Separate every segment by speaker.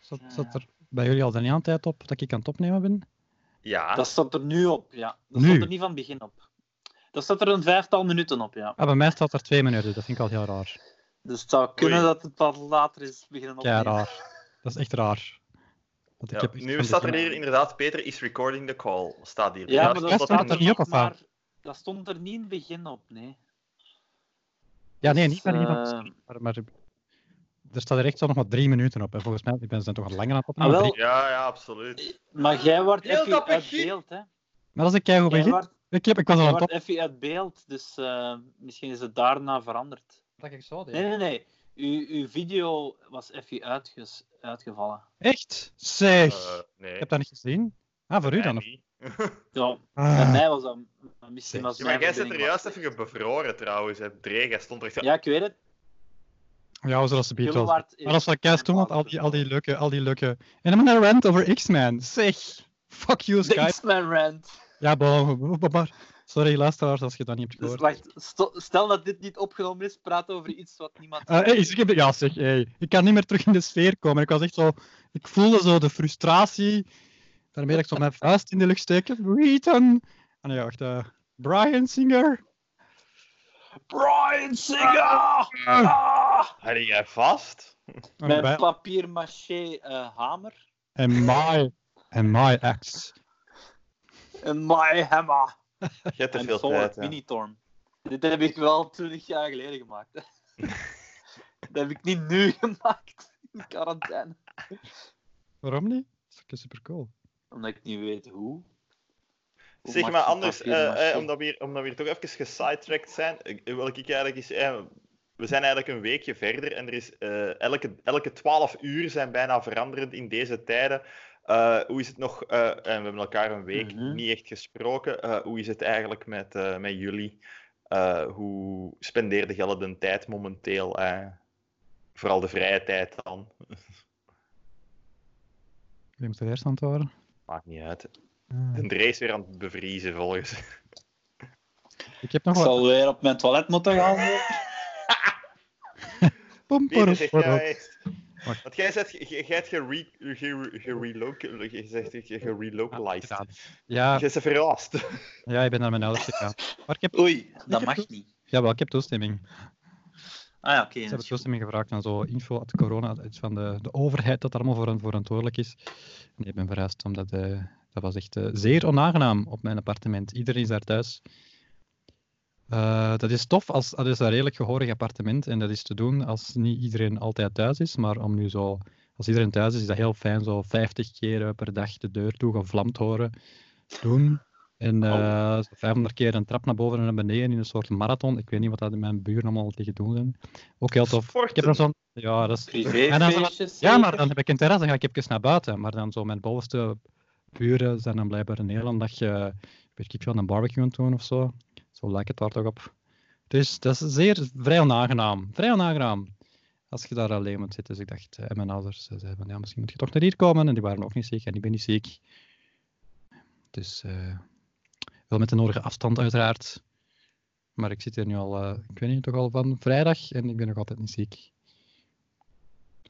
Speaker 1: Zat, zat er bij jullie al de niet aan tijd op dat ik aan het opnemen ben?
Speaker 2: Ja,
Speaker 3: Dat staat er nu op, ja. Dat
Speaker 1: Nu?
Speaker 3: staat er niet van het begin op. Dat staat er een vijftal minuten op, ja.
Speaker 1: Ah, bij mij staat er twee minuten, dat vind ik al heel raar.
Speaker 3: Dus het zou kunnen
Speaker 2: Oei.
Speaker 3: dat het wat later is beginnen
Speaker 1: Ja,
Speaker 3: opnemen.
Speaker 1: raar. Dat is echt raar. Want ik
Speaker 2: Ja,
Speaker 1: heb echt
Speaker 2: nu
Speaker 1: van
Speaker 2: staat
Speaker 1: dit
Speaker 2: er
Speaker 1: jaar-
Speaker 2: hier inderdaad, Peter is recording the call, staat hier. Dus
Speaker 3: Ja, maar
Speaker 1: dat
Speaker 3: dat
Speaker 1: staat er
Speaker 3: stond er
Speaker 1: niet op,
Speaker 3: nog
Speaker 1: of wat?
Speaker 3: maar Dat stond er niet in het begin op, nee.
Speaker 1: Ja, nee, niet
Speaker 3: Dus,
Speaker 1: meer
Speaker 3: eh,
Speaker 1: iemand. Maar, maar er staat er echt zo nog maar drie minuten op. En volgens mij ik ben ze toch al langer aan het
Speaker 3: Ah,
Speaker 1: opnemen.
Speaker 3: wel.
Speaker 1: drie-
Speaker 2: Ja, ja, absoluut.
Speaker 3: Maar jij wordt
Speaker 2: Heel
Speaker 3: even
Speaker 2: dat
Speaker 3: uit
Speaker 2: begin.
Speaker 3: beeld, hè.
Speaker 1: Maar dat is een keigoed
Speaker 3: Jij
Speaker 1: begin.
Speaker 3: wordt,
Speaker 1: Ik, heb, ik was al
Speaker 3: jij
Speaker 1: aan het
Speaker 3: wordt
Speaker 1: op.
Speaker 3: even uit beeld, dus eh, misschien is het daarna veranderd.
Speaker 1: Dat ik zo
Speaker 3: Nee, nee, nee. U, uw video was even uitges- uitgevallen.
Speaker 1: Echt? Zeg.
Speaker 2: Eh, nee.
Speaker 1: Ik heb dat niet gezien. Ah, voor u dan? nog.
Speaker 2: niet.
Speaker 3: Ja, bij
Speaker 1: Ah.
Speaker 3: mij was dat... Misschien was
Speaker 2: Ja,
Speaker 3: mijn
Speaker 2: maar jij zit er
Speaker 3: verbinding wat
Speaker 2: juist even bevroren trouwens, hè. Dree, jij stond er echt...
Speaker 3: slecht. Ja, ik weet het.
Speaker 1: Ja, we zullen ze bieden. Maar
Speaker 3: Gullewaard
Speaker 1: dat is wel
Speaker 3: heeft
Speaker 1: keihard doen, want al die, al die leuke, al die leuke... En dan een rant over X-Men. Zeg. Fuck you,
Speaker 3: De
Speaker 1: Skype.
Speaker 3: X-Men rant.
Speaker 1: Ja, bo- bo- bo- maar... Sorry, luisteraars, als je dat niet hebt
Speaker 3: Dus
Speaker 1: gehoord.
Speaker 3: wacht, sto- stel dat dit niet opgenomen is, praat over iets wat niemand...
Speaker 1: Eh, hey, is- ik heb- ja, zeg, hey, ik kan niet meer terug in de sfeer komen. Ik was echt zo... Ik voelde zo de frustratie. Daarmee dat ik zo mijn vuist in de lucht steken. Wheaton! En ja, wacht. eh, Brian Singer.
Speaker 3: Brian Singer! Ah!
Speaker 2: Had jij vast?
Speaker 1: En
Speaker 3: Mijn
Speaker 1: Ah, bij-
Speaker 3: papier-maché eh, hamer.
Speaker 1: En my... En my ex.
Speaker 3: En my hammer.
Speaker 2: Je hebt te
Speaker 3: En
Speaker 2: veel
Speaker 3: Thor,
Speaker 2: tijd, hè.
Speaker 3: Minitorm. Dit heb ik wel 20 jaar geleden gemaakt. hè. Dat heb ik niet nu gemaakt. In quarantaine.
Speaker 1: Waarom niet? Dat is super cool.
Speaker 3: Omdat ik niet weet hoe. Hoe
Speaker 2: Zeg
Speaker 3: maak
Speaker 2: maar
Speaker 3: je
Speaker 2: anders, eh,
Speaker 3: papier-mâché?
Speaker 2: eh, omdat, we hier, omdat we hier toch even gesidetracked zijn, ik- wil ik eigenlijk eens... eh, we zijn eigenlijk een weekje verder en er is, eh, elke, elke 12 uur zijn bijna veranderend in deze tijden. Eh, hoe is het nog? eh, en we hebben elkaar een week
Speaker 3: Mhm.
Speaker 2: niet echt gesproken. Eh, hoe is het eigenlijk met, eh, met jullie? Eh, hoe spendeerde jullie de tijd momenteel? eh? vooral de vrije tijd dan.
Speaker 1: Wie moet er eerst antwoorden?
Speaker 2: Maakt niet uit.
Speaker 1: Ah.
Speaker 2: De race weer aan het bevriezen volgens.
Speaker 1: Ik heb
Speaker 3: Ik
Speaker 1: nog wat...
Speaker 3: zal weer op mijn toilet moeten gaan.
Speaker 1: Pom,
Speaker 2: Peter,
Speaker 1: pom,
Speaker 2: zeg
Speaker 1: pom.
Speaker 2: jij eens.
Speaker 1: Wacht.
Speaker 2: dus eh, Want jij zegt, jij jij hebt gere- gere- gerelocal- jij zegt dat je gerelocalized.
Speaker 1: Ja,
Speaker 2: Jij bent verrast.
Speaker 1: ja, ik ben naar mijn ouders gegaan. Maar ik heb,
Speaker 3: Oei, dat
Speaker 1: heb
Speaker 3: mag
Speaker 1: toe-
Speaker 3: niet.
Speaker 1: jawel, ik heb toestemming.
Speaker 3: Ah ja,
Speaker 1: Ze
Speaker 3: oké. dat
Speaker 1: hebben
Speaker 3: is goed.
Speaker 1: toestemming gevraagd aan zo info uit corona, uit van de, de overheid dat daar allemaal voor voor verantwoordelijk is. En ik ben verhuisd, omdat eh, dat was echt eh, zeer onaangenaam op mijn appartement. Iedereen is daar thuis. Eh, dat is tof, als, dat is een redelijk gehoorig appartement en dat is te doen als niet iedereen altijd thuis is. Maar om nu zo, als iedereen thuis is, is dat heel fijn, zo 50 keer eh, per dag de deur toe gevlamd horen, doen. En eh,
Speaker 2: Oh.
Speaker 1: zo 500 keer een trap naar boven en naar beneden in een soort marathon. Ik weet niet wat dat in mijn buren allemaal tegen doen zijn. Ook heel tof. Ik heb dan zo'n... Ja, dat is... En dan zo-
Speaker 3: Privéfeestjes.
Speaker 1: ja, maar
Speaker 3: zeker?
Speaker 1: dan heb ik een terras, dan ga ik even naar buiten. Maar dan zo mijn bovenste buren zijn dan blijkbaar in Nederland dat je, weet ik veel, een barbecue aan het doen of zo. Zo lijkt het daar toch op. Dus dat is zeer vrij onaangenaam. Vrij onaangenaam. Als je daar alleen moet zitten. Dus ik dacht, eh, en mijn ouders eh, zeiden van, ja, misschien moet je toch naar hier komen. En die waren ook niet ziek en ik ben niet ziek. Dus eh, wel met de nodige afstand uiteraard. Maar ik zit hier nu al, eh, ik weet niet, toch al van vrijdag en ik ben nog altijd niet ziek.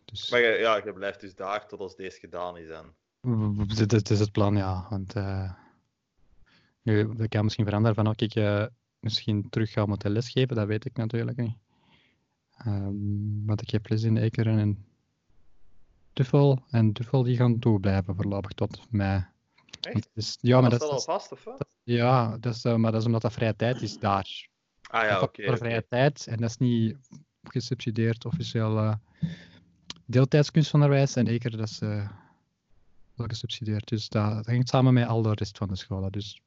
Speaker 1: Dus...
Speaker 2: Maar je- ja, je blijft dus daar tot als deze gedaan is. Dan.
Speaker 1: Dit, dit is het plan, ja. Want eh, nu, dat kan misschien veranderen van ook ik eh, misschien terug ga moeten lesgeven, dat weet ik natuurlijk niet. Ehm, want ik heb les in Ekeren en Duffel. En Duffel die gaan toeblijven voorlopig tot mei.
Speaker 2: Echt?
Speaker 1: Want het is- ja, maar
Speaker 2: dat
Speaker 1: dat,
Speaker 2: staat al
Speaker 1: is-
Speaker 2: vast, of wat?
Speaker 1: ja, dat is, eh, maar dat is omdat dat vrije tijd is daar.
Speaker 2: Ah ja,
Speaker 1: Dat
Speaker 2: oké.
Speaker 1: valt voor vrije tijd en dat is niet gesubsidieerd officieel eh deeltijdskunstonderwijs en Eker dat is eh, wel gesubsidieerd. Dus dat, dat hangt samen met al de rest van de scholen. Dus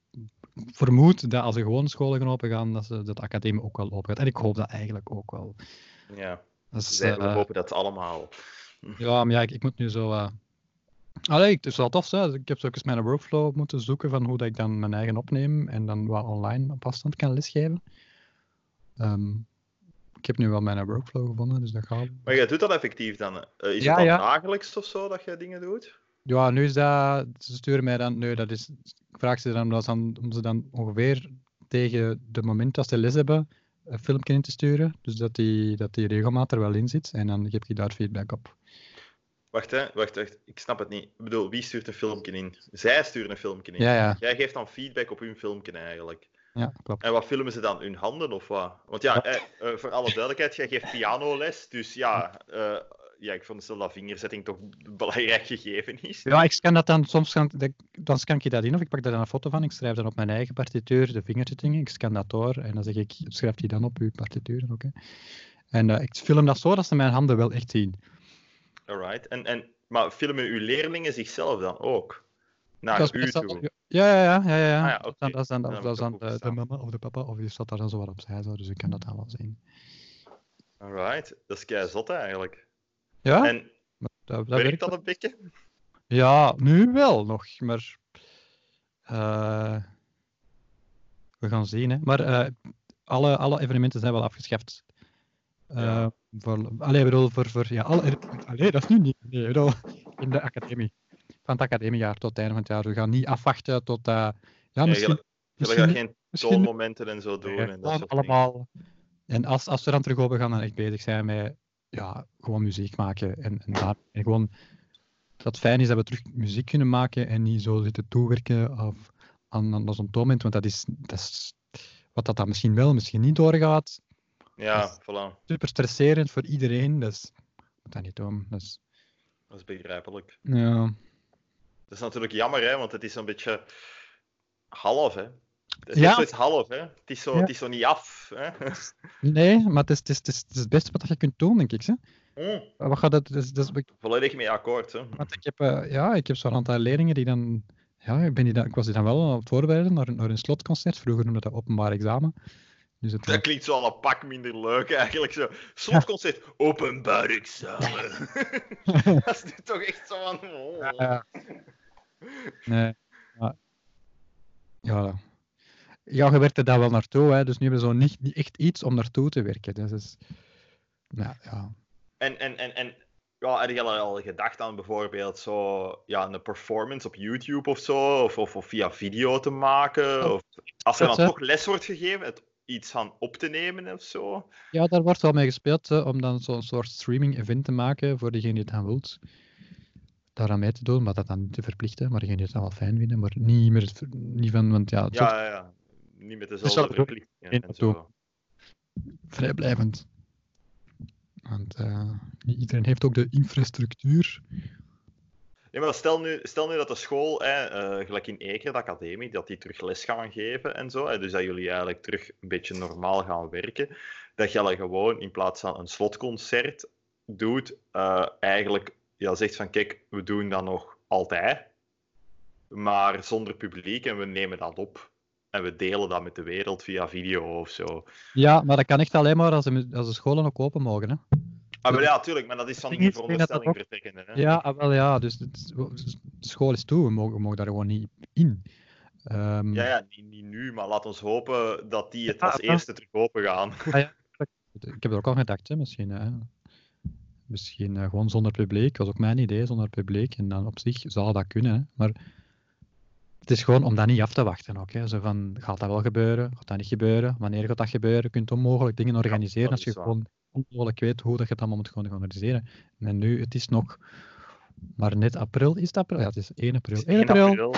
Speaker 1: ik vermoed dat als er gewoon scholen gaan opengaan, dat, ze, dat de academie ook wel open gaat. En ik hoop dat eigenlijk ook wel.
Speaker 2: Ja,
Speaker 1: Dat is,
Speaker 2: Zij, we
Speaker 1: eh,
Speaker 2: hopen dat allemaal.
Speaker 1: ja, maar ja, ik, ik moet nu zo. eh Allee, het is wel tof, hè. ik heb zo ook eens mijn workflow moeten zoeken van hoe dat ik dan mijn eigen opneem en dan wat online op afstand kan lesgeven. Ehm, ik heb nu wel mijn workflow gevonden, dus dat gaat.
Speaker 2: Maar jij doet dat effectief dan? eh? is
Speaker 1: Ja,
Speaker 2: het dan
Speaker 1: ja.
Speaker 2: dagelijks of zo dat jij dingen doet?
Speaker 1: Ja, nu is dat. Ze sturen mij dan. Nee, dat is. Ik vraag ze dan om, dat ze dan, om ze dan ongeveer tegen de moment dat ze les hebben een filmpje in te sturen. Dus dat die, dat die regelmatig er wel in zit. En dan geef ik daar feedback op.
Speaker 2: Wacht, hè. Wacht, wacht. Ik snap het niet. Ik bedoel, wie stuurt een filmpje in? Zij sturen een filmpje in.
Speaker 1: Ja, ja.
Speaker 2: Jij geeft dan feedback op hun filmpje eigenlijk.
Speaker 1: Ja, klopt.
Speaker 2: En wat filmen ze dan? Hun handen of wat? Want ja, eh, eh, voor alle duidelijkheid, jij geeft pianoles. Dus ja, eh, ja ik vond dat vingerzetting toch een belangrijk gegeven is.
Speaker 1: Ja, ik scan dat dan, soms scan, ik- dan scan ik dat in of ik pak daar dan een foto van. Ik schrijf dan op mijn eigen partituur de vingerzittingen. Ik scan dat door en dan zeg ik, schrijf die dan op uw partituur. en oké. En eh, ik film dat zo dat ze mijn handen wel echt zien.
Speaker 2: Alright. En, en, maar filmen uw leerlingen zichzelf dan ook? Naar
Speaker 1: dat is
Speaker 2: u
Speaker 1: meestal-
Speaker 2: toe?
Speaker 1: Ja, ja, ja. ja, ja, ja.
Speaker 2: Ah ja, oké.
Speaker 1: Dan- Dat is dan,
Speaker 2: Dan
Speaker 1: of
Speaker 2: heb
Speaker 1: dat
Speaker 2: ik
Speaker 1: is dan
Speaker 2: dat goed
Speaker 1: de, de
Speaker 2: verstaan.
Speaker 1: mama of de papa, of die staat daar dan zo wat opzij. Zo, dus ik kan dat dan wel zien.
Speaker 2: Alright. Dat is kei zot eigenlijk.
Speaker 1: Ja,
Speaker 2: En
Speaker 1: dat, dat
Speaker 2: werkt
Speaker 1: werkt
Speaker 2: dat
Speaker 1: wel.
Speaker 2: een beetje?
Speaker 1: Ja, nu wel nog, maar... eh, we gaan zien, hè. Maar eh, alle, alle evenementen zijn wel afgeschaft. Eh,
Speaker 2: Ja.
Speaker 1: voor, allee, ik bedoel, voor, voor ja, alle evenementen- allee, dat is nu niet. Nee, ik bedoel, in de academie. Van het academiejaar tot het einde van het jaar. We gaan niet afwachten tot... eh, ja,
Speaker 2: je-
Speaker 1: misschien...
Speaker 2: Je
Speaker 1: misschien
Speaker 2: gaat geen
Speaker 1: misschien
Speaker 2: toonmomenten en zo doen.
Speaker 1: Ja,
Speaker 2: en dat
Speaker 1: gewoon
Speaker 2: soort dingen.
Speaker 1: allemaal. En als, als we dan terug open gaan, dan echt bezig zijn met ja, gewoon muziek maken. En, en, daar, en gewoon dat het fijn is dat we terug muziek kunnen maken en niet zo zitten toewerken of aan, aan zo'n toonmoment. Want dat is, dat is wat dat dan misschien wel, misschien niet doorgaat.
Speaker 2: Ja, voilà.
Speaker 1: Super stresserend voor iedereen. Dus moet dat niet doen. Dus,
Speaker 2: Dat is begrijpelijk.
Speaker 1: ja.
Speaker 2: Dat is natuurlijk jammer, hè, want het is een beetje half, hè. Het is
Speaker 1: Ja.
Speaker 2: ja. zoiets half, hè. Het is zo,
Speaker 1: Ja.
Speaker 2: het is zo niet af, hè.
Speaker 1: Nee, maar het is, het, is, het, is, het is het beste wat je kunt doen, denk ik. Hè?
Speaker 2: Mm,
Speaker 1: Wat gaat dat, dat, is- dat is-
Speaker 2: volledig mee akkoord, hè.
Speaker 1: Want ik heb, eh, ja, ik heb zo'n aantal leerlingen die dan... Ja, ik, ben die dan, ik was die dan wel aan het voorbereiden naar, een- naar een slotconcert. Vroeger noemde dat openbaar examen. Dus het
Speaker 2: Dat klinkt zo al een pak minder leuk, eigenlijk. Zo. Slotconcert, openbaar examen. dat is nu toch echt zo van... oh.
Speaker 1: Ja. eh, Nee. Maar, ja. Ja, je werkte daar wel naartoe, hè, dus nu hebben we zo niet, niet echt iets om naartoe te werken. Dus is, ja, ja.
Speaker 2: En, en, en, en ja, heb je al- al gedacht aan bijvoorbeeld zo, ja, een performance op YouTube of zo, of, of, of via video te maken? Of, als er
Speaker 1: Dat,
Speaker 2: dan
Speaker 1: hè.
Speaker 2: toch les wordt gegeven, het iets van op te nemen of zo?
Speaker 1: ja, daar wordt wel mee gespeeld hè, om dan zo'n soort streaming-event te maken voor degene die het dan wilt. Daar aan mee te doen, maar dat dan niet te verplichten. Maar degene die het dan wel fijn vinden, maar niet meer het- niet van, want ja, het wordt
Speaker 2: Ja, ja, ja. Niet met dezelfde
Speaker 1: dat bedoel ik.
Speaker 2: verplichtingen en
Speaker 1: Ik bedoel-
Speaker 2: zo.
Speaker 1: vrijblijvend. Want eh, niet iedereen heeft ook de infrastructuur.
Speaker 2: Nee, maar stel nu, stel nu dat de school, hè, eh, gelijk in Eker, de academie, dat die terug les gaan geven en zo. Hè, dus dat jullie eigenlijk terug een beetje normaal gaan werken. Dat je dan gewoon in plaats van een slotconcert doet, eh, eigenlijk ja, zegt van kijk, we doen dat nog altijd, maar zonder publiek en we nemen dat op. En we delen dat met de wereld via video of zo.
Speaker 1: Ja, maar dat kan echt alleen maar als de, mu- als de scholen ook open mogen. Hè?
Speaker 2: Ah, maar ja, tuurlijk, maar dat is van
Speaker 1: ding
Speaker 2: die
Speaker 1: is, ik denk dat dat
Speaker 2: veronderstelling vertrekkende. Hè?
Speaker 1: Ja, ah, wel ja. Dus het is- we- dus de school is toe, we mogen, we mogen daar gewoon niet in. Ehm,
Speaker 2: Ja, ja niet, niet nu, maar laat ons hopen dat die het
Speaker 1: Ja,
Speaker 2: als
Speaker 1: dat-
Speaker 2: eerste terug open gaan.
Speaker 1: Ik heb er ook al gedacht, hè, misschien. Hè. Misschien eh, gewoon zonder publiek. was ook mijn idee, zonder publiek. En dan op zich zou dat kunnen. Hè. Maar het is gewoon om dat niet af te wachten. Ook, hè. Zo van, gaat dat wel gebeuren? Gaat dat niet gebeuren? Wanneer gaat dat gebeuren? Je kunt onmogelijk dingen organiseren
Speaker 2: dat
Speaker 1: als je
Speaker 2: is waar.
Speaker 1: gewoon onmogelijk weet hoe dat je het allemaal moet gaan organiseren. En nu, het is nog... Maar net april is het april. Ja, het is 1 april. 1 april.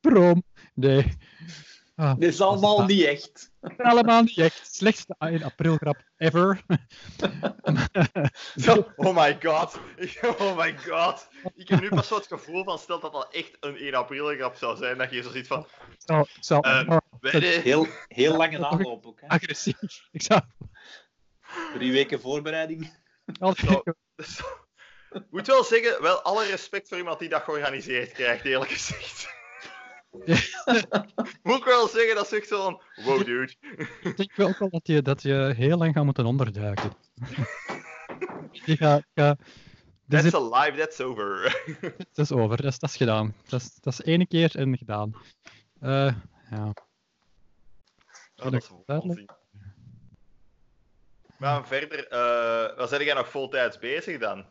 Speaker 1: Prom. Nee. Ah,
Speaker 3: Dit is allemaal niet echt.
Speaker 1: allemaal niet echt. Slechtste 1 april grap ever.
Speaker 2: Zo, Oh my god. Ik- Oh my god. Ik heb nu pas zo het gevoel van, stel dat dat echt een 1 april grap zou zijn, dat je zo ziet van,
Speaker 1: Ik zou, ik zou
Speaker 2: Eh,
Speaker 1: oh,
Speaker 2: weet je,
Speaker 3: Heel, heel lange aanloop ook.
Speaker 1: Ah.
Speaker 3: Hè.
Speaker 1: agressief. Ik zou
Speaker 3: Drie weken voorbereiding.
Speaker 1: altijd
Speaker 2: Zo. dus, Ik moet wel zeggen, wel alle respect voor iemand die dat georganiseerd krijgt, eerlijk gezegd. Moet ik wel zeggen, dat is echt zo'n, wow dude.
Speaker 1: ik denk wel ook wel dat je, dat je heel lang gaat moeten onderduiken. Die gaat, gaat- dit
Speaker 2: That's
Speaker 1: is,
Speaker 2: alive, that's over.
Speaker 1: dit is over, dat is, dat is gedaan. Dat is, dat is ene keer en gedaan. Eh, ja.
Speaker 2: Oh, dat is waanzin. Maar verder, eh wat zijn jij nog voltijds bezig dan?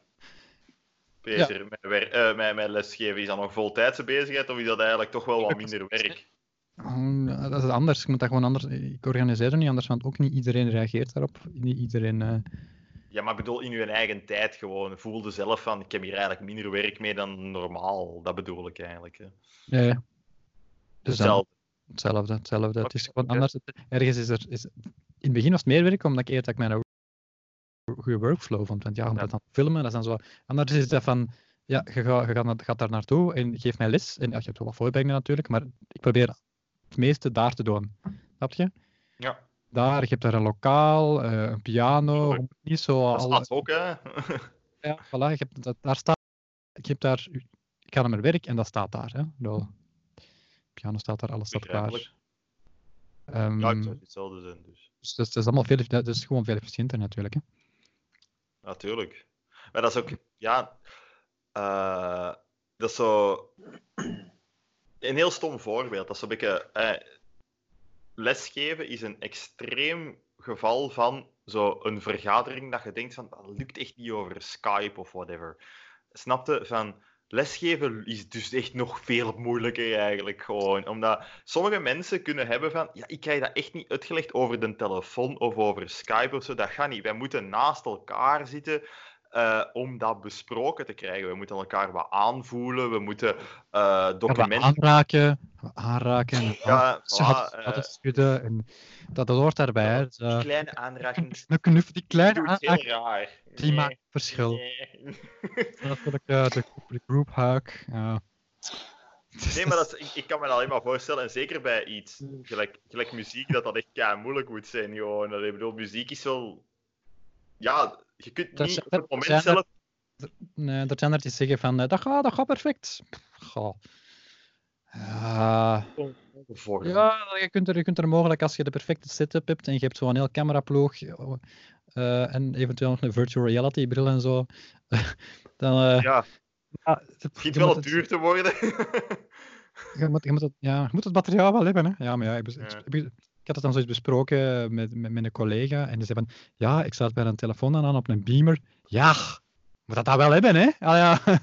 Speaker 2: Peter, met, wer- eh, met, met lesgeven, is dat nog voltijdse bezigheid of is dat eigenlijk toch wel wat minder werk?
Speaker 1: Mm, ja, Dat is anders. Ik moet dat gewoon anders. Ik organiseer dat niet anders, want ook niet iedereen reageert daarop. Niet iedereen eh,
Speaker 2: Ja, maar ik bedoel, in uw eigen tijd gewoon. Voelde zelf van, ik heb hier eigenlijk minder werk mee dan normaal. Dat bedoel ik eigenlijk. Hè.
Speaker 1: Ja, ja. Dus dan-
Speaker 2: Hetzelfde.
Speaker 1: Hetzelfde, hetzelfde. Het
Speaker 2: Oké,
Speaker 1: is gewoon
Speaker 2: oké.
Speaker 1: anders. Het- Ergens is er... Is, in het begin was het meer werk, omdat ik eerder dat ik mijn goede workflow vond. Want ja, je moet
Speaker 2: Ja.
Speaker 1: dat dan filmen, dat is dan zo... Anders is dat van... Ja, je, gaat, je gaat, naar- gaat daar naartoe en geef mij les. En ja, je hebt wel wat voorbereidingen natuurlijk, maar ik probeer het meeste daar te doen. Snap je?
Speaker 2: Ja,
Speaker 1: Daar, je hebt daar een lokaal, eh, een piano,
Speaker 2: Tuurlijk.
Speaker 1: je moet niet zo...
Speaker 2: dat
Speaker 1: al-
Speaker 2: staat ook, hè.
Speaker 1: ja, voilà, je hebt, dat, daar staat... Ik heb daar... Ik ga naar mijn werk en dat staat daar. Hè? Nou, piano staat daar, alles staat
Speaker 2: Begrijpelijk.
Speaker 1: klaar. Ehm,
Speaker 2: Ja, het eh, zou hetzelfde zijn, dus.
Speaker 1: dus dat is, dat is allemaal veel, dat is gewoon veel efficiënter natuurlijk. Hè.
Speaker 2: Natuurlijk. Maar dat is ook, ja, eh, dat is zo. Een heel stom voorbeeld. Dat is een beetje. eh, lesgeven is een extreem geval van zo'n vergadering dat je denkt van dat lukt echt niet over Skype of whatever. Snapte van lesgeven is dus echt nog veel moeilijker eigenlijk gewoon. Omdat sommige mensen kunnen hebben van, ja, ik krijg dat echt niet uitgelegd over de telefoon of over Skype of zo. Dat gaat niet. Wij moeten naast elkaar zitten eh, om dat besproken te krijgen. We moeten elkaar wat aanvoelen. We moeten eh,
Speaker 1: Gaan we
Speaker 2: documenten...
Speaker 1: Aanraken, gaan we aanraken, en Oh,
Speaker 2: Ja,
Speaker 1: ze
Speaker 2: voilà,
Speaker 1: hadden- hadden
Speaker 2: eh.
Speaker 1: schudden en dat, dat hoort daarbij. hè. Dus, eh,
Speaker 2: Die kleine aanraking
Speaker 1: een knuff, die kleine
Speaker 2: doet heel
Speaker 1: aanraking,
Speaker 2: raar.
Speaker 1: die
Speaker 2: Nee,
Speaker 1: maakt verschil.
Speaker 2: nee.
Speaker 1: Dat is Natuurlijk eh, de, de eh. group hug. ja.
Speaker 2: Nee, maar dat is- ik, ik kan me dat alleen maar voorstellen. En zeker bij iets, gelijk, gelijk muziek, dat dat echt kei moeilijk moet zijn. Gewoon. Allee, Ik bedoel, muziek is wel... Ja, je kunt
Speaker 1: Dat
Speaker 2: niet
Speaker 1: zijn-
Speaker 2: op het
Speaker 1: dat
Speaker 2: moment
Speaker 1: zijn er-
Speaker 2: zelf...
Speaker 1: Nee, er zijn er die zeggen van, eh, dat gaat, dat gaat perfect. Pff, Goh. Ja.
Speaker 2: Voor.
Speaker 1: Ja, je kunt, er, je kunt er mogelijk als je de perfecte setup hebt en je hebt zo'n heel cameraploeg eh, en eventueel nog een virtual reality bril en zo, dan... eh,
Speaker 2: Ja, het
Speaker 1: ja, je
Speaker 2: begint
Speaker 1: moet
Speaker 2: wel
Speaker 1: het-
Speaker 2: duur te worden.
Speaker 1: Je moet, je, moet het, ja, je moet het materiaal wel hebben. Hè? Ja, maar ja, ik, bes- ik-
Speaker 2: Ja.
Speaker 1: ik be- ik had het dan zoiets besproken met, met, met een collega. En die zei van, ja, ik zat bij een telefoon aan op een beamer. Ja, moet dat dan wel hebben, hè? Ah ja,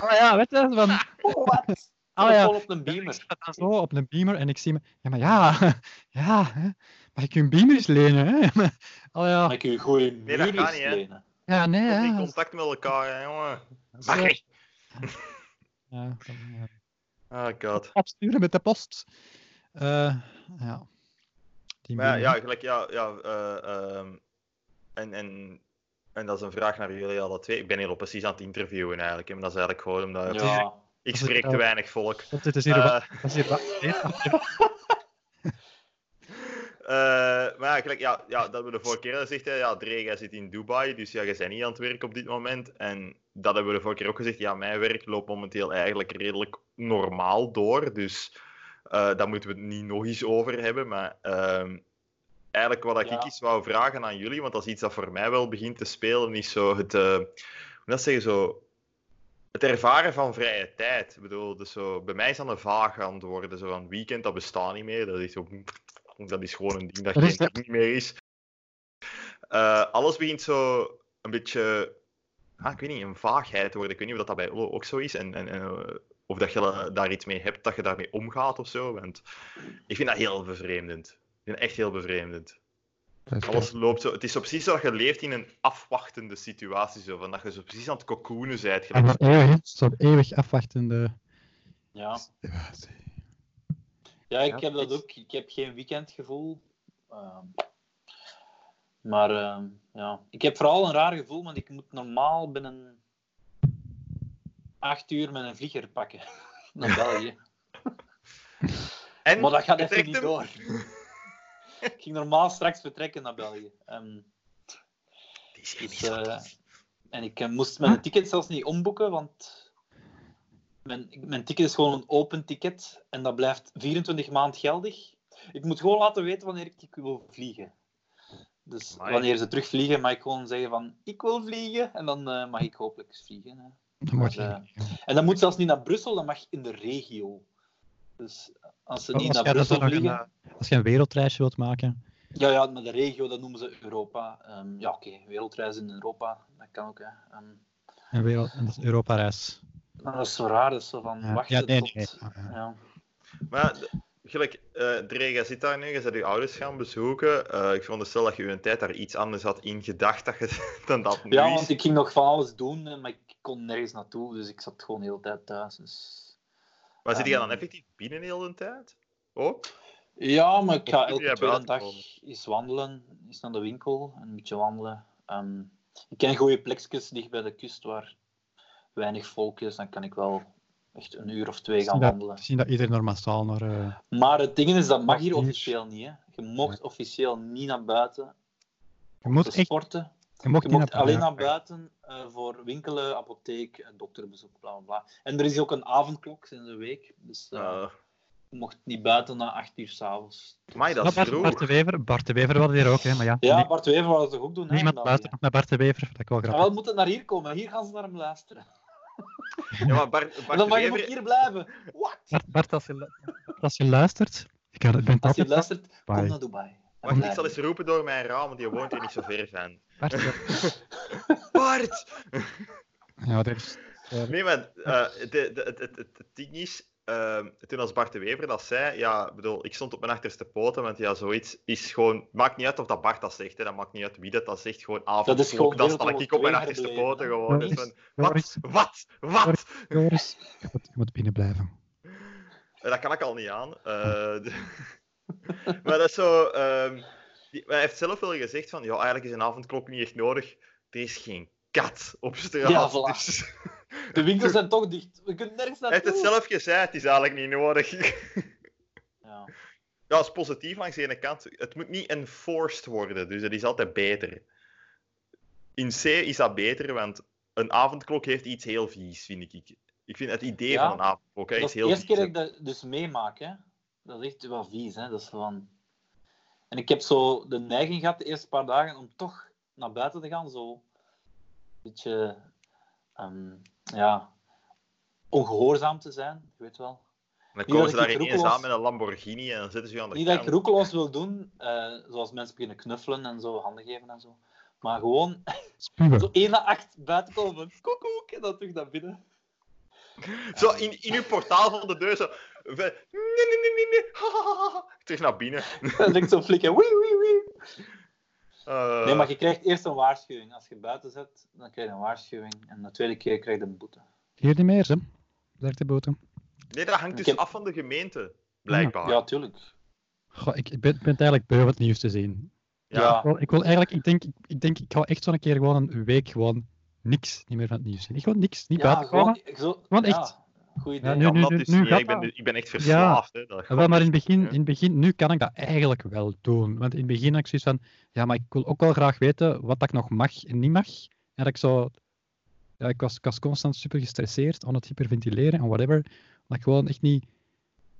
Speaker 1: ah, ja weet je, van,
Speaker 3: Oh, Wat?
Speaker 1: ah ja.
Speaker 3: Vol op een beamer.
Speaker 1: Ik zat dan zo op een beamer en ik zie me, ja, maar ja, ja, hè? maar je kunt beamers lenen, hè? Ah ja,
Speaker 3: Dan kun je goede
Speaker 2: Nee, dat
Speaker 3: muur
Speaker 2: gaat niet, hè.
Speaker 3: lenen.
Speaker 1: ja, nee,
Speaker 2: Komt in
Speaker 1: hè.
Speaker 2: contact met elkaar, hè, jongen.
Speaker 1: Dat is,
Speaker 2: Mag
Speaker 1: eh,
Speaker 2: ik?
Speaker 1: ja, dan, ja.
Speaker 2: Ah, god.
Speaker 1: Opsturen met de post. Eh, ja. Die
Speaker 2: Maar ja,
Speaker 1: beamer.
Speaker 2: ja, gelijk, ja, ja eh, ehm, en, en, en dat is een vraag naar jullie alle twee. Ik ben hier al precies aan het interviewen eigenlijk, hè, maar dat is eigenlijk gewoon omdat
Speaker 3: Ja.
Speaker 2: ik spreek te weinig volk.
Speaker 1: Want dit is hier
Speaker 2: Eh,
Speaker 1: wat- dat is hier wat- dit-
Speaker 2: eh, maar ja, gelijk, ja, ja, dat hebben we de vorige keer al gezegd. Hè, ja, Dre, jij zit in Dubai, dus ja, jij bent niet aan het werk op dit moment. En dat hebben we de vorige keer ook gezegd. Ja, mijn werk loopt momenteel eigenlijk redelijk normaal door. Dus eh daar moeten we het niet nog eens over hebben. Maar ehm, eigenlijk wat ik
Speaker 3: Ja.
Speaker 2: eens wou vragen aan jullie, want dat is iets dat voor mij wel begint te spelen, is zo het... eh, hoe dat zeggen, zo... Het ervaren van vrije tijd. Ik bedoel, dus zo, bij mij is dat een vaag antwoorden. Zo van weekend, dat bestaat niet meer. Dat is, zo, dat is gewoon een ding dat
Speaker 1: Dat is
Speaker 2: geen ding meer is. Eh, alles begint zo een beetje... Ah, ik weet niet, een vaagheid worden. Ik weet niet of dat bij Olo ook zo is. En, en, en, eh, of dat je eh, daar iets mee hebt, dat je daarmee omgaat of zo. Want ik vind dat heel bevreemdend. Ik vind dat echt heel bevreemdend. Alles loopt zo. Het is zo precies dat je leeft in een afwachtende situatie. Zo, van dat je zo precies aan het cocoonen bent.
Speaker 1: Ja, maar
Speaker 2: Gelijk.
Speaker 1: eeuwig, zo'n eeuwig afwachtende.
Speaker 3: Ja. Ja, ik heb dat
Speaker 2: het-
Speaker 3: ook. Ik heb geen weekendgevoel. Ehm, maar ehm, ja, ik heb vooral een raar gevoel, want ik moet normaal binnen acht uur met een vlieger pakken naar België.
Speaker 2: En
Speaker 3: Maar dat gaat
Speaker 2: je
Speaker 3: even
Speaker 2: trekt
Speaker 3: niet
Speaker 2: hem.
Speaker 3: door. ik ging normaal straks vertrekken naar België. Ehm,
Speaker 2: Het is hier
Speaker 3: dus,
Speaker 2: niet zo.
Speaker 3: eh, en ik eh, moest mijn ticket zelfs niet omboeken, want mijn, mijn ticket is gewoon een open ticket en dat blijft 24 maand geldig. Ik moet gewoon laten weten wanneer ik, ik wil vliegen. Dus
Speaker 2: Amai.
Speaker 3: wanneer ze terugvliegen, mag ik gewoon zeggen van ik wil vliegen en dan eh, mag ik hopelijk vliegen. hè.
Speaker 1: Dan word je-
Speaker 3: Maar, En dat moet zelfs niet naar Brussel, dat mag in de regio. Dus als ze
Speaker 1: Als
Speaker 3: niet
Speaker 1: jij
Speaker 3: naar
Speaker 1: dat
Speaker 3: Brussel
Speaker 1: dan nog een,
Speaker 3: vliegen,
Speaker 1: eh, Als je een wereldreisje wilt maken.
Speaker 3: ja, ja, maar de regio, dat noemen ze Europa. Ehm, ja, oké, wereldreis in Europa, dat kan ook. Hè. Ehm,
Speaker 1: Een wereld, een Europa-reis.
Speaker 3: maar dat is zo raar, dat is zo van
Speaker 1: Ja,
Speaker 3: wachten
Speaker 1: ja nee,
Speaker 3: tot...
Speaker 1: nee. nee. Ja, ja.
Speaker 3: Ja.
Speaker 2: Maar ja, d- gelijk, eh Dre, jij zit daar nu, je bent je ouders gaan bezoeken. Eh, ik veronderstel dat je je tijd daar iets anders had ingedacht dat je- dan dat nu
Speaker 3: Ja,
Speaker 2: is.
Speaker 3: want ik ging nog van alles doen, eh, maar ik kon nergens naartoe, dus ik zat gewoon de hele tijd thuis. Dus...
Speaker 2: Maar zit je dan
Speaker 3: Ehm,
Speaker 2: effectief binnen heel de tijd? Oh, Ook?
Speaker 3: Ja, maar ik
Speaker 2: Wat
Speaker 3: ga
Speaker 2: doe jij
Speaker 3: elke tweede dag
Speaker 2: buiten
Speaker 3: eens wandelen, eens naar de winkel en een beetje wandelen. Ehm, ik ken goede plekjes dicht bij de kust waar weinig volk is, dan kan ik wel echt een uur of twee gaan
Speaker 1: Ja.
Speaker 3: wandelen.
Speaker 1: Misschien dat iedereen er massaal naar... eh,
Speaker 3: Maar het ding is, dat mag hier
Speaker 1: Mag niet.
Speaker 3: officieel niet. Hè. Je mocht officieel niet naar buiten
Speaker 1: je
Speaker 3: te
Speaker 1: moet echt...
Speaker 3: sporten.
Speaker 1: Je mocht
Speaker 3: Dus Je
Speaker 1: niet
Speaker 3: mocht
Speaker 1: naar-
Speaker 3: alleen
Speaker 1: ja.
Speaker 3: naar buiten eh, voor winkelen, apotheek, eh, dokterbezoek, bla bla bla. En er is ook een avondklok sinds een week, dus eh,
Speaker 2: Eh,
Speaker 3: je mocht niet buiten na acht uur s'avonds.
Speaker 2: amai, dat
Speaker 1: Maar
Speaker 2: is
Speaker 1: Bart,
Speaker 2: vroeg.
Speaker 1: Bart de Wever, Bart de Wever wilde hier ook, hè. Maar ja,
Speaker 3: Ja,
Speaker 1: nie-
Speaker 3: Bart Wever wou dat toch ook doen? hè,
Speaker 1: niemand
Speaker 3: vandaag,
Speaker 1: luistert
Speaker 3: hè?
Speaker 1: nog naar Bart de Wever. Dat ik wel
Speaker 3: Ja,
Speaker 1: grappig.
Speaker 3: wel, we moeten naar hier komen. Hier gaan ze naar hem luisteren.
Speaker 2: Ja, maar Bart,
Speaker 3: En
Speaker 2: Bart
Speaker 3: dan
Speaker 2: de
Speaker 3: mag je ook
Speaker 2: Wever...
Speaker 3: hier blijven. What?
Speaker 1: Bart, Bart als, je, lu- Bart, als je luistert... Ik had- ik ben het
Speaker 3: Als je
Speaker 1: altijd...
Speaker 3: luistert,
Speaker 1: Bye.
Speaker 3: kom naar Dubai. En
Speaker 2: Wacht, ik
Speaker 3: blijf.
Speaker 2: zal eens roepen door mijn raam, want die woont hier niet zo ver van.
Speaker 1: Bart, ja.
Speaker 2: Bart!
Speaker 1: ja, dat is... eh,
Speaker 2: Nee, maar eh, de, de, het, het, het, het ding is, eh, toen als Bart de Wever dat zei, ja, ik bedoel, ik stond op mijn achterste poten, want ja, zoiets is gewoon... Maakt niet uit of dat Bart dat zegt, hè, dat maakt niet uit wie dat, dat zegt, gewoon avond.
Speaker 3: Dat is gewoon
Speaker 2: dan sta ik
Speaker 3: Wereldoorlog
Speaker 2: op mijn
Speaker 3: II
Speaker 2: achterste
Speaker 3: herbeleven,
Speaker 2: poten
Speaker 3: hè.
Speaker 2: gewoon.
Speaker 1: Dat
Speaker 2: Dus
Speaker 1: is-
Speaker 2: van, wat, wat, wat?
Speaker 1: Joris, je moet, je moet binnen blijven.
Speaker 2: Eh, Dat kan ik al niet aan. Eh, d- maar dat is zo... ehm, die- maar hij heeft zelf wel gezegd van, ja, eigenlijk is een avondklok niet echt nodig. Er is geen kat op straat.
Speaker 3: Ja, voilà.
Speaker 2: Dus-
Speaker 3: De winkels zijn toch dicht. We kunnen nergens
Speaker 2: hij heeft
Speaker 3: naartoe.
Speaker 2: het zelf gezegd, het is eigenlijk niet nodig.
Speaker 3: Ja.
Speaker 2: Ja, dat is positief langs de ene kant. Het moet niet enforced worden, dus dat is altijd beter. In C is dat beter, want een avondklok heeft iets heel vies, vind ik. Ik vind het idee
Speaker 3: Ja.
Speaker 2: van een avondklok hè,
Speaker 3: Dat
Speaker 2: is
Speaker 3: is de
Speaker 2: heel
Speaker 3: eerste
Speaker 2: vies.
Speaker 3: keer dat ik dat dus meemaak. Hè. Dat is echt wel vies. Hè. Dat is van... En ik heb zo de neiging gehad de eerste paar dagen om toch naar buiten te gaan. Zo een beetje ehm, ja, ongehoorzaam te zijn. Je weet wel.
Speaker 2: Dan
Speaker 3: dat
Speaker 2: komen
Speaker 3: ik
Speaker 2: ze daar
Speaker 3: iets
Speaker 2: ineens
Speaker 3: roekeloos-
Speaker 2: aan met een Lamborghini en dan zitten ze je aan de
Speaker 3: Niet dat
Speaker 2: kant.
Speaker 3: ik roekeloos wil doen, eh, zoals mensen beginnen knuffelen en zo, handen geven en zo. Maar gewoon
Speaker 1: Spuwen.
Speaker 3: zo 1 na 8 buiten komen van koekoek en dan terug naar binnen.
Speaker 2: Zo in, in uw portaal van de deur zo. we- Nee, nee, nee, nee, nee. ha, ha, ha, ha. Terug naar binnen.
Speaker 3: En dan denk ik zo flikken, wee, wee, wee.
Speaker 2: Eh,
Speaker 3: Nee, maar je krijgt eerst een waarschuwing. Als je buiten zet, dan krijg je een waarschuwing. En de tweede keer krijg je een boete.
Speaker 1: Hier niet meer, hè. Zegt de boete.
Speaker 2: nee, dat hangt dus
Speaker 3: Ik heb-
Speaker 2: af van de gemeente, blijkbaar.
Speaker 3: Ja, tuurlijk.
Speaker 1: Goh, ik ik ben, ik ben het eigenlijk beu om het nieuws te zien.
Speaker 2: Ja.
Speaker 1: Ik wil, ik wil eigenlijk, ik denk, ik, ik denk, ik ga echt zo'n keer gewoon een week gewoon niks niet meer van het nieuws zien. Ik wil niks, niet
Speaker 3: ja,
Speaker 1: buiten komen.
Speaker 3: gewoon, zo,
Speaker 1: Want
Speaker 3: ja,
Speaker 1: echt.
Speaker 3: Goed idee.
Speaker 1: Ja, nu-
Speaker 2: Ja,
Speaker 1: nu-
Speaker 2: dat
Speaker 1: nu-
Speaker 2: is
Speaker 1: nu
Speaker 2: niet, hè.
Speaker 1: gaat
Speaker 2: ik, ben, dus-
Speaker 1: dat.
Speaker 2: ik ben echt verslaafd. Hè. Dat- dus
Speaker 1: Wel, maar in het, begin,
Speaker 2: Ja.
Speaker 1: in het begin, nu kan ik dat eigenlijk wel doen. Want in het begin had ik zoiets van, ja, maar ik wil ook wel graag weten wat dat ik nog mag en niet mag. En dat ik zo, ja, ik was, ik was constant super gestresseerd aan het hyperventileren en whatever. Dat ik gewoon echt niet,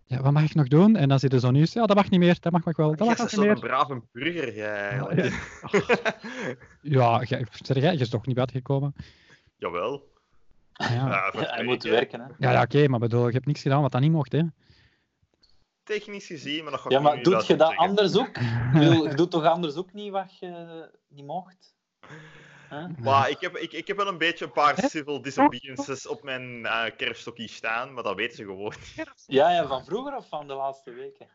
Speaker 1: ja, wat mag ik nog doen? En dan zit er zo'n nieuws, ja, dat mag niet meer, dat mag nog wel, dat
Speaker 2: Jij
Speaker 1: mag
Speaker 2: bent
Speaker 1: nog niet
Speaker 2: zo'n
Speaker 1: meer.
Speaker 2: brave burger, jij. eigenlijk.
Speaker 1: Ja, jij- zeg jij, je is toch niet buitengekomen? Ah,
Speaker 2: Jawel. Ah,
Speaker 1: Ja,
Speaker 2: Ja, voor
Speaker 3: Hij
Speaker 2: twee
Speaker 3: moet
Speaker 2: keer.
Speaker 3: werken, hè.
Speaker 1: ja, ja oké, maar bedoel, je hebt niks gedaan wat dat niet mocht, hè?
Speaker 2: Technisch gezien, maar dat ga ik
Speaker 3: Ja,
Speaker 2: nu
Speaker 3: maar
Speaker 2: niet
Speaker 3: doet
Speaker 2: laten
Speaker 3: je dat
Speaker 2: zeggen.
Speaker 3: anders ook? Ik bedoel, Je doet toch anders ook niet wat je niet mocht? Huh?
Speaker 2: Maar ik heb, ik, ik heb wel een beetje een paar civil disobediences op mijn eh kerfstokje staan, maar dat weten ze gewoon.
Speaker 3: Ja, ja, van vroeger of van de laatste weken?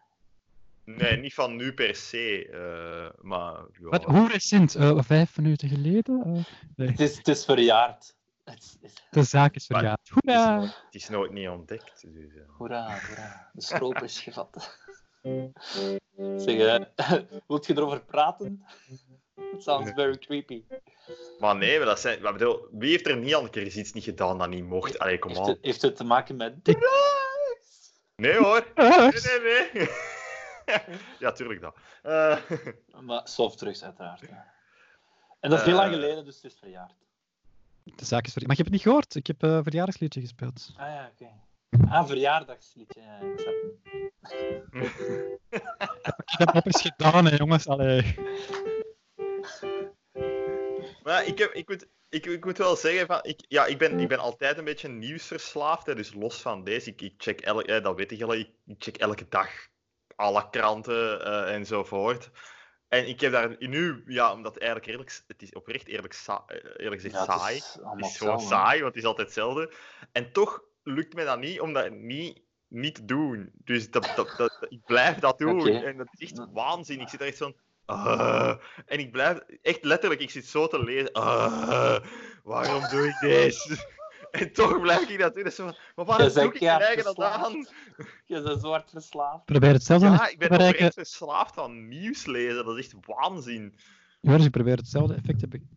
Speaker 2: Nee, niet van nu per se, eh, maar... ja.
Speaker 1: Wat, hoe recent? Eh, vijf minuten geleden? Eh,
Speaker 3: Het is, het is verjaard. Het is, het is-
Speaker 1: de zaak is
Speaker 2: Maar-
Speaker 1: verjaard.
Speaker 2: Het is,
Speaker 1: Hoera!
Speaker 2: nooit, het is nooit niet ontdekt. Dus, eh.
Speaker 3: hoera, hoera. De stroop is gevat. Zeg, eh, wilt je erover praten? It sounds very creepy.
Speaker 2: Maar nee, maar dat zijn, maar bedoel, wie heeft er niet al een keer eens iets niet gedaan dat niet mocht? Allee, kom
Speaker 3: Heeft het,
Speaker 2: aan.
Speaker 3: heeft het te maken met
Speaker 1: Ik-
Speaker 3: drugs?
Speaker 2: Nee hoor.
Speaker 1: Ah,
Speaker 2: Nee, nee, nee. ja, tuurlijk dat. Eh,
Speaker 3: Maar softdrugs uiteraard. hè. En dat is heel
Speaker 2: Eh.
Speaker 3: lang geleden, dus het is verjaard.
Speaker 1: De zaak is verjaard. Maar je hebt het niet gehoord. Ik heb eh verjaardagsliedje gespeeld.
Speaker 3: Ah ja, oké. Ah, verjaardagsliedje. Ja, ik snap het.
Speaker 1: Ik heb dat eens gedaan, hè, jongens. Allee.
Speaker 2: maar ik, heb, ik, moet, ik, ik moet wel zeggen, van, ik, ja, ik, ben, ik ben altijd een beetje nieuwsverslaafd. Hè, dus los van deze, ik, ik check elke, eh, dat weet ik al, ik, ik check elke dag alle kranten eh, enzovoort. En ik heb daar nu, ja, omdat het eigenlijk eerlijk, het is oprecht eerlijk, sa- eh, eerlijk gezegd
Speaker 3: Ja,
Speaker 2: saai.
Speaker 3: allemaal
Speaker 2: Het is gewoon
Speaker 3: hetzelfde, hè.
Speaker 2: saai, want het is altijd hetzelfde. En toch lukt me dat niet, omdat niet niet doen. Dus dat, dat, dat, ik blijf dat doen.
Speaker 3: Oké.
Speaker 2: En dat is echt waanzin. Ik zit daar echt van... "Ah." en ik blijf... Echt letterlijk, ik zit zo te lezen. "Ah, waarom doe ik deze? En toch blijf ik dat doen. Dat is zo van, maar waarom
Speaker 3: Jij bent
Speaker 2: doe ik mijn
Speaker 3: keihard
Speaker 2: eigen dat
Speaker 3: verslaafd.
Speaker 2: aan?
Speaker 3: Je bent zwart verslaafd.
Speaker 1: Probeer hetzelfde
Speaker 2: Ja,
Speaker 1: effect te
Speaker 2: ik ben
Speaker 1: bereiken.
Speaker 2: oprecht verslaafd aan nieuws lezen. Dat is echt waanzin.
Speaker 1: Joris, ik probeer hetzelfde effect te be-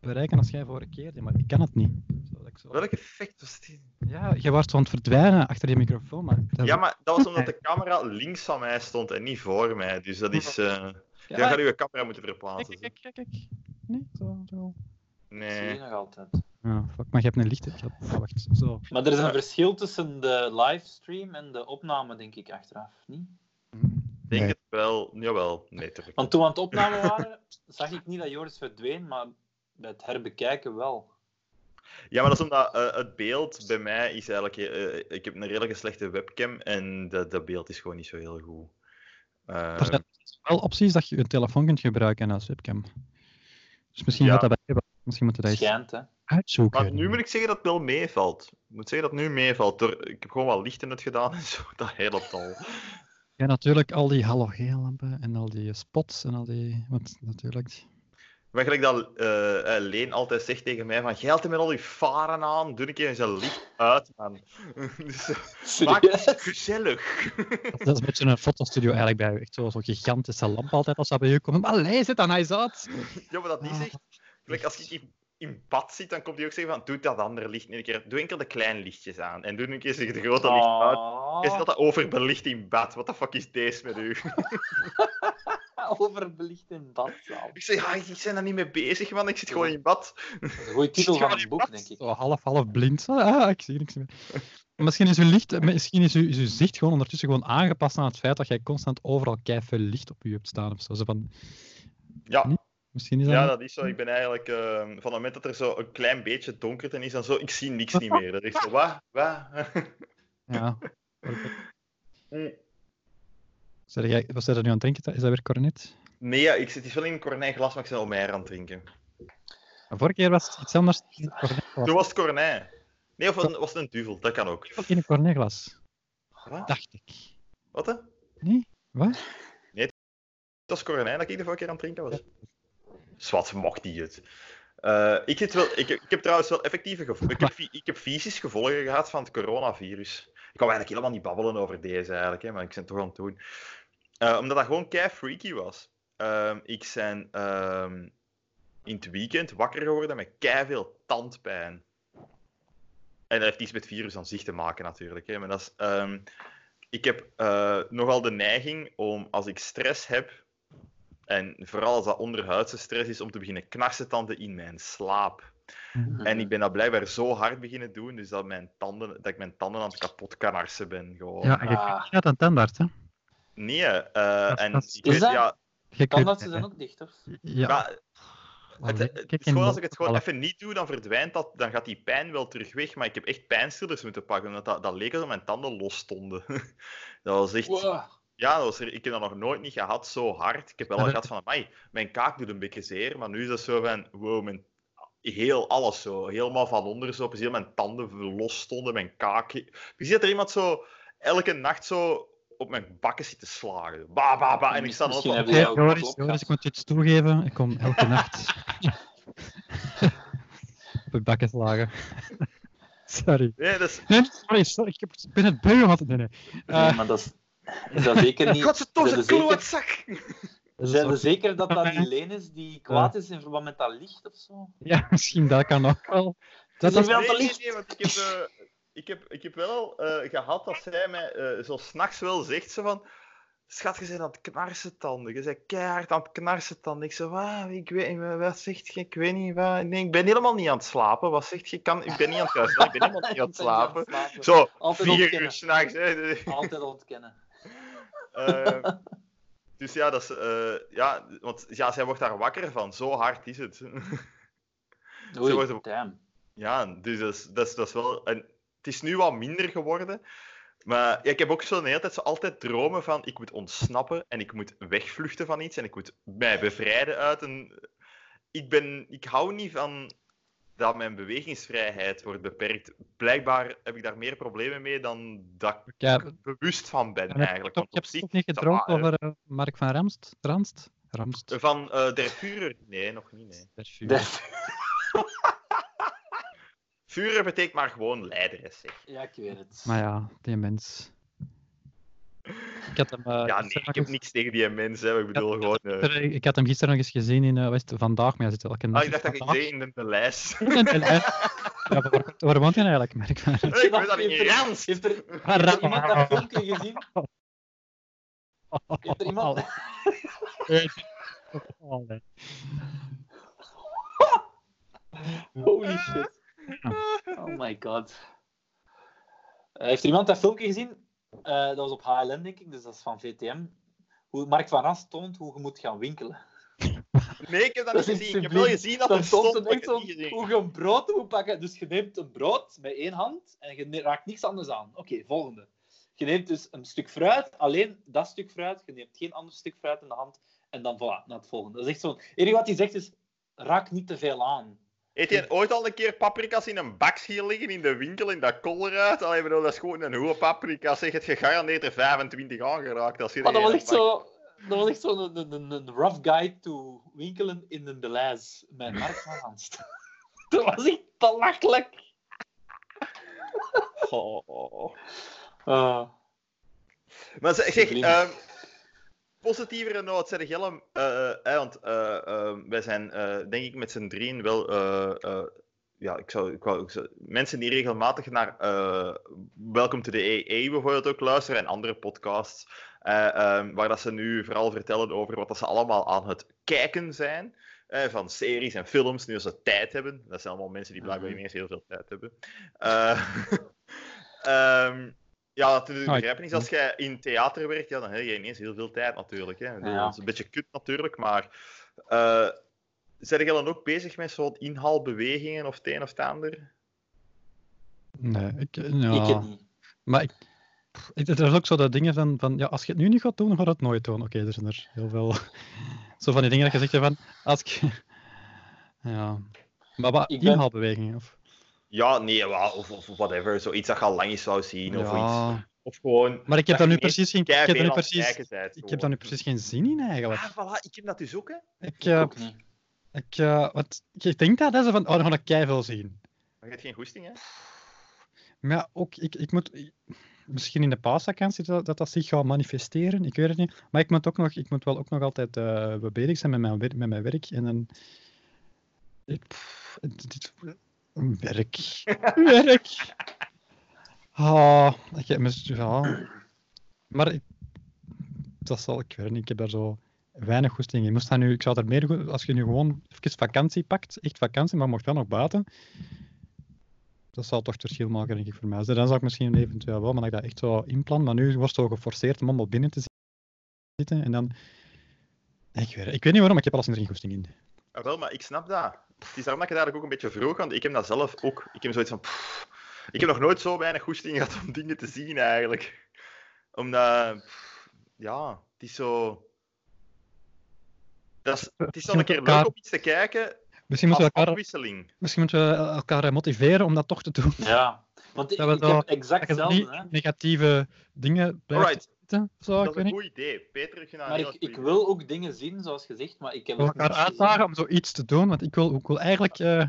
Speaker 1: bereiken als jij vorige keer, deed, maar ik kan het niet. Zo, dat ik zo-
Speaker 2: Welk effect was dit?
Speaker 1: Ja, jij was zo aan het verdwijnen achter je microfoon, maar... dat-
Speaker 2: Ja, maar dat was omdat de camera links van mij stond en niet voor mij. Dus dat is... eh
Speaker 1: Ja,
Speaker 2: jij gaat uw camera moeten
Speaker 1: kijk,
Speaker 2: verplaatsen.
Speaker 1: kijk, kijk, kijk. Nee, zo, zo.
Speaker 3: Dat zie je
Speaker 2: Nee.
Speaker 3: nog altijd.
Speaker 1: Ja, fuck, maar je hebt een licht. Ik had- Wacht, zo.
Speaker 3: Maar er is een verschil tussen de livestream en de opname, denk ik, achteraf. Niet?
Speaker 2: Ik denk het wel. Jawel. Nee, terug.
Speaker 3: Want toen we aan het opnamen waren, zag ik niet dat Joris verdween, maar bij het herbekijken wel.
Speaker 2: Ja, maar dat is omdat eh, het beeld bij mij is eigenlijk... eh, ik heb een redelijke slechte webcam en dat, dat beeld is gewoon niet zo heel goed. Eh,
Speaker 1: Er zijn wel opties dat je je telefoon kunt gebruiken als webcam. Dus misschien
Speaker 2: Ja.
Speaker 1: gaat dat bij hebben. Misschien moeten we dat eens
Speaker 3: Schijnt, hè?
Speaker 1: uitzoeken.
Speaker 2: maar nu moet ik zeggen dat het wel meevalt. Ik moet zeggen dat het nu meevalt. Door, ik heb gewoon wat lichten het gedaan en zo. Dat helpt al.
Speaker 1: Ja, natuurlijk al die halogeenlampen en al die spots en al die... Want natuurlijk...
Speaker 2: Maar gelijk dat eh, eh, Leen altijd zegt tegen mij van... Jij altijd met al die varen aan. Doe een keer eens een licht uit, man. dus, eh, maak het
Speaker 3: Serieus?
Speaker 2: gezellig.
Speaker 1: Dat is een beetje een fotostudio eigenlijk bij u. Echt zo- zo'n gigantische lamp altijd als dat bij u komt. Maar allee, zit dan eens uit!
Speaker 2: Ja, maar dat niet zegt. Gelijk, als je in, in bad zit, dan komt hij ook zeggen van... Doe dat andere licht een keer. Doe enkel de kleine lichtjes aan. En doe een keer de grote licht uit. Je
Speaker 3: Ah,
Speaker 2: staat dat overbelicht in bad. Wat de fuck is deze met u?
Speaker 3: overbelicht in badzaal.
Speaker 2: Ik zeg, ja, ik ben daar niet mee bezig, man. Ik zit gewoon in bad.
Speaker 3: Dat is een goede titel van een boek, denk ik.
Speaker 1: Zo half, half blind. Zo, Ah, ik zie niks meer. Misschien is uw, licht, misschien is uw, is uw zicht gewoon ondertussen gewoon aangepast aan het feit dat jij constant overal keiveel licht op u hebt staan. Of zo. Zo van,
Speaker 2: Ja,
Speaker 1: misschien is dat...
Speaker 2: ja, dat is zo. Ik ben eigenlijk... eh, van het moment dat er zo een klein beetje donkerte is, dan zo... Ik zie niks niet meer. Dat is zo, wat? Wat?
Speaker 1: Ja.
Speaker 2: Mm.
Speaker 1: Zeg jij, wat zijn er nu aan het drinken? Is dat weer cornet?
Speaker 2: Nee, ja, ik zit het is wel in een cornijglas, maar ik ben al meer aan het drinken.
Speaker 1: Maar vorige keer was het iets anders. Cornet
Speaker 2: Toen
Speaker 1: was
Speaker 2: was het cornij. Nee, of was het, was het een duvel? Dat kan ook.
Speaker 1: in een cornetglas,
Speaker 2: Wat?
Speaker 1: dacht ik.
Speaker 2: Wat, hè?
Speaker 1: Nee? Wat?
Speaker 2: Dat is Coronijn dat ik de vorige keer aan het drinken was. Zwat, mocht die het. Eh, ik, zit wel, ik, heb- ik heb trouwens wel effectieve gevolgen. Ik heb, fi- ik heb fysisch gevolgen gehad van het coronavirus. Ik wou eigenlijk helemaal niet babbelen over deze eigenlijk, hè, maar ik ben het toch aan het doen. Eh, omdat dat gewoon kei freaky was. Ehm, ik ben ehm, in het weekend wakker geworden met kei veel tandpijn. En dat heeft iets met het virus aan zich te maken natuurlijk. Hè, maar dat is, ehm, ik heb eh, nogal de neiging om als ik stress heb en vooral als dat onderhuidse stress is om te beginnen knarsetanden in mijn slaap. En ik ben dat blijkbaar zo hard beginnen doen, dus dat, mijn tanden, dat ik mijn tanden aan het kapot knarsen ben. Gewoon.
Speaker 1: Ja, en je
Speaker 3: Ah.
Speaker 1: kunt niet aan tandarts, hè?
Speaker 2: Nee, eh,
Speaker 1: Dat-
Speaker 2: en
Speaker 1: dat is-
Speaker 2: ik
Speaker 3: Is
Speaker 2: weet,
Speaker 3: dat-
Speaker 2: ja,
Speaker 1: Je
Speaker 3: Kan
Speaker 1: kunt-
Speaker 3: dat ze zijn ook dicht, of?
Speaker 1: Ja,
Speaker 2: maar het, het,
Speaker 1: Kijk,
Speaker 2: is gewoon als ik het gewoon
Speaker 1: alle-
Speaker 2: even niet doe, dan verdwijnt dat, dan gaat die pijn wel terug weg, maar ik heb echt pijnstillers moeten pakken, omdat dat, dat leek alsof mijn tanden los stonden. dat was echt...
Speaker 3: Wow.
Speaker 2: Ja, dat was er- ik heb dat nog nooit niet gehad zo hard. Ik heb wel
Speaker 1: Ja,
Speaker 2: al
Speaker 1: dat-
Speaker 2: gehad van, amai, mijn kaak doet een beetje zeer, maar nu is dat zo van, wow, mijn, heel alles zo, helemaal van onder zo, precies mijn tanden los stonden, mijn kaak. Precies dat er iemand zo elke nacht zo op mijn bakken zit te slagen. Ba, ba, ba, en ik sta dan
Speaker 3: Misschien
Speaker 2: altijd
Speaker 3: hebben
Speaker 1: Hey,
Speaker 3: Ja,
Speaker 1: Joris,
Speaker 3: klopt,
Speaker 1: Joris,
Speaker 3: gast.
Speaker 1: ik moet je iets toegeven. Ik kom elke nacht op je bakken slagen. sorry.
Speaker 2: Nee, dat is...
Speaker 1: Nee, sorry, sorry. Ik heb- ik ben het beu gehad. Nee, nee.
Speaker 3: Nee,
Speaker 1: Eh.
Speaker 3: maar dat is, is dat zeker niet...
Speaker 2: Godverdomme,
Speaker 3: zijn er
Speaker 2: klootzak!
Speaker 3: Zijn we zeker dat dat
Speaker 1: Ja.
Speaker 3: die leen is die kwaad is in verband met dat licht of zo?
Speaker 1: Ja, misschien dat kan ook wel. Dat
Speaker 3: is
Speaker 1: is
Speaker 3: wel-
Speaker 2: nee,
Speaker 3: te
Speaker 2: nee,
Speaker 3: licht.
Speaker 2: nee, want ik heb, eh, ik heb, ik heb wel al eh, gehad dat zij mij eh, zo s'nachts wel zegt ze van... Schat, je bent aan het knarsen tanden. Je bent keihard aan het knarsen tanden. Ik zei, "Wat? ik weet niet, wat- wat zegt je? Ik weet niet, wat... Nee, ik ben helemaal niet aan het slapen. Wat zegt je? Ik kan... Ik ben niet aan het knarsen, ik ben helemaal niet aan het slapen. Zo,
Speaker 3: Altijd
Speaker 2: vier uur
Speaker 3: ontkennen.
Speaker 2: s'nachts. hè.
Speaker 3: Altijd ontkennen.
Speaker 2: Eh, dus ja, dat is, eh, ja, want ja, zij wordt daar wakker van. Zo hard is het.
Speaker 3: Oei,
Speaker 2: wordt er-
Speaker 3: damn.
Speaker 2: Ja, dus dat is, dat is, dat is wel... En het is nu wat minder geworden. Maar ja, ik heb ook zo de hele tijd zo altijd dromen van... Ik moet ontsnappen en ik moet wegvluchten van iets. En ik moet mij bevrijden uit een... Ik ben... Ik hou niet van dat mijn bewegingsvrijheid wordt beperkt. Blijkbaar heb ik daar meer problemen mee dan dat ik
Speaker 1: Ja,
Speaker 2: bewust van ben,
Speaker 1: en heb je
Speaker 2: eigenlijk.
Speaker 1: toch-
Speaker 2: Want
Speaker 1: je hebt
Speaker 2: op zich
Speaker 1: toch niet
Speaker 2: is dat
Speaker 1: gedroomd
Speaker 2: waar, hè.
Speaker 1: over eh, Mark van Ramst? Ramst? Ramst.
Speaker 2: Van eh Der Führer? Nee, nog niet, nee.
Speaker 1: Der Führer.
Speaker 2: Führer betekent maar gewoon leider, hè, zeg.
Speaker 3: Ja, ik weet het.
Speaker 1: Maar ja, die mens. Ik had hem, eh,
Speaker 2: Ja, nee,
Speaker 1: gisteren
Speaker 2: ik
Speaker 1: nog
Speaker 2: heb
Speaker 1: eens-
Speaker 2: niks tegen die mensen, hè. Ik bedoel, gewoon... eh,
Speaker 1: gisteren- ik had hem gisteren nog eens gezien in eh, West Vandaag, maar hij zit elke
Speaker 2: Ah,
Speaker 1: nacht
Speaker 2: ik dacht dat ik
Speaker 1: vandaag.
Speaker 2: deed in de, de lijst.
Speaker 1: En- en- en- Ja, maar waar, waar woont hij eigenlijk, Mark van Ramst?
Speaker 2: ik weet dat niet. Rans!
Speaker 3: Heeft er, heeft
Speaker 1: Ah,
Speaker 3: er
Speaker 1: Ramst.
Speaker 3: iemand dat filmpje gezien? Heeft er iemand...
Speaker 1: Allee.
Speaker 3: Holy shit. Oh my god. Eh, heeft er iemand dat filmpje gezien? Eh, dat was op HLN, denk ik, dus dat is van VTM. Hoe Mark van Rans toont hoe je moet gaan winkelen.
Speaker 2: Nee, ik heb dat,
Speaker 3: Dat
Speaker 2: niet
Speaker 3: is
Speaker 2: gezien. Ik heb wel
Speaker 3: subliem.
Speaker 2: gezien dat
Speaker 3: Dan
Speaker 2: er
Speaker 3: toont
Speaker 2: stond,
Speaker 3: hij
Speaker 2: maar ik
Speaker 3: echt
Speaker 2: heb
Speaker 3: zo
Speaker 2: het niet gezien.
Speaker 3: hoe je een brood moet pakken. Dus je neemt een brood met één hand en je ne- raakt niks anders aan. Oké, volgende. Je neemt dus een stuk fruit, alleen dat stuk fruit. Je neemt geen ander stuk fruit in de hand. En dan voilà, naar het volgende. Dat is echt zo. Het enige wat hij zegt is, raak niet te veel aan.
Speaker 2: Heeft je ooit al een keer paprika's in een bak zien liggen in de winkel in dat koolruit? Allee, bedoel, dat is gewoon een hoge paprika. Zeg, het gegarandeerd er 25 aangeraakt. Als je
Speaker 3: Maar dat
Speaker 2: er
Speaker 3: was
Speaker 2: een
Speaker 3: echt
Speaker 2: bak-
Speaker 3: zo... Dat was echt zo'n een, een, een rough guide to winkelen in een Belize. Met Mark van Hanst. dat was echt belachelijk.
Speaker 2: Goh.
Speaker 1: Ah.
Speaker 3: Eh,
Speaker 2: Maar zeg, zeg,
Speaker 3: Subliem.
Speaker 2: ehm, positievere noot, zeg Jelle. eh, eh, want eh, eh, wij zijn, eh, denk ik, met z'n drieën wel... eh, eh, ja, ik zou, ik, wou, ik zou- mensen die regelmatig naar eh Welcome to the AA bijvoorbeeld ook luisteren en andere podcasts, eh, ehm, waar dat ze nu vooral vertellen over wat dat ze allemaal aan het kijken zijn. eh, van series en films, nu als ze tijd hebben. Dat zijn allemaal mensen die blijkbaar
Speaker 3: Mhm.
Speaker 2: ineens heel veel tijd hebben. Eh, ehm, ja, dat is
Speaker 1: Ah, ik-
Speaker 2: begrijpen is als jij in theater werkt, ja, dan heb je ineens heel veel tijd natuurlijk. Hè.
Speaker 3: Ja.
Speaker 2: Dat is een beetje kut natuurlijk, maar eh zijn jij dan ook bezig met zo'n inhaalbewegingen of het een of het ander?
Speaker 1: Nee, ik, eh,
Speaker 3: Ik
Speaker 1: ja.
Speaker 3: het niet.
Speaker 1: Maar ik, pff, ik- er is ook zo dat dingen van, van, ja, als je het nu niet gaat doen, dan ga je het nooit doen. Oké, er zijn er heel veel. Zo van die dingen dat je zegt van, als ik... Ja. Maar wat,
Speaker 3: Ik ben-
Speaker 1: inhaalbewegingen? Of,
Speaker 2: Ja, nee, wa- of, of whatever. Zoiets dat je al lang eens zou zien of iets.
Speaker 1: ja.
Speaker 2: Of gewoon...
Speaker 1: Maar ik heb
Speaker 2: dat
Speaker 1: daar
Speaker 2: je
Speaker 1: nu
Speaker 2: ineens
Speaker 1: precies geen... Ik heb
Speaker 2: keiveel
Speaker 1: daar nu
Speaker 2: aan het
Speaker 1: precies...
Speaker 2: kijken bent,
Speaker 1: Ik heb
Speaker 2: gewoon.
Speaker 1: daar nu precies geen zin in, eigenlijk.
Speaker 2: Ah, voilà, ik heb dat dus ook, hè.
Speaker 1: Ik,
Speaker 3: Ik
Speaker 1: eh,
Speaker 3: ook niet.
Speaker 1: ik, eh, want ik denk dat, dat ze van, oh, dan ga ik keiveel zien.
Speaker 2: Maar je hebt geen goesting, hè.
Speaker 1: Maar ja, ook, ik, ik moet... Misschien in de paasvakantie dat, dat dat zich gaat manifesteren, ik weet het niet. Maar ik moet, ook nog, ik moet wel ook nog altijd eh bezig zijn met mijn, wer- met mijn werk. En dan... Ik, pff, dit- dit- werk. werk! Ah, ik heb mis- ja. Maar ik, dat zal, ik weet het niet, ik heb daar zo weinig goesting in. Moest dat nu, ik zou er meer, go- als je nu gewoon even vakantie pakt, echt vakantie, maar mocht wel nog buiten, dat zou toch het verschil maken, denk ik, voor mij. Dus dan zou ik misschien eventueel wel, maar dat ik dat echt zo inplan. Maar nu wordt zo geforceerd om allemaal binnen te zitten. En dan... Ik weet, ik weet niet waarom, maar ik heb er alleszins geen goesting in.
Speaker 2: Ah, wel, maar ik snap dat. Het is daarom dat ik het eigenlijk ook een beetje vroeg, want ik heb dat zelf ook. Ik heb zoiets van... pff, ik heb nog nooit zo weinig goesting gehad om dingen te zien, eigenlijk. Omdat... pff, ja, het is zo... Dat is, het is dan een keer leuk om iets te kijken
Speaker 1: Misschien moeten,
Speaker 2: als
Speaker 1: we elkaar,
Speaker 2: afwisseling.
Speaker 1: misschien moeten we elkaar eh, motiveren om dat toch te doen.
Speaker 3: Ja, want ik,
Speaker 1: Dat we
Speaker 3: ik
Speaker 1: zo-
Speaker 3: heb exact
Speaker 1: Dat je niet
Speaker 3: hetzelfde. Hè.
Speaker 1: negatieve dingen blijft
Speaker 2: Alright,
Speaker 1: zitten. Zo, ik
Speaker 2: dat is
Speaker 1: weet
Speaker 2: een
Speaker 1: niet.
Speaker 2: goed idee. Peter, ik vind dat
Speaker 3: Maar
Speaker 2: een
Speaker 3: ik,
Speaker 2: heel
Speaker 3: ik
Speaker 2: goed
Speaker 3: wil ook dingen zien, zoals gezegd, maar ik heb
Speaker 1: We
Speaker 3: het
Speaker 1: elkaar uitdagen om zoiets te doen. Want ik wil, ik wil eigenlijk eh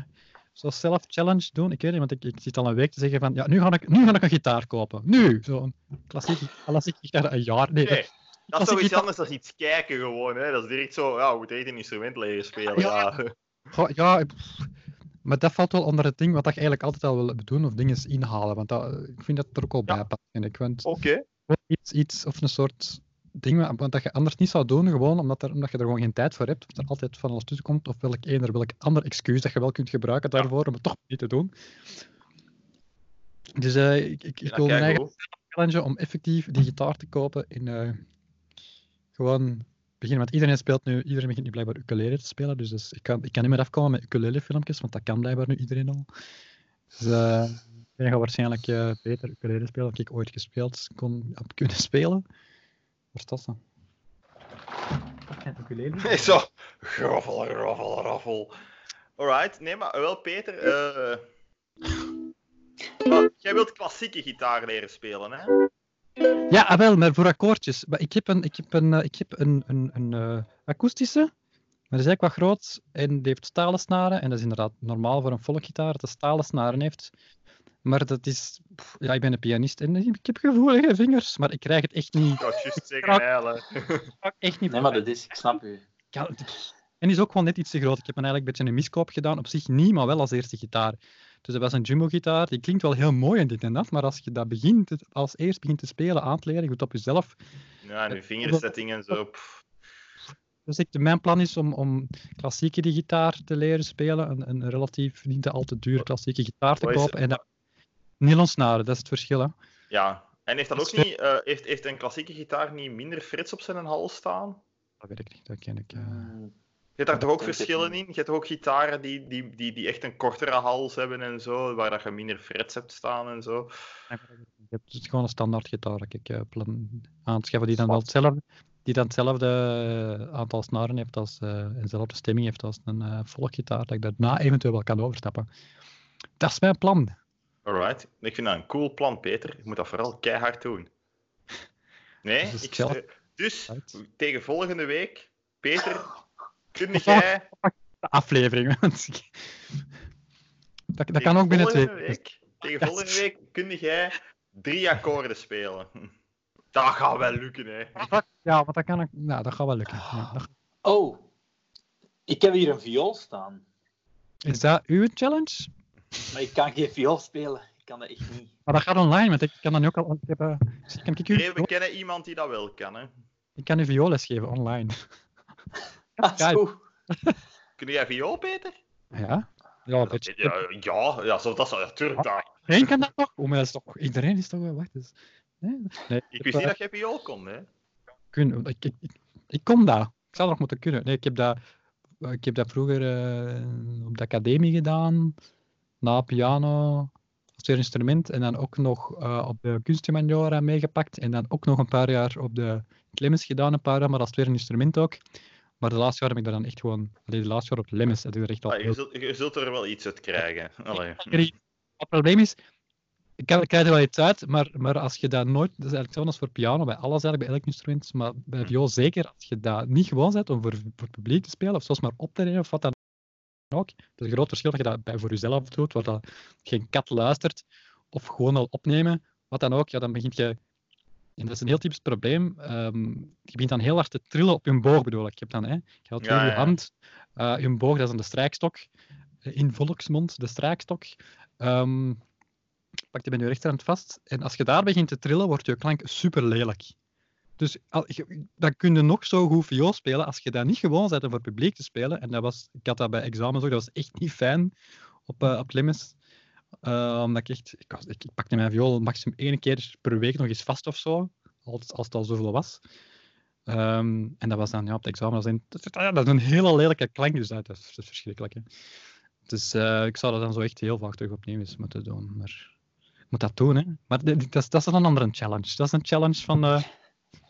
Speaker 1: zo zelf-challenge doen. Ik weet niet, want ik, ik zit al een week te zeggen van... Ja, nu ga ik, nu ga ik een gitaar kopen. Nu! Zo'n klassieke, klassieke gitaar. Een jaar. Nee,
Speaker 2: idee. Nee, dat is
Speaker 1: Als ik
Speaker 2: toch iets
Speaker 1: iets-
Speaker 2: anders dan iets kijken gewoon. Hè. Dat is direct zo, ja, we moeten echt een instrument leren spelen.
Speaker 1: Ja.
Speaker 2: ja.
Speaker 1: Goh, ja, ik- pff, maar dat valt wel onder het ding wat dat je eigenlijk altijd al wil doen, of dingen inhalen. Want dat, ik vind dat er ook al
Speaker 2: Ja.
Speaker 1: bij past, vind ik. Want
Speaker 2: Oké.
Speaker 1: iets, iets of een soort ding wa- wat dat je anders niet zou doen, gewoon omdat, er, omdat je er gewoon geen tijd voor hebt, of er altijd van alles tussen komt, of welk een of welk ander excuus dat je wel kunt gebruiken daarvoor, om het toch niet te doen. Dus eh, ik, ik, ik
Speaker 2: Ja,
Speaker 1: wil mijn
Speaker 2: kijk,
Speaker 1: eigen
Speaker 2: hoe.
Speaker 1: challenge om effectief die gitaar te kopen en eh, gewoon beginnen. Want iedereen speelt nu, iedereen begint nu blijkbaar ukulele te spelen. Dus, dat is- ik, kan, ik kan niet meer afkomen met ukulele filmpjes, want dat kan blijkbaar nu iedereen al. Dus eh, iedereen gaat waarschijnlijk eh, beter ukulele spelen dan ik ooit gespeeld kon, heb kunnen spelen. Waar staat dat? Ukulele?
Speaker 2: Zo, roffel, roffel, roffel. Alright, nee, maar wel Peter. eh, ah, jij wilt klassieke gitaar leren spelen, hè?
Speaker 1: Ja, ah, wel, maar voor akkoordjes. Maar ik heb een, ik heb een, eh, ik heb een, een, een eh, akoestische, maar die is eigenlijk wat groot en die heeft stalen snaren. En dat is inderdaad normaal voor een volkgitaar dat de stalen snaren heeft. Maar dat is... pff, ja, ik ben een pianist en ik heb gevoelige vingers, maar ik krijg het echt niet,
Speaker 2: Ik wou het juist zeggen, heilen.
Speaker 1: echt niet
Speaker 3: Nee, maar dat is, ik snap u.
Speaker 1: Ja, het- en die is ook gewoon net iets te groot. Ik heb hem eigenlijk een beetje een miskoop gedaan. Op zich niet, maar wel als eerste gitaar. Dus dat was een jumbo-gitaar. Die klinkt wel heel mooi en dit en dat. Maar als je dat begint, het als eerst begint te spelen, aan te leren, goed op jezelf.
Speaker 2: Ja, en uw vingersetting en zo. pff.
Speaker 1: Dus ik, mijn plan is om, om klassieke die gitaar te leren spelen. Een, een relatief niet te al te duur klassieke gitaar te
Speaker 2: Wat is-
Speaker 1: kopen. En dat, nylonsnaren, dat is het verschil. Hè.
Speaker 2: Ja. En heeft dat
Speaker 1: Dat
Speaker 2: ook
Speaker 1: is-
Speaker 2: niet... eh, heeft, heeft een klassieke gitaar niet minder frets op zijn hals staan?
Speaker 1: Dat weet ik niet, dat ken ik. eh.
Speaker 2: Je hebt daar toch ook
Speaker 3: Ik denk het
Speaker 2: verschillen in?
Speaker 3: niet.
Speaker 2: Je hebt toch ook gitaren die, die, die, die echt een kortere hals hebben en zo, waar dat je minder frets hebt staan en zo.
Speaker 1: Ik heb dus gewoon een standaard gitaar dat ik eh, plan aan te schaffen die dan wel hetzelfde, die dan hetzelfde eh, aantal snaren heeft als, eh, en dezelfde stemming heeft als een eh, volkgitaar, dat ik daarna eventueel wel kan overstappen. Dat is mijn plan.
Speaker 2: Alright. Ik vind dat een cool plan, Peter. Je moet dat vooral keihard doen. Nee,
Speaker 1: Dus
Speaker 2: ik
Speaker 1: zelf-
Speaker 2: stre- Dus
Speaker 1: Right.
Speaker 2: tegen volgende week, Peter, kun jij
Speaker 1: De aflevering. want ik- dat, dat
Speaker 2: tegen
Speaker 1: kan ook binnen twee.
Speaker 2: volgende
Speaker 1: dus
Speaker 2: Week, tegen volgende week kun jij drie akkoorden spelen. Dat gaat wel lukken, hè.
Speaker 1: Ja, want dat, kan ik, nou, dat gaat wel lukken. Ja, dat-
Speaker 3: Oh, ik heb hier een viool staan.
Speaker 1: is dat uw challenge?
Speaker 3: Maar ik kan geen viool spelen. Ik kan dat echt niet.
Speaker 1: Maar dat gaat online, want ik kan dan ook al. Ik, heb, eh, ik, kan, ik,
Speaker 2: Nee, we
Speaker 1: u,
Speaker 2: kennen iemand die dat wel kan, hè.
Speaker 1: ik kan u violes geven online.
Speaker 3: Ah, zo.
Speaker 2: Kun jij viool, Peter?
Speaker 1: Ja? Ja, een beetje.
Speaker 2: Ja, ja, ja zo, dat is natuurlijk dat.
Speaker 1: Iedereen kan dat toch? Oh, maar dat is toch... Iedereen is toch wel... Wacht eens. Nee, nee,
Speaker 2: Ik
Speaker 1: heb,
Speaker 2: wist niet
Speaker 1: eh,
Speaker 2: dat jij viool kon, hè?
Speaker 1: kun- ik, ik, ik, ik kon dat. Ik zou nog moeten kunnen. Nee, ik heb dat, eh, ik heb dat vroeger eh, op de academie gedaan. Na piano. Als tweede instrument. En dan ook nog eh, op de kunsthumaniora meegepakt. En dan ook nog een paar jaar op de Clemens gedaan. Een paar jaar, maar als tweede instrument ook. Maar de laatste jaar heb ik daar dan echt gewoon... Allee, de laatste jaar op Lemmens. Dat is er echt al...
Speaker 2: Ah, je, zult, je zult er wel iets uit krijgen. Allee.
Speaker 1: Jullie- Het probleem is, ik kan- ik krijg er wel iets uit, maar, maar als je dat nooit, dat is eigenlijk hetzelfde als voor piano, bij alles eigenlijk, bij elk instrument, maar bij viool zeker, als je dat niet gewoon bent om voor, voor het publiek te spelen, of zelfs maar op te nemen, of wat dan ook, het is een groot verschil dat je dat bij voor jezelf doet, waar dat geen kat luistert, of gewoon al opnemen, wat dan ook, ja, dan begint je, en dat is een heel typisch probleem, ehm, je begint dan heel hard te trillen op je boog, bedoel ik. Je hebt dan, hè, je houdt
Speaker 2: Ja,
Speaker 1: weer je
Speaker 2: ja.
Speaker 1: hand, eh, je boog, dat is dan de strijkstok, eh, in volksmond, de strijkstok. Ehm pak je met je rechterhand vast. En als je daar begint te trillen, wordt je klank super lelijk. Dus al- je- dan kun je nog zo goed viool spelen als je dat niet gewoon bent om voor het publiek te spelen. En dat was, ik had dat bij examens ook, dat was echt niet fijn op, eh op Lemmes. Eh, omdat ik echt, ik, was, ik, ik pakte mijn viool maximum één keer per week nog eens vast of zo, als, als het al zoveel was. Ehm, en dat was dan ja, op het examen, dat is, een, dat is- ah, dat is een hele lelijke klank, dus dat dat is, dat is verschrikkelijk. Hè. Dus eh, ik zou dat dan zo echt heel vaak terug opnieuw eens moeten doen. Maar ik moet dat doen, hè. Maar dit- dit- dat is, dat is dan een andere challenge. Dat is een challenge van... eh,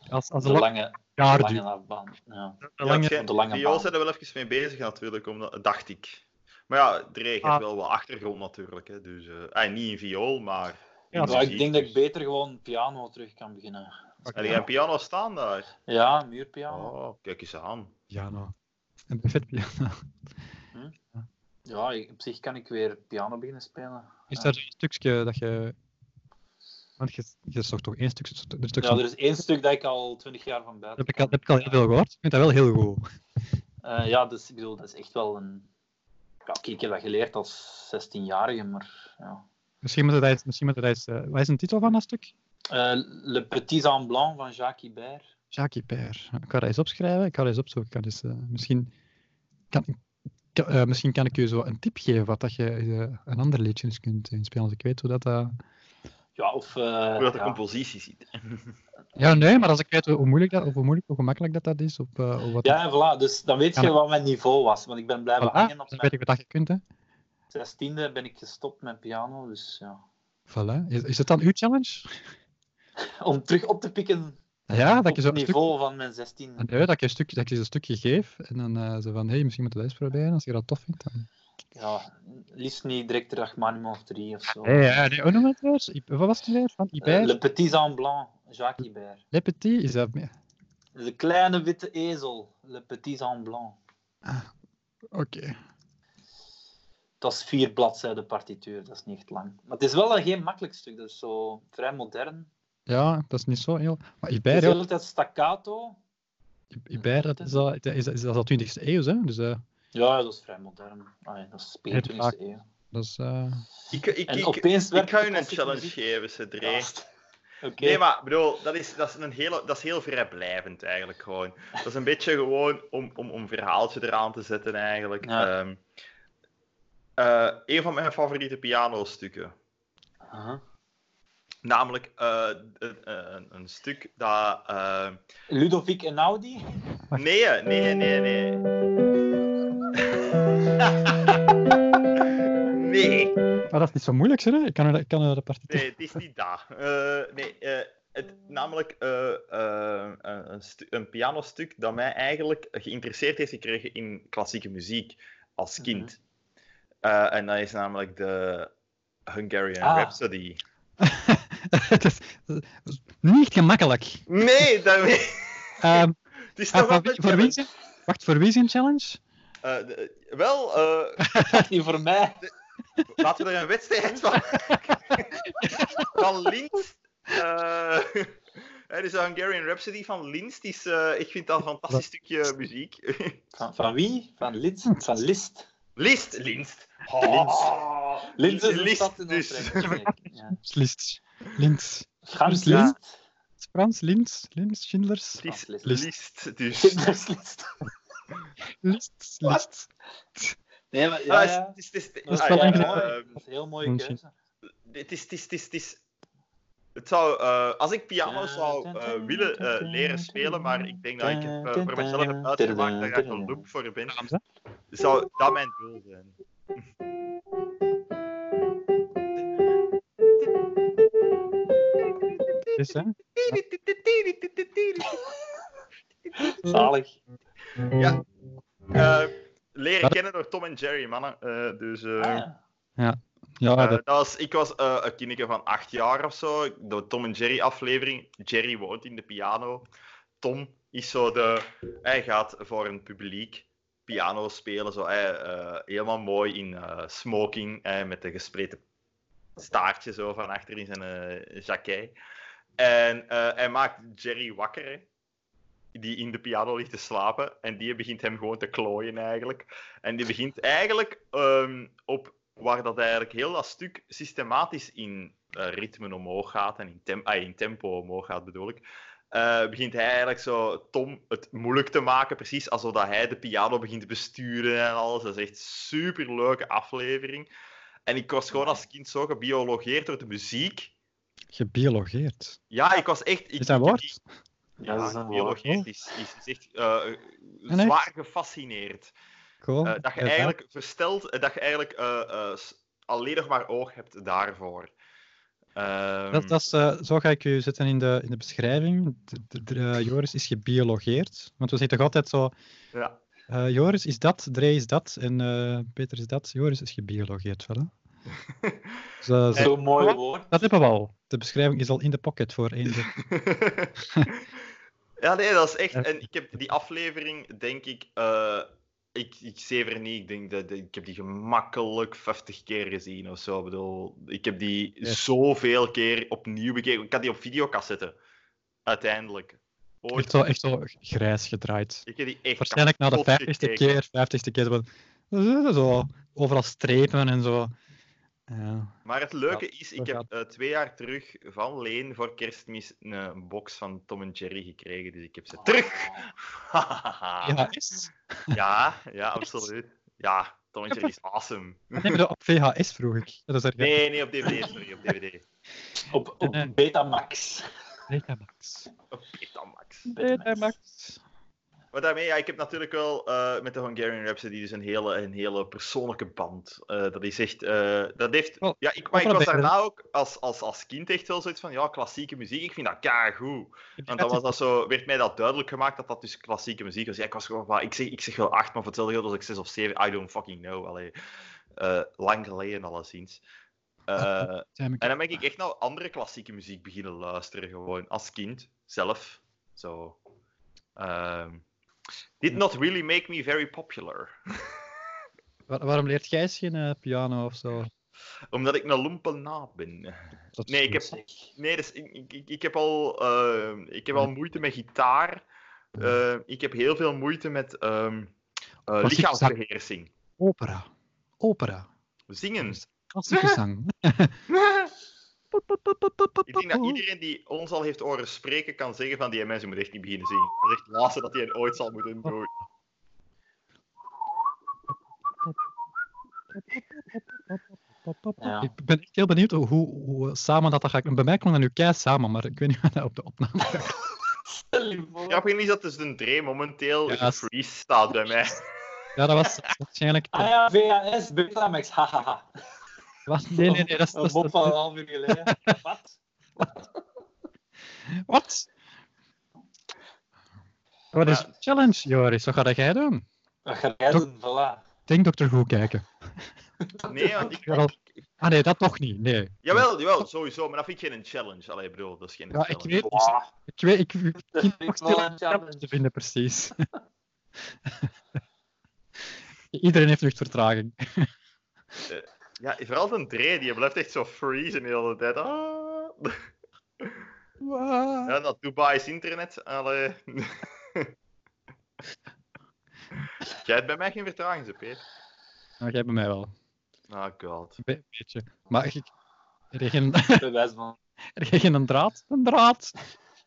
Speaker 1: als, als
Speaker 3: De
Speaker 1: een lang
Speaker 3: lange,
Speaker 1: jaar
Speaker 3: lange
Speaker 1: duurt.
Speaker 3: afbaan. Ja.
Speaker 1: Een lange-
Speaker 2: Ja,
Speaker 3: op de lange
Speaker 2: viool
Speaker 3: baan.
Speaker 2: zijn er wel even mee bezig natuurlijk, omdat, dacht ik. Maar ja, Dree heeft
Speaker 1: Ah.
Speaker 2: wel wat achtergrond natuurlijk. Hè, dus, eh, ah, niet in viool, maar in
Speaker 1: Ja,
Speaker 3: Maar ik
Speaker 2: muziek.
Speaker 3: denk dat ik beter gewoon piano terug kan beginnen.
Speaker 2: En jij een piano staan daar?
Speaker 3: Ja, muurpiano.
Speaker 2: Oh, kijk eens aan.
Speaker 1: Piano. Een buffet piano.
Speaker 3: Ja, ik- op zich kan ik weer piano beginnen spelen.
Speaker 1: Is
Speaker 3: Ja.
Speaker 1: daar een stukje dat je... Want je, je zocht toch één stuk... Er stuk
Speaker 3: Ja, er is één stuk dat ik al twintig jaar van buiten
Speaker 1: dat, heb ik al, dat heb ik al heel veel gehoord. Ik vind dat wel heel goed.
Speaker 3: Eh, ja, dus ik bedoel, dat is echt wel een... Ja, oké, ik heb dat geleerd als 16-jarige, maar... Ja.
Speaker 1: Misschien moet hij... Misschien moet hij eh, wat is de titel van dat stuk?
Speaker 3: Eh, Le Petit Jean Blanc van Jacques Ibert.
Speaker 1: Jacques Peer. Ik ga dat eens opschrijven. Ik ga dat eens opzoeken. Ik kan dus, eh, misschien, kan, kan- eh, misschien kan ik je zo een tip geven wat dat je eh, een ander liedje eens kunt inspelen. Als ik weet hoe dat... eh,
Speaker 3: Ja, of... eh,
Speaker 2: Hoe dat de
Speaker 3: ja.
Speaker 2: compositie ziet.
Speaker 1: Ja, nee, maar als ik weet hoe moeilijk dat, of hoe moeilijk, hoe gemakkelijk dat, dat is, of, eh, of wat...
Speaker 3: Ja, en voilà. Dus dan weet
Speaker 1: Ja,
Speaker 3: je
Speaker 1: maar-
Speaker 3: wat mijn niveau was. Want ik ben blijven
Speaker 1: Voilà,
Speaker 3: hangen.
Speaker 1: dan
Speaker 3: Op mijn
Speaker 1: weet ik wat dat je kunt, hè.
Speaker 3: zestiende ben ik gestopt met piano. Dus ja.
Speaker 1: Voilà. Is, is het dan uw challenge?
Speaker 3: Om terug op te pikken
Speaker 1: Ja,
Speaker 3: op
Speaker 1: dat je zo
Speaker 3: het
Speaker 1: een stuk... Ah,
Speaker 3: niveau van mijn zestiende.
Speaker 1: Nee, dat, je een stuk, dat ik je een stukje geef en dan eh, zo van, hé, hey, misschien moet je dat eens proberen. Als je dat tof vindt, dan...
Speaker 3: ja, liefst niet direct de Rachmaninoff of 3 of zo.
Speaker 1: Hey, ja, nee, hoe noem je het weer? I- Wat was het weer? Van
Speaker 3: Eh,
Speaker 1: Ibert?
Speaker 3: Le Petit Jean Blanc, Jacques Ibert.
Speaker 1: Le Petit? Is dat meer?
Speaker 3: De kleine witte ezel, Le Petit Jean Blanc.
Speaker 1: Oké.
Speaker 3: Dat is vier bladzijden partituur, dat is niet echt lang. Maar het is wel een geen makkelijk stuk, dat is zo vrij modern.
Speaker 1: Ja, dat is niet zo heel... Maar
Speaker 3: Het is
Speaker 1: Ibert,
Speaker 3: de
Speaker 1: ja,
Speaker 3: hele tijd staccato.
Speaker 1: Ibert dat is al, dat is, dat is al 20e eeuw, hè? Dus eh,
Speaker 3: Ja, ja, dat is vrij modern. Ah, ja, dat is begin
Speaker 1: Heel vaak.
Speaker 3: 20e eeuw.
Speaker 1: dat is... eh,
Speaker 2: Ik, ik,
Speaker 3: En
Speaker 2: ik,
Speaker 3: opeens
Speaker 2: ik
Speaker 3: werd
Speaker 2: ga u een
Speaker 3: klassieke
Speaker 2: challenge
Speaker 3: muziek-
Speaker 2: geven, Cedré.
Speaker 3: Ja. Oké.
Speaker 2: Nee, maar bedoel, dat is, dat is, een hele, dat is heel vrijblijvend eigenlijk gewoon. Dat is een beetje gewoon om, om, om een verhaaltje eraan te zetten eigenlijk.
Speaker 3: Ja.
Speaker 2: Ehm, eh, een van mijn favoriete pianostukken.
Speaker 3: Aha.
Speaker 2: Namelijk eh, een, een, een stuk dat... eh,
Speaker 3: Ludovic Einaudi.
Speaker 2: Nee, hè. nee, nee, nee. nee,
Speaker 1: Maar Ah, dat is niet zo moeilijk, hè? Ik kan, er- ik kan er de partituur...
Speaker 2: nee, het is niet dat. Eh, nee, eh, het, namelijk eh, eh, een, een stu- een pianostuk dat mij eigenlijk geïnteresseerd heeft gekregen in klassieke muziek
Speaker 1: Mhm.
Speaker 2: als kind. Eh, en dat is namelijk de Hungarian
Speaker 3: Ah.
Speaker 2: Rhapsody.
Speaker 1: het, is, het is niet gemakkelijk.
Speaker 2: Nee, dat
Speaker 1: Ehm,
Speaker 2: het is
Speaker 1: eh,
Speaker 2: toch
Speaker 1: voor,
Speaker 2: wel
Speaker 1: wie- voor wie is het? Wacht, voor wie is het een challenge?
Speaker 2: Eh, de- Wel, eh,
Speaker 3: Die voor mij.
Speaker 2: Laten we er een wedstrijd van Van Linz. Eh, Het is de Hungarian Rhapsody van Linz. Die is, eh, ik vind dat een fantastisch stukje eh, muziek.
Speaker 3: Van, Hm. van wie? Van List. Van List.
Speaker 2: List, Linz.
Speaker 3: List is een
Speaker 2: List,
Speaker 3: stad in
Speaker 2: dus.
Speaker 3: Oostenrijk. Ja.
Speaker 1: Links. Links.
Speaker 3: Frans
Speaker 1: Ja.
Speaker 3: List.
Speaker 1: Frans, Links, Links, Schindlers.
Speaker 2: Het is
Speaker 3: List.
Speaker 2: List, dus.
Speaker 3: Schindler's List.
Speaker 1: Links,
Speaker 3: Wat?
Speaker 1: Links.
Speaker 3: Nee, maar ja,
Speaker 2: Ah,
Speaker 3: ja.
Speaker 2: het is- het is- het
Speaker 3: Dat
Speaker 2: is-
Speaker 3: is
Speaker 2: ah,
Speaker 1: wel
Speaker 2: ja,
Speaker 1: een
Speaker 2: eh,
Speaker 3: mooi. Dat is een heel mooie
Speaker 1: Misschien.
Speaker 3: keuze.
Speaker 2: Het is, het is, het is, het is... Het zou, eh, als ik piano zou eh, willen eh, leren spelen, maar ik denk dat ik het eh, voor mezelf heb uitgemaakt dat ik een loop voor ben, zou dat mijn doel zijn.
Speaker 1: Is, hè?
Speaker 3: Zalig.
Speaker 2: Ja. Eh, leren
Speaker 1: Maar-
Speaker 2: kennen door Tom en Jerry, mannen. Eh, dus, eh,
Speaker 3: Ah, ja.
Speaker 1: Ja,
Speaker 2: eh,
Speaker 1: dat,
Speaker 2: dat was, ik was eh, een kindje van acht jaar of zo. De Tom en Jerry aflevering. Jerry woont in de piano. Tom is zo de... Hij gaat voor een publiek piano spelen. Zo, hij, eh, helemaal mooi in eh, smoking. eh, met een gespleten staartje zo van achter in zijn eh jacket. En eh, hij maakt Jerry wakker. hè, Die in de piano ligt te slapen. En die begint hem gewoon te klooien eigenlijk. En die begint eigenlijk ehm, op waar dat eigenlijk heel dat stuk systematisch in eh, ritmen omhoog gaat en in, tem- ah, in tempo omhoog gaat, bedoel ik. eh, begint hij eigenlijk zo Tom het moeilijk te maken, precies alsof dat hij de piano begint te besturen en alles. Dat is echt super leuke aflevering. En ik was gewoon als kind zo gebiologeerd door de muziek.
Speaker 1: gebiologeerd.
Speaker 2: Ja, ik was echt. Ik,
Speaker 1: Is dat een
Speaker 2: ik-
Speaker 1: woord?
Speaker 3: Ja, dat is een woord.
Speaker 2: gebiologeerd is, is, is echt eh,
Speaker 1: echt?
Speaker 2: zwaar gefascineerd.
Speaker 1: Cool.
Speaker 2: Eh, dat je
Speaker 1: Ja,
Speaker 2: eigenlijk verstelt, eh, dat je eigenlijk eh, eh, s- alleen nog maar oog hebt daarvoor. Ehm,
Speaker 1: Dat, dat is, eh, zo ga ik u zetten in de, in de beschrijving. De, de- de- eh, Joris is gebiologeerd. Want we zeggen toch altijd zo:
Speaker 2: ja.
Speaker 1: eh, Joris is dat, Dre is dat en eh, Peter is dat. Joris is gebiologeerd. Voilà. Dus, eh, zo-
Speaker 3: Zo'n mooi woord.
Speaker 1: dat hebben we al. De beschrijving is al in de pocket voor één. de-
Speaker 2: ja, nee, dat is echt. En ik heb die aflevering, denk ik. eh, ik, ik zever niet. Ik denk dat dat- ik heb die gemakkelijk 50 keer gezien of zo. Ik bedoel, ik heb die
Speaker 1: Ja.
Speaker 2: zoveel keer opnieuw bekeken. Ik had die op videocassette. Uiteindelijk. Ooit.
Speaker 1: Echt zo, echt zo grijs gedraaid.
Speaker 2: Ik heb die echt
Speaker 1: Waarschijnlijk na de
Speaker 2: kapot
Speaker 1: 50ste
Speaker 2: gekeken.
Speaker 1: keer, 50ste keer. zo van- Zo, overal strepen en zo. Eh, Ja.
Speaker 2: Maar het leuke is,
Speaker 1: dat
Speaker 2: ik heb
Speaker 1: gaat.
Speaker 2: eh, twee jaar terug van Leen voor kerstmis een eh, box van Tom en Jerry gekregen. Dus ik heb
Speaker 3: Oh.
Speaker 2: ze terug. ja.
Speaker 1: VHS?
Speaker 2: ja, absoluut. Ja, Tom en Jerry is awesome.
Speaker 1: Dat hebben we op VHS vroeg ik. Dat is er
Speaker 2: Nee, nee, op DVD, sorry, op DVD.
Speaker 3: Op,
Speaker 1: Eh.
Speaker 3: op Betamax.
Speaker 1: Betamax.
Speaker 2: Op Betamax.
Speaker 3: Betamax.
Speaker 1: Betamax.
Speaker 2: Maar daarmee, ja, ik heb natuurlijk wel eh, met de Hungarian Rhapsody dus een hele, een hele persoonlijke band. Eh, dat is echt, eh, dat heeft,
Speaker 1: Wel,
Speaker 2: ja, ik, maar ik
Speaker 1: wel
Speaker 2: was
Speaker 1: beter.
Speaker 2: daarna ook als, als, als kind echt wel zoiets van, ja, klassieke muziek, ik vind dat keigoed. Want dan was dat zo, werd mij dat duidelijk gemaakt dat dat dus klassieke muziek was. Ja, ik was gewoon van, ik zeg, ik zeg wel acht, maar voor hetzelfde geld was ik zes of zeven, I don't fucking know. Allee, Eh, lang geleden alleszins. Eh
Speaker 1: Zijn we-
Speaker 2: en dan ben ik echt naar andere klassieke muziek beginnen luisteren, gewoon als kind zelf. Zo. Ehm, did not really make me very popular.
Speaker 1: Wa- waarom leert jij eens geen eh, piano of zo?
Speaker 2: Omdat ik een lumpenaap ben.
Speaker 1: Dat is
Speaker 2: Nee, ik heb,
Speaker 1: goed.
Speaker 2: nee dus ik, ik, ik- ik heb al, ehm, ik heb al moeite met gitaar. Ehm, ik heb heel veel moeite met ehm eh,
Speaker 1: Klassiek
Speaker 2: lichaamsbeheersing.
Speaker 1: Opera. Opera.
Speaker 2: Zingen.
Speaker 1: Klassieke zang.
Speaker 2: Ik denk dat iedereen die ons al heeft horen spreken kan zeggen van die mensen moet echt niet beginnen zingen. Dat is echt het laatste dat hij ooit zal moeten doen.
Speaker 3: Ja.
Speaker 1: Ik ben echt heel benieuwd hoe, hoe eh, samen dat, dat gaat. Bij mij kwam dat nu kei samen, maar ik weet niet wat dat op de opname
Speaker 3: Stel je voor.
Speaker 2: Ja, is dat dus de Dre momenteel
Speaker 1: Ja,
Speaker 2: in freeze staat bij mij.
Speaker 1: Ja, dat was waarschijnlijk.
Speaker 3: Ah ja, VHS, Betamax, hahaha.
Speaker 1: Wat? Nee, nee, nee, dat is.
Speaker 3: Een
Speaker 1: Dat
Speaker 3: mop
Speaker 1: is
Speaker 3: van een half uur geleden. Wat?
Speaker 1: wat? Wat is
Speaker 2: Ja.
Speaker 1: de challenge, Joris? Wat ga jij doen?
Speaker 3: Wat ga jij doen? Voilà.
Speaker 1: Denk dokter goed kijken.
Speaker 2: Nee, want ik...
Speaker 1: Jawel. Ah nee, dat toch niet. Nee.
Speaker 2: Jawel, jawel, sowieso, maar dat vind ik geen challenge. Allee, ik bedoel, dat is geen
Speaker 1: Ja, ik
Speaker 2: challenge.
Speaker 1: weet niet.
Speaker 3: Wow.
Speaker 1: Ik weet, ik, ik
Speaker 3: Dat
Speaker 1: begin
Speaker 3: vind
Speaker 1: nog
Speaker 3: ik wel
Speaker 1: steeds
Speaker 3: een
Speaker 1: grap
Speaker 3: challenge.
Speaker 1: te vinden, precies. Iedereen heeft luchtvertraging.
Speaker 2: Ja, vooral de Dre, die blijft echt zo freezen de hele tijd. Ah. Ja, dat Dubai's internet, allee. Jij hebt bij mij geen vertraging, zo, Peter.
Speaker 1: Nou, jij bij mij wel.
Speaker 2: Oh god.
Speaker 1: Een be- beetje. Maar ik... Er is geen,
Speaker 3: Bewijs van
Speaker 1: er is geen een draad. Een draad.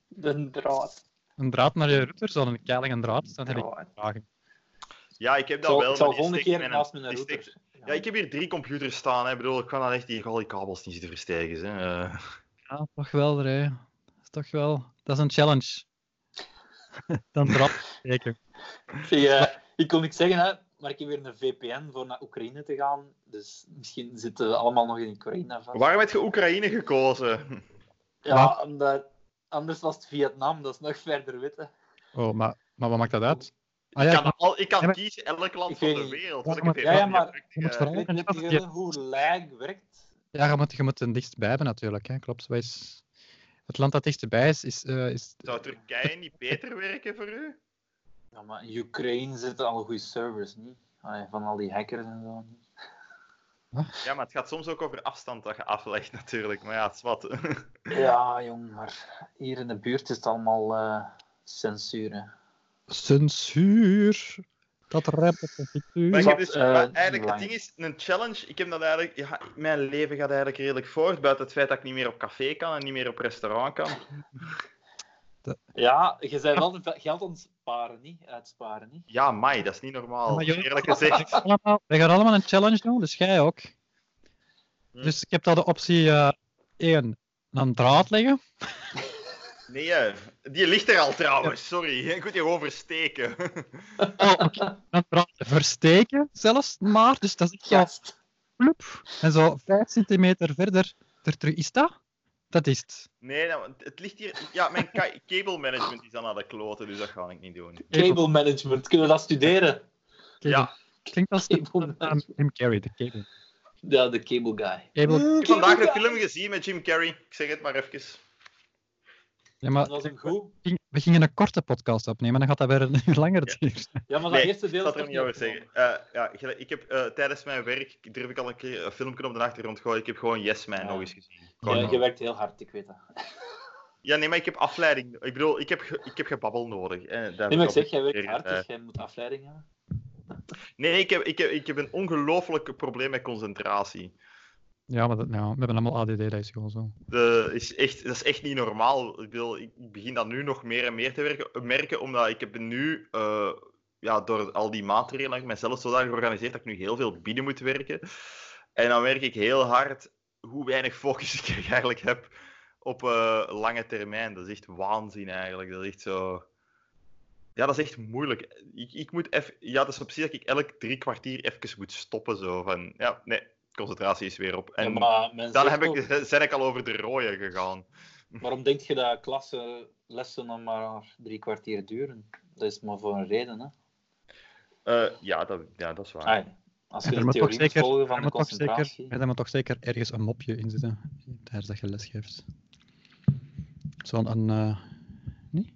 Speaker 3: de draad.
Speaker 1: Een draad naar je router, zo'n keiling een draad. Dan heb ik
Speaker 3: Ja.
Speaker 1: vragen.
Speaker 2: Ja, ik heb
Speaker 3: Ik
Speaker 2: dat
Speaker 3: zal,
Speaker 2: wel.
Speaker 3: ik zal
Speaker 2: maar die
Speaker 3: volgende keer
Speaker 2: steekt mijn-
Speaker 3: naast mijn
Speaker 2: die
Speaker 3: router.
Speaker 2: steekt- Ja, ik heb hier drie computers staan. Hè. Ik bedoel, ik kan dan echt die, al die kabels niet zitten verstijgen. Hè. Eh.
Speaker 1: Ja, toch wel, Rij. Dat is toch wel... Dat is een challenge. dan draad. Zeker.
Speaker 3: Ja, ik kon niks zeggen, hè, maar ik heb weer een VPN voor naar Oekraïne te gaan. Dus misschien zitten we allemaal nog in Oekraïne vast.
Speaker 2: Waarom heb je Oekraïne gekozen?
Speaker 3: Ja, omdat, anders was het Vietnam, dat is nog verder weten.
Speaker 1: Oh, maar, maar wat maakt dat uit? Ah
Speaker 2: Ik
Speaker 1: ja,
Speaker 2: kan, al, ik kan
Speaker 1: Ja, maar-
Speaker 2: kiezen elk land
Speaker 3: Ik
Speaker 2: van
Speaker 3: weet
Speaker 2: de
Speaker 3: niet.
Speaker 2: wereld.
Speaker 1: Ja,
Speaker 2: want ik
Speaker 1: maar-
Speaker 2: heb
Speaker 3: ja,
Speaker 2: geen
Speaker 3: ja, maar-
Speaker 2: idee.
Speaker 1: je moet
Speaker 2: Eh,
Speaker 1: vooral-
Speaker 3: Weet je wel hoe lag werkt?
Speaker 1: Ja, je moet, je moet het dichtstbij hebben natuurlijk, hè. klopt. Wat is- Het land dat dichtstbij is, is, eh, is
Speaker 2: Zou Turkije niet beter werken voor u?
Speaker 3: Ja, maar in Oekraïne zitten al goede servers, niet? Allee, van al die hackers en zo.
Speaker 2: Ja, maar het gaat soms ook over afstand dat je aflegt, natuurlijk. Maar ja, het is wat.
Speaker 3: Ja, jong, maar hier in de buurt is het allemaal eh censuur. hè.
Speaker 1: censuur. Dat rapt op de
Speaker 2: Maar,
Speaker 1: cultuur.
Speaker 2: ik heb dus,
Speaker 3: eh,
Speaker 2: maar
Speaker 3: niet
Speaker 2: eigenlijk, het
Speaker 3: belangrijk.
Speaker 2: ding is, een challenge, ik heb dat eigenlijk... Ja, mijn leven gaat eigenlijk redelijk voort, buiten het feit dat ik niet meer op café kan en niet meer op restaurant kan.
Speaker 3: Ja, je bent wel veel geld aan het sparen, niet? Uitsparen, niet?
Speaker 2: Ja, mai, dat is niet normaal.
Speaker 1: Ja, maar jullie-
Speaker 2: Eerlijk gezegd.
Speaker 1: Allemaal, wij gaan allemaal een challenge doen, dus jij ook.
Speaker 2: Hm.
Speaker 1: Dus ik heb daar de optie 1, een draad leggen.
Speaker 2: Nee, eh, die ligt er al trouwens, sorry. Ik moet je gewoon versteken.
Speaker 1: Oh, oké. Een draad versteken zelfs, maar. Dus dat is echt zo,
Speaker 3: Gast.
Speaker 1: ploep. En zo 5 centimeter verder, er terug is dat. Dat is het.
Speaker 2: Nee, nou, het- het ligt hier... Ja, mijn ka- cable management is dan aan de kloten, dus dat ga ik niet doen.
Speaker 3: Cable management, kunnen we dat studeren?
Speaker 1: Cable.
Speaker 2: Ja.
Speaker 1: Klinkt als
Speaker 3: Cable
Speaker 1: eh, Jim Carrey, de cable.
Speaker 3: Ja, de cable guy.
Speaker 1: Cable-
Speaker 2: Ik heb vandaag de film gezien met Jim Carrey. Ik zeg het maar even.
Speaker 1: Ja, maar
Speaker 3: Dat was hem goed.
Speaker 1: ging- we gingen een korte podcast opnemen, dan gaat dat weer een uur langer
Speaker 2: Ja.
Speaker 1: duren.
Speaker 3: Ja, maar dat
Speaker 2: Nee,
Speaker 3: eerste
Speaker 2: Ik
Speaker 3: deel
Speaker 2: zal
Speaker 3: is
Speaker 2: er
Speaker 3: toch
Speaker 2: niet over
Speaker 3: opgenomen.
Speaker 2: zeggen. Eh, ja, gelijk, ik heb eh, tijdens mijn werk, durf ik al een keer een filmpje op de achtergrond gooien. Ik heb gewoon Yes Man
Speaker 3: Ja.
Speaker 2: nog eens gezien.
Speaker 3: Ja,
Speaker 2: Gewoon-
Speaker 3: je werkt heel hard, ik weet dat.
Speaker 2: Ja, nee, maar ik heb afleiding. Ik bedoel, ik heb, ge- ik heb gebabbel nodig. Eh, daar-
Speaker 3: Nee, maar ik zeg, jij werkt
Speaker 2: Eh,
Speaker 3: hard, dus jij moet afleiding hebben.
Speaker 2: Nee, ik heb, ik heb, ik heb een ongelooflijk probleem met concentratie.
Speaker 1: Ja, maar dat, ja, we hebben allemaal ADD, dat is gewoon zo.
Speaker 2: De, is echt, dat is echt niet normaal. Ik, bedoel, ik begin dat nu nog meer en meer te werken, merken, omdat ik heb nu, eh, ja, door al die maatregelen, heb ik mezelf zodanig georganiseerd dat ik nu heel veel binnen moet werken. En dan merk ik heel hard hoe weinig focus ik eigenlijk heb op eh, lange termijn. Dat is echt waanzin eigenlijk. Dat is echt zo... Ja, dat is echt moeilijk. Ik, ik moet even... Ja, dat is zo precies dat ik elk drie kwartier even moet stoppen. Zo van, ja, nee, concentratie is weer op. En
Speaker 3: Ja, maar men
Speaker 2: dan
Speaker 3: zegt
Speaker 2: heb
Speaker 3: ook,
Speaker 2: ik, zijn ik al over de rode gegaan.
Speaker 3: Waarom denk je dat klassenlessen dan maar drie kwartier duren? Dat is maar voor een reden, hè?
Speaker 2: Eh, ja, dat, ja, dat is waar.
Speaker 3: Ah, ja. als je
Speaker 1: En er
Speaker 3: de
Speaker 1: moet toch
Speaker 3: theorie moet
Speaker 1: zeker,
Speaker 3: volgen
Speaker 1: er
Speaker 3: van de
Speaker 1: moet toch zeker,
Speaker 3: concentratie...
Speaker 1: en er moet toch zeker ergens een mopje in zitten tijdens dat je les geeft. Zo'n een. eh, nee?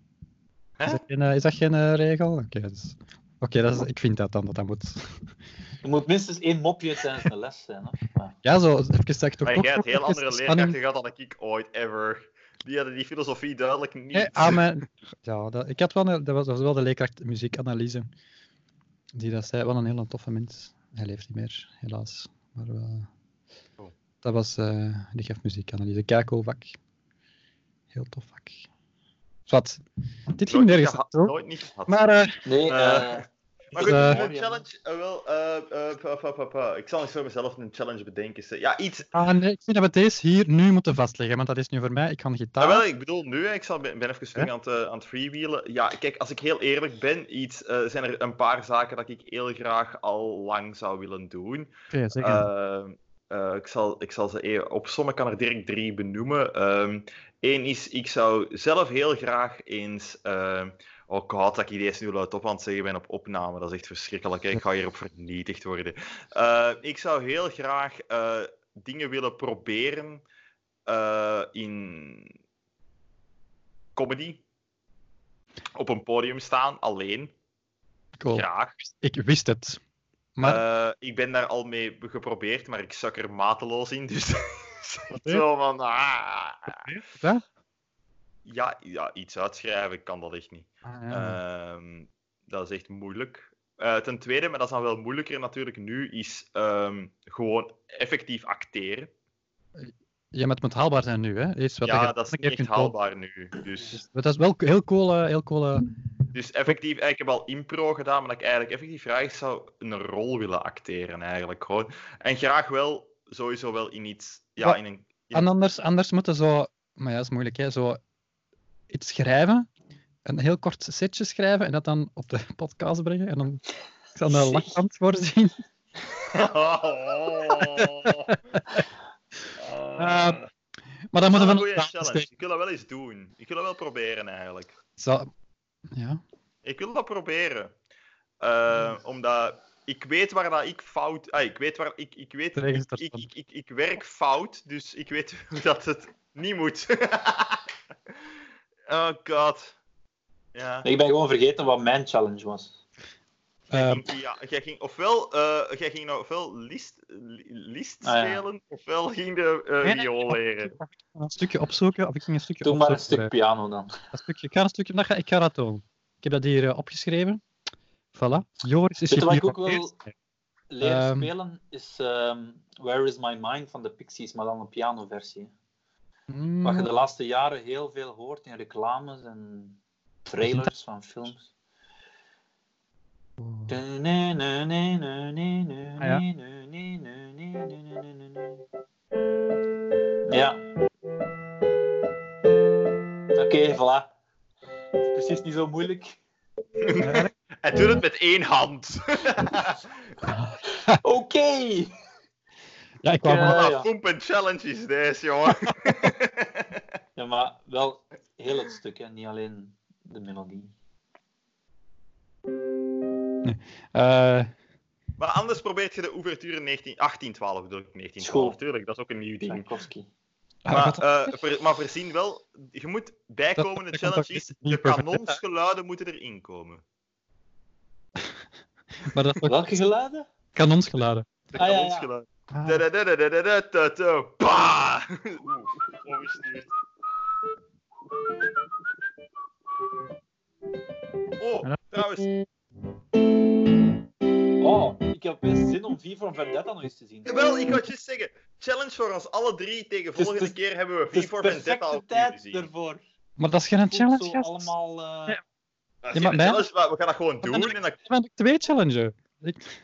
Speaker 2: Hè?
Speaker 1: Is dat geen, eh, is dat geen eh, regel? Oké, dat is- oké, dat is- ik vind dat dan dat dat moet.
Speaker 3: Er moet minstens één mopje tijdens de les zijn, hè? Maar,
Speaker 1: Ja, zo even zeg toch.
Speaker 2: Maar
Speaker 1: toch-
Speaker 2: jij hebt
Speaker 1: toch
Speaker 2: heel
Speaker 1: even
Speaker 2: andere
Speaker 1: spanning.
Speaker 2: leerkrachten gehad dan ik ooit, ever. Die hadden die filosofie duidelijk niet.
Speaker 1: Nee, ah, maar- ja, dat, ik had wel een, dat was, dat was wel de leerkracht muziekanalyse. Die dat zei, wel een hele toffe mens. Hij leeft niet meer, helaas. Maar wel-
Speaker 2: Oh.
Speaker 1: dat was, eh, die geeft muziekanalyse. Kakelvak. Heel tof vak. Zwat. Dit ging
Speaker 2: Nooit
Speaker 1: nergens
Speaker 2: geha-
Speaker 1: naartoe.
Speaker 2: Nooit niet gehad.
Speaker 1: Maar eh,
Speaker 3: nee,
Speaker 2: Eh,
Speaker 3: eh,
Speaker 2: Maar
Speaker 1: Dus,
Speaker 2: goed,
Speaker 1: eh,
Speaker 2: een challenge. eh, wel, eh, eh, pa, pa, pa, pa. Ik zal eens voor mezelf een challenge bedenken. Ze- Ja, iets.
Speaker 1: ah, nee, ik vind dat we deze hier nu moeten vastleggen, want dat is nu voor mij. Ik kan
Speaker 2: Ah, wel,
Speaker 1: gitaar.
Speaker 2: ik bedoel nu, hè, ik zal, ben ben even terug aan het, eh, aan het freewheelen. Ja, kijk, als ik heel eerlijk ben, iets, eh, zijn er een paar zaken dat ik heel graag al lang zou willen doen.
Speaker 1: Oké, zeg het.
Speaker 2: Eh, eh, ik, zal, ik zal ze even... Op sommige kan er direct drie benoemen. Eén is, ik zou zelf heel graag eens... ehm, oh god, dat ik die eens nu luid op aan het zeggen ben op opname. Dat is echt verschrikkelijk. hè. Ik ga hierop vernietigd worden. Eh, ik zou heel graag eh, dingen willen proberen eh, in comedy. Op een podium staan, alleen.
Speaker 1: Cool.
Speaker 2: Graag.
Speaker 1: Ik wist het. Maar
Speaker 2: Eh, ik ben daar al mee geprobeerd, maar ik zak er mateloos in. Dus zo van. ah.
Speaker 1: hè?
Speaker 2: Ja, ja, iets uitschrijven kan dat echt niet.
Speaker 1: Ah, ja.
Speaker 2: Ehm, dat is echt moeilijk. Eh, ten tweede, maar dat is dan wel moeilijker natuurlijk nu, is ehm, gewoon effectief acteren.
Speaker 1: ja, maar het moet haalbaar zijn nu, hè? Eerst wat
Speaker 2: ja,
Speaker 1: je
Speaker 2: dat is
Speaker 1: een keer
Speaker 2: niet echt
Speaker 1: kunt tonen.
Speaker 2: haalbaar nu. Dus,
Speaker 1: Maar Dat is wel heel cool. eh, heel cool eh,
Speaker 2: dus effectief, ik heb al impro gedaan, maar dat ik eigenlijk effectief graag zou een rol willen acteren eigenlijk gewoon. En graag wel, sowieso wel in iets, ja,
Speaker 1: Wat-
Speaker 2: in een... in-
Speaker 1: En anders, anders moeten zo, maar ja, dat is moeilijk, hè, zo iets schrijven, een heel kort setje schrijven en dat dan op de podcast brengen. En dan ik zal een
Speaker 3: Zeg.
Speaker 1: lachband voorzien.
Speaker 2: Oh,
Speaker 3: Eh,
Speaker 2: Ah.
Speaker 1: Maar dan moeten we
Speaker 2: een
Speaker 1: nog
Speaker 2: goede
Speaker 1: plaatsen
Speaker 2: Ah, challenge.
Speaker 1: steken.
Speaker 2: Ik wil dat wel eens doen. Ik wil dat wel proberen eigenlijk.
Speaker 1: dus Zo, ja.
Speaker 2: Ik wil dat proberen. Eh, Omdat ik weet waar dat ik fout. Ah, ik weet waar ik. Ik, weet,
Speaker 1: De regels
Speaker 2: ik,
Speaker 1: daarvan.
Speaker 2: ik, ik, ik, ik werk fout, dus ik weet hoe dat het niet moet. oh god. Ja.
Speaker 3: ik ben gewoon vergeten wat mijn challenge was.
Speaker 1: Eh,
Speaker 2: Ja, jij ging ofwel, eh jij ging nou ofwel list, li- list
Speaker 3: Ah, ja.
Speaker 2: spelen, ofwel ging de eh,
Speaker 1: nee,
Speaker 2: viool leren.
Speaker 1: een stukje opzoeken, of ik ging een stukje
Speaker 3: Doe maar een
Speaker 1: opzoeken.
Speaker 3: stuk piano dan.
Speaker 1: Een stukje, ik ga een stukje, dat ga, ik ga dat doen. Ik heb dat hier eh, opgeschreven. Voilà. Joris is
Speaker 3: Weet je wat ik ook
Speaker 1: gepioneerd.
Speaker 3: Leren
Speaker 1: Ehm.
Speaker 3: spelen is ehm, Where is My Mind van de Pixies, maar dan een pianoversie.
Speaker 1: Mm,
Speaker 3: Wat je de laatste jaren heel veel hoort in reclames en trailers van films.
Speaker 1: oh. ja.
Speaker 3: Ja. Oké, voilà. Het is precies niet zo moeilijk.
Speaker 2: Hij doet het met één hand.
Speaker 3: Oké!
Speaker 1: Ja, ik wou
Speaker 3: eh,
Speaker 1: maar-
Speaker 2: Wat
Speaker 3: ja.
Speaker 2: een poempen challenge is deze, jongen.
Speaker 3: Ja, maar wel heel het stuk, hè. niet alleen de melodie.
Speaker 1: eh,
Speaker 2: Maar anders probeert je de ouverture 19, 1812, bedoel ik, 1912,
Speaker 3: School.
Speaker 2: tuurlijk. Dat is ook een nieuw ding.
Speaker 3: Tchaikovsky.
Speaker 2: Maar, eh, ver- maar voorzien wel, je moet
Speaker 1: Dat-
Speaker 2: bijkomende
Speaker 1: dat
Speaker 2: challenge
Speaker 1: komt
Speaker 2: is,
Speaker 1: ook niet
Speaker 2: de
Speaker 1: perfect, hè?
Speaker 2: kanonsgeluiden moeten erin komen.
Speaker 1: maar dat is ook
Speaker 3: Welke geluiden?
Speaker 1: kanonsgeladen.
Speaker 2: De
Speaker 3: Ah, ja, ja.
Speaker 2: kanonsgeluiden.
Speaker 1: Ah.
Speaker 2: Da-da-da-da-da-da-da-da, pa! Oeh, overstuurd. Oh, trouwens,
Speaker 3: Oh, ik heb best zin om V van Vendetta nog eens te zien.
Speaker 2: wel, ik wou je zeggen, challenge voor ons alle drie, tegen
Speaker 3: Het is-
Speaker 2: volgende
Speaker 3: het is-
Speaker 2: keer hebben we
Speaker 3: Het is
Speaker 2: V voor Vendetta
Speaker 3: perfecte
Speaker 2: opnieuw te
Speaker 3: tijd
Speaker 2: zien.
Speaker 3: ervoor.
Speaker 1: Maar dat is geen
Speaker 3: Het voelt
Speaker 1: challenge,
Speaker 3: zo
Speaker 1: gast.
Speaker 3: allemaal... eh,
Speaker 1: Ja.
Speaker 2: Dat
Speaker 1: Ja, maar
Speaker 2: is geen
Speaker 1: bij-
Speaker 2: challenge, maar we gaan dat gewoon
Speaker 1: dan
Speaker 2: doen.
Speaker 1: heb ik-
Speaker 2: En dan-
Speaker 1: Dan ben ik twee challenges. Ik-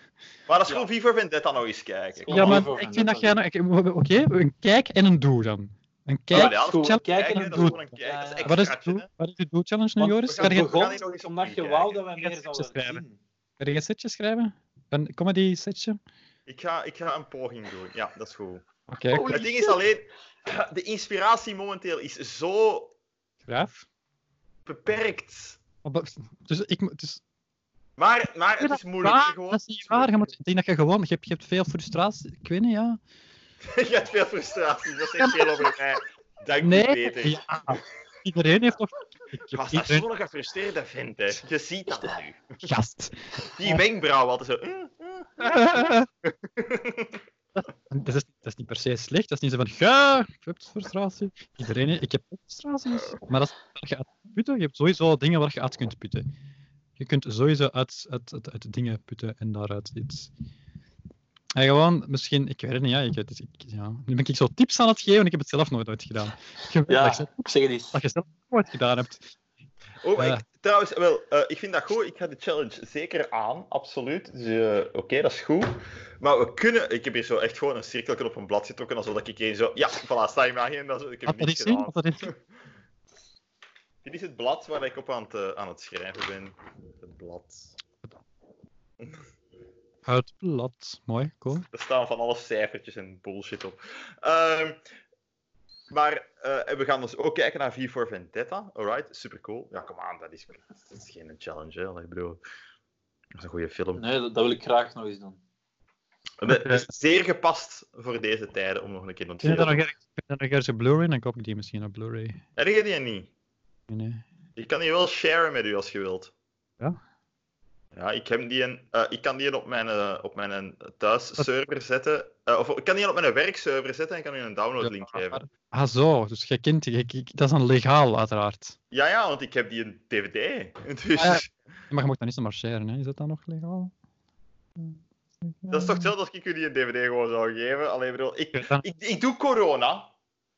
Speaker 2: Maar dat is
Speaker 3: Ja.
Speaker 2: gewoon V voor Vendetta nog eens kijken.
Speaker 3: Ja,
Speaker 1: ja,
Speaker 3: maar
Speaker 1: maar
Speaker 3: over-
Speaker 1: ik vind dat
Speaker 3: dat
Speaker 1: jij... nou- ik- Oké, een kijk en een doe dan. Een
Speaker 2: Oh, ja,
Speaker 1: kijk.
Speaker 2: dat is
Speaker 3: goed.
Speaker 1: challenge.
Speaker 3: Kijken
Speaker 2: Kijken,
Speaker 3: en
Speaker 2: dat is
Speaker 3: doen.
Speaker 2: gewoon een kijk. Dat is
Speaker 3: Ja,
Speaker 2: extra.
Speaker 1: Wat is het doel- wat is je doelchallenge nu,
Speaker 3: Want
Speaker 1: Joris?
Speaker 2: we
Speaker 1: Ga
Speaker 2: gaan-
Speaker 1: je,
Speaker 2: we gaan hier nog
Speaker 3: begon
Speaker 2: eens
Speaker 3: omdat je
Speaker 2: opnieuw
Speaker 3: wou dat
Speaker 2: kijken.
Speaker 3: we
Speaker 2: Ik ga
Speaker 3: meer
Speaker 2: het
Speaker 3: zouden
Speaker 1: schrijven.
Speaker 3: zien.
Speaker 1: ga je een setje schrijven? Een comedy setje?
Speaker 2: Ik ga, ik ga een poging doen. Ja, dat is goed.
Speaker 1: Oké,
Speaker 3: Holy
Speaker 2: het ding is
Speaker 3: shit.
Speaker 2: alleen, de inspiratie momenteel is zo
Speaker 1: graaf.
Speaker 2: beperkt.
Speaker 1: Maar ba- Dus ik moet. Dus,
Speaker 2: Maar, maar het is moeilijk.
Speaker 1: Waar?
Speaker 2: Gewoon,
Speaker 1: dat is niet waar. Je moet, ik denk dat je gewoon. Je hebt, je hebt veel frustratie. Ik weet niet, ja.
Speaker 2: Je hebt veel frustratie. Dat zegt veel over mij. Dank
Speaker 1: Nee.
Speaker 2: je, Peter.
Speaker 1: Ja. Iedereen heeft toch. Ik heb
Speaker 2: Was dat
Speaker 1: iedereen
Speaker 2: zo'n gefrustreerde vent, hè? Je ziet dat nu.
Speaker 1: gast.
Speaker 2: Die wenkbrauw altijd zo. eh, eh.
Speaker 1: dat, is, dat is niet per se slecht. Dat is niet zo van. Ja, je hebt frustratie. Iedereen. heeft- Ik heb ook frustraties. Maar dat is waar je uit kunt putten. Je hebt sowieso dingen waar je uit kunt putten. Je kunt sowieso uit, uit, uit, uit dingen putten en daaruit iets. En gewoon, misschien, ik weet het niet, ja, ik, het is- ik- ja. nu ben ik zo tips aan het geven en ik heb het zelf nooit uitgedaan. Je weet dat je-
Speaker 3: Ja, zeg het eens.
Speaker 1: dat je zelf nooit gedaan hebt.
Speaker 2: Oh, maar
Speaker 1: Ja.
Speaker 2: ik- trouwens, wel, eh, ik vind dat goed. Ik ga de challenge zeker aan, absoluut. Dus, eh, Oké, dat is goed. Maar we kunnen... Ik heb hier zo echt gewoon een cirkeltje op een blad getrokken, alsof dat ik hier zo... Ja, voilà, sta je maar in. Dat is, ik heb
Speaker 1: Laat dat
Speaker 2: niks
Speaker 1: eens zien.
Speaker 2: gedaan.
Speaker 1: Laat dat eens zien.
Speaker 2: Dit is het blad waar ik op aan het, eh, aan het schrijven ben. Het blad.
Speaker 1: Het blad. Mooi, cool.
Speaker 2: Er staan van alles cijfertjes en bullshit op. Ehm, maar eh, en we gaan dus ook kijken naar V for Vendetta. Alright, super cool. Ja, kom aan, dat is, dat is geen challenge, hè. Ik bedoel, dat is een goede film.
Speaker 3: Nee, dat, dat wil ik graag nog eens doen.
Speaker 2: Dat is zeer gepast voor deze tijden om nog een keer te
Speaker 1: Ik vind
Speaker 2: doen.
Speaker 1: dat nog ergens- ik vind dat nog ergens een Blu-ray, dan koop ik die misschien op Blu-ray.
Speaker 2: Heb je die niet?
Speaker 1: Nee.
Speaker 2: Ik kan die wel sharen met u als je wilt.
Speaker 1: Ja?
Speaker 2: Ja, ik, heb die een, eh, ik kan die op mijn, eh, op mijn thuisserver zetten. Eh, of ik kan die op mijn werkserver zetten en ik kan u een downloadlink
Speaker 1: Ja,
Speaker 2: geven.
Speaker 1: maar- Ah zo, dus je kent die. je- je- Dat is dan legaal, uiteraard.
Speaker 2: Ja, ja, want ik heb die een DVD. Dus
Speaker 1: Ah, ja. Maar je mag dat niet zomaar sharen, hè? Is dat dan nog legaal?
Speaker 2: dat is toch hetzelfde als ik jullie een DVD gewoon zou geven. Alleen bedoel, ik,
Speaker 1: Ja, dan-
Speaker 2: ik, ik doe corona.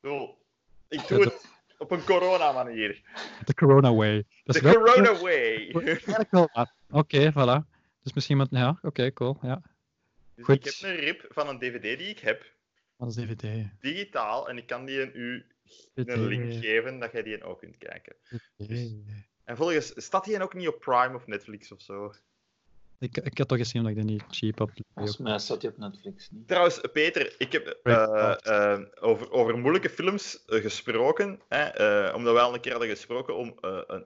Speaker 2: Ik bedoel, Ik doe het op een corona-manier.
Speaker 1: De corona way. Dat is
Speaker 2: De
Speaker 1: wel-
Speaker 2: corona way.
Speaker 1: Eigenlijk wel waar. Oké, voilà. Dus misschien met... Ja, oké, cool. Ja.
Speaker 2: Dus
Speaker 1: Goed.
Speaker 2: ik heb een rip van een DVD die ik heb.
Speaker 1: Dat is DVD.
Speaker 2: digitaal en ik kan die een u een link
Speaker 1: DVD.
Speaker 2: geven dat jij die ook kunt kijken. En volgens staat die ook niet op Prime of Netflix of zo.
Speaker 1: Ik, ik had toch gezien dat ik die niet cheap op
Speaker 3: Volgens mij staat die op Netflix niet.
Speaker 2: Trouwens, Peter, ik heb eh,
Speaker 1: Right.
Speaker 2: eh, over, over moeilijke films eh, gesproken, hè, eh, omdat wij al een keer hadden gesproken om eh, een.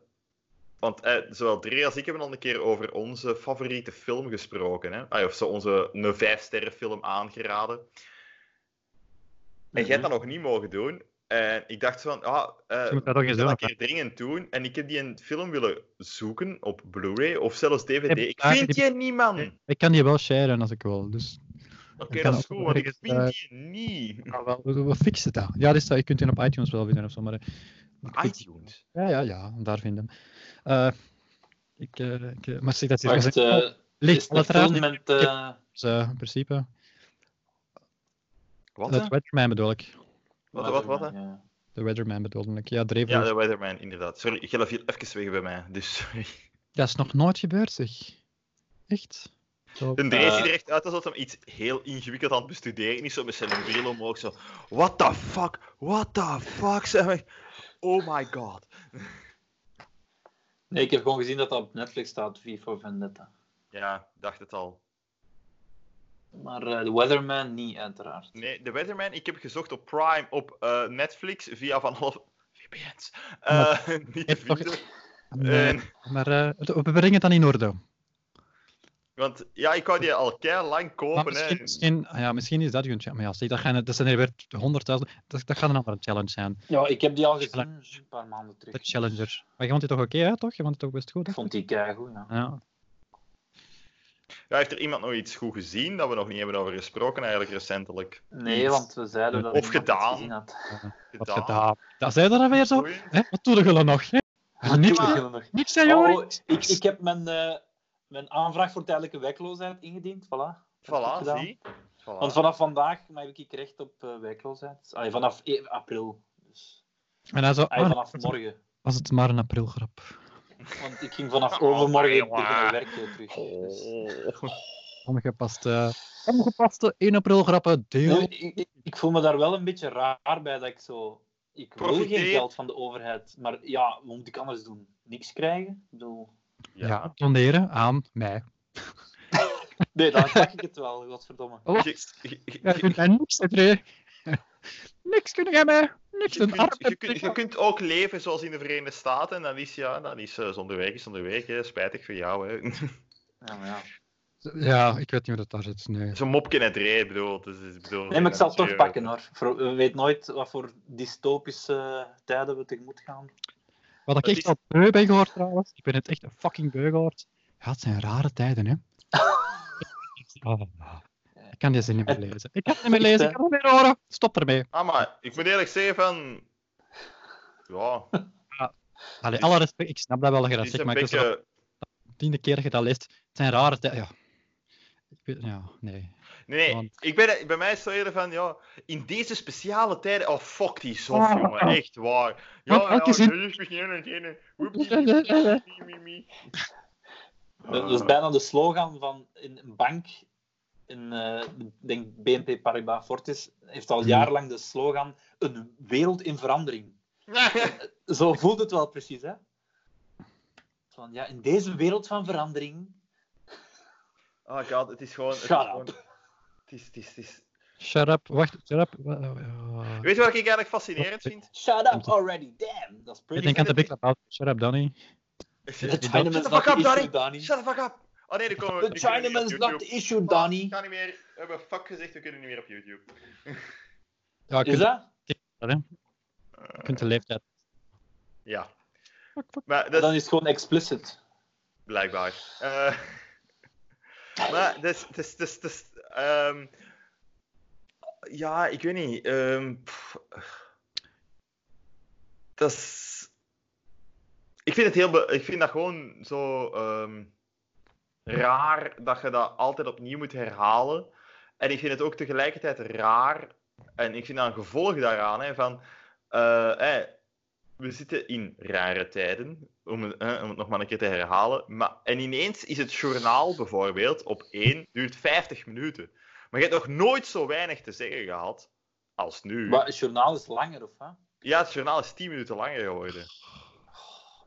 Speaker 2: Want eh, zowel Dre als ik hebben al een keer over onze favoriete film gesproken. Hè? Ah, of zo onze een vijfsterren film aangeraden. En jij hebt
Speaker 1: Mhm.
Speaker 2: dat nog niet mogen doen. En ik dacht van, ah, eh,
Speaker 1: Je moet dat toch eens
Speaker 2: dat
Speaker 1: doen.
Speaker 2: een keer dringend doen. En ik heb die een film willen zoeken op Blu-ray of zelfs DVD.
Speaker 1: Heb-
Speaker 2: Ik
Speaker 1: ah,
Speaker 2: vind
Speaker 1: die-
Speaker 2: die niet, man.
Speaker 1: hè.
Speaker 2: Oké,
Speaker 1: Ik kan die wel sharen als ik wil. Dus Ik kan
Speaker 2: dat is
Speaker 1: ook
Speaker 2: goed, want ik
Speaker 1: ergens, eh,
Speaker 2: vind die niet.
Speaker 1: ja, Ah, wel, we, we fixen dat. Ja, dus, je kunt die op iTunes wel vinden of zo. Maar, eh, ik-
Speaker 2: iTunes.
Speaker 1: Ja, ja, ja, daar vinden. Eh ik, eh, ik, eh, maar zeg dat is
Speaker 3: Wacht, eh,
Speaker 1: ligt
Speaker 3: is de
Speaker 1: uiteraard
Speaker 3: film met... eh,
Speaker 1: dus, eh, in principe.
Speaker 2: Wat?
Speaker 1: Het
Speaker 2: hè?
Speaker 1: Weatherman bedoel ik.
Speaker 2: Wat, wat, wat? hè?
Speaker 3: Ja.
Speaker 1: De Weatherman bedoelde ik. Ja, Dreven.
Speaker 2: Ja, de Weatherman, inderdaad. Sorry, Gella viel even weg bij mij. Dus sorry.
Speaker 1: Dat is nog nooit gebeurd, zeg. Echt? Zo.
Speaker 2: De Dre
Speaker 3: Eh.
Speaker 2: ziet er echt uit alsof hij iets heel ingewikkeld aan het bestuderen is. Zo met zijn bril omhoog. Zo, what the fuck? What the fuck? Zeg maar. Oh my god.
Speaker 3: Nee, ik heb gewoon gezien dat dat op Netflix staat, V for Vendetta.
Speaker 2: Ja, dacht het al.
Speaker 3: Maar eh The Weatherman niet, uiteraard.
Speaker 2: Nee, The Weatherman, ik heb gezocht op Prime, op eh, Netflix, via van half VPN's. Eh, niet te
Speaker 1: heeft toch-
Speaker 2: vinden.
Speaker 1: Nee,
Speaker 2: En-
Speaker 1: maar eh, het- we brengen het dan in orde.
Speaker 2: want ja, ik wou die al keihard lang
Speaker 1: Maar
Speaker 2: kopen. Hè.
Speaker 1: misschien, misschien, ah ja, misschien is dat je challenge. Maar ja, zeg, dat, gaan, dat zijn er weer 100.000. Dat, dat gaat een andere challenge zijn.
Speaker 3: Ja, ik heb die al gezien dus een paar maanden terug.
Speaker 1: De Challenger. Maar je vond het toch oké, hè, toch? Je vond het toch best goed?
Speaker 3: Ik
Speaker 1: hè?
Speaker 3: vond die keigoed, ja.
Speaker 1: Ja.
Speaker 2: Ja, heeft er iemand nog iets goed gezien dat we nog niet hebben over gesproken eigenlijk recentelijk?
Speaker 3: Nee, want we zeiden dat
Speaker 2: Of
Speaker 3: ik nog
Speaker 2: gedaan.
Speaker 3: niets gezien had.
Speaker 1: Wat gedaan. Dat zei dat weer zo.
Speaker 2: Sorry.
Speaker 1: Hè? Wat doe je dan nog? Hè? Niks,
Speaker 3: Doe maar.
Speaker 1: niks, hè,
Speaker 3: Oh,
Speaker 1: jongen?
Speaker 3: ik, ik heb mijn, eh, mijn aanvraag voor tijdelijke werkloosheid ingediend, voilà. Dat heb ik
Speaker 2: Voilà,
Speaker 3: gedaan.
Speaker 2: zie. Voilà.
Speaker 3: Want vanaf vandaag heb ik recht op eh, werkloosheid. Allee, vanaf e- april. Dus,
Speaker 1: En hij zo,
Speaker 3: allee,
Speaker 1: ah,
Speaker 3: vanaf morgen.
Speaker 1: was het maar een aprilgrap.
Speaker 3: Want ik ging vanaf
Speaker 2: Oh,
Speaker 3: overmorgen
Speaker 2: jongen.
Speaker 3: beginnen werken terug. Dus,
Speaker 2: Oh.
Speaker 1: Ongepaste, ongepaste 1 aprilgrappen, deel
Speaker 3: ik, ik- ik voel me daar wel een beetje raar bij dat ik zo Ik wil
Speaker 2: Profiteer.
Speaker 3: geen geld van de overheid, maar ja, wat moet ik anders doen? Niks krijgen? Ik bedoel...
Speaker 1: Ja. doneren aan mij.
Speaker 3: Nee, dan pak ik het wel, godverdomme.
Speaker 1: Oh,
Speaker 2: Je, je- je-
Speaker 1: jij kunt mij niks, hè, Dre. niks kunnen jij mij. Niks,
Speaker 2: je
Speaker 1: een
Speaker 2: kunt, je,
Speaker 1: arbeid.
Speaker 2: kunt, je kunt ook leven zoals in de Verenigde Staten. En dan is, ja, dan is eh, zonder werk is zonder werk. Hè. Spijtig voor jou. Hè.
Speaker 3: Ja, maar ja.
Speaker 1: Ja, ik weet niet hoe dat daar zit. Nee.
Speaker 2: Zo'n mopje net reden, bedoel. Dus, is- bedoel
Speaker 3: Nee, maar ik zal het toch
Speaker 2: eh,
Speaker 3: pakken hoor. Voor- We weten nooit wat voor dystopische tijden we tegemoet gaan.
Speaker 1: Wat ik
Speaker 2: Het
Speaker 1: echt
Speaker 2: is-
Speaker 1: al beu ben gehoord trouwens, ik ben het echt een fucking beu gehoord. Ja, het zijn rare tijden, hè. Oh, ik kan deze niet meer lezen. Ik kan het niet meer lezen, ik kan het niet meer horen. Stop ermee.
Speaker 2: Ah, maar ik moet eerlijk zeggen van... Ja,
Speaker 1: Allee, alle respect, ik snap dat wel dat je
Speaker 2: het
Speaker 1: dat
Speaker 2: is
Speaker 1: zegt,
Speaker 2: een
Speaker 1: maar ik was al
Speaker 2: beetje...
Speaker 1: de tiende keer dat je dat leest. Het zijn rare tijden, ja. Ik weet, ja, nee.
Speaker 2: Nee, nee,
Speaker 1: Want-
Speaker 2: ik ben, bij mij is het zo eerder van, ja, in deze speciale tijden... Oh, fuck die sof,
Speaker 1: Ah.
Speaker 2: jongen. Echt waar. Ja,
Speaker 1: Want elke
Speaker 2: ja,
Speaker 1: zin-
Speaker 2: er is misschien een ene. Oepsie, mie, mie, mie.
Speaker 3: Dat is bijna de slogan van een een bank. In, eh, ik denk BNP Paribas Fortis heeft al
Speaker 1: Hmm.
Speaker 3: jarenlang de slogan een wereld in verandering. Zo voelt het wel precies, hè? Van, ja, in deze wereld van verandering.
Speaker 2: Oh god, het is gewoon... Het is
Speaker 3: Shut
Speaker 2: gewoon- Het is, het is, het is...
Speaker 1: Shut up, wacht, shut up. Eh, eh,
Speaker 2: Weet je wat ik eigenlijk fascinerend vind?
Speaker 3: Shut up already, damn. Dat is
Speaker 1: Ik
Speaker 3: pretty.
Speaker 1: denk aan de
Speaker 2: het-
Speaker 1: Big Lebowski. Shut up, Donnie.
Speaker 3: The
Speaker 1: dat-
Speaker 3: Chinaman's
Speaker 2: Shut the
Speaker 3: not
Speaker 2: fuck
Speaker 3: the
Speaker 2: up,
Speaker 3: issue,
Speaker 2: Donnie!
Speaker 3: Donnie.
Speaker 2: Shut the fuck up! Oh nee, die komen
Speaker 3: The
Speaker 2: die kunnen niet op
Speaker 3: Chinaman's not
Speaker 2: YouTube.
Speaker 3: the issue,
Speaker 2: Ik
Speaker 3: Donnie.
Speaker 2: ga niet meer... We hebben fuck gezegd, we kunnen niet meer op YouTube.
Speaker 1: Ja, je
Speaker 3: Is
Speaker 1: kunt,
Speaker 3: dat?
Speaker 1: je kunt de leeftijd.
Speaker 2: Ja,
Speaker 1: Fuck, fuck.
Speaker 2: maar dat
Speaker 3: Dan
Speaker 2: is
Speaker 3: is het gewoon explicit.
Speaker 2: blijkbaar. Eh, maar dat is... Dat is, dat is, dat is ehm, ja, ik weet niet. ehm, pff. dat is... Ik vind, het heel be- ik vind dat gewoon zo ehm, raar dat je dat altijd opnieuw moet herhalen. En ik vind het ook tegelijkertijd raar. En ik vind dat een gevolg daaraan. Hè, van, eh, hè, we zitten in rare tijden, om, het- hè, om het nog maar een keer te herhalen. Maar, en ineens is het journaal bijvoorbeeld op één, duurt 50 minuten. Maar je hebt nog nooit zo weinig te zeggen gehad als nu.
Speaker 3: Maar het journaal is langer, of wat?
Speaker 2: Ja, het journaal is 10 minuten langer geworden.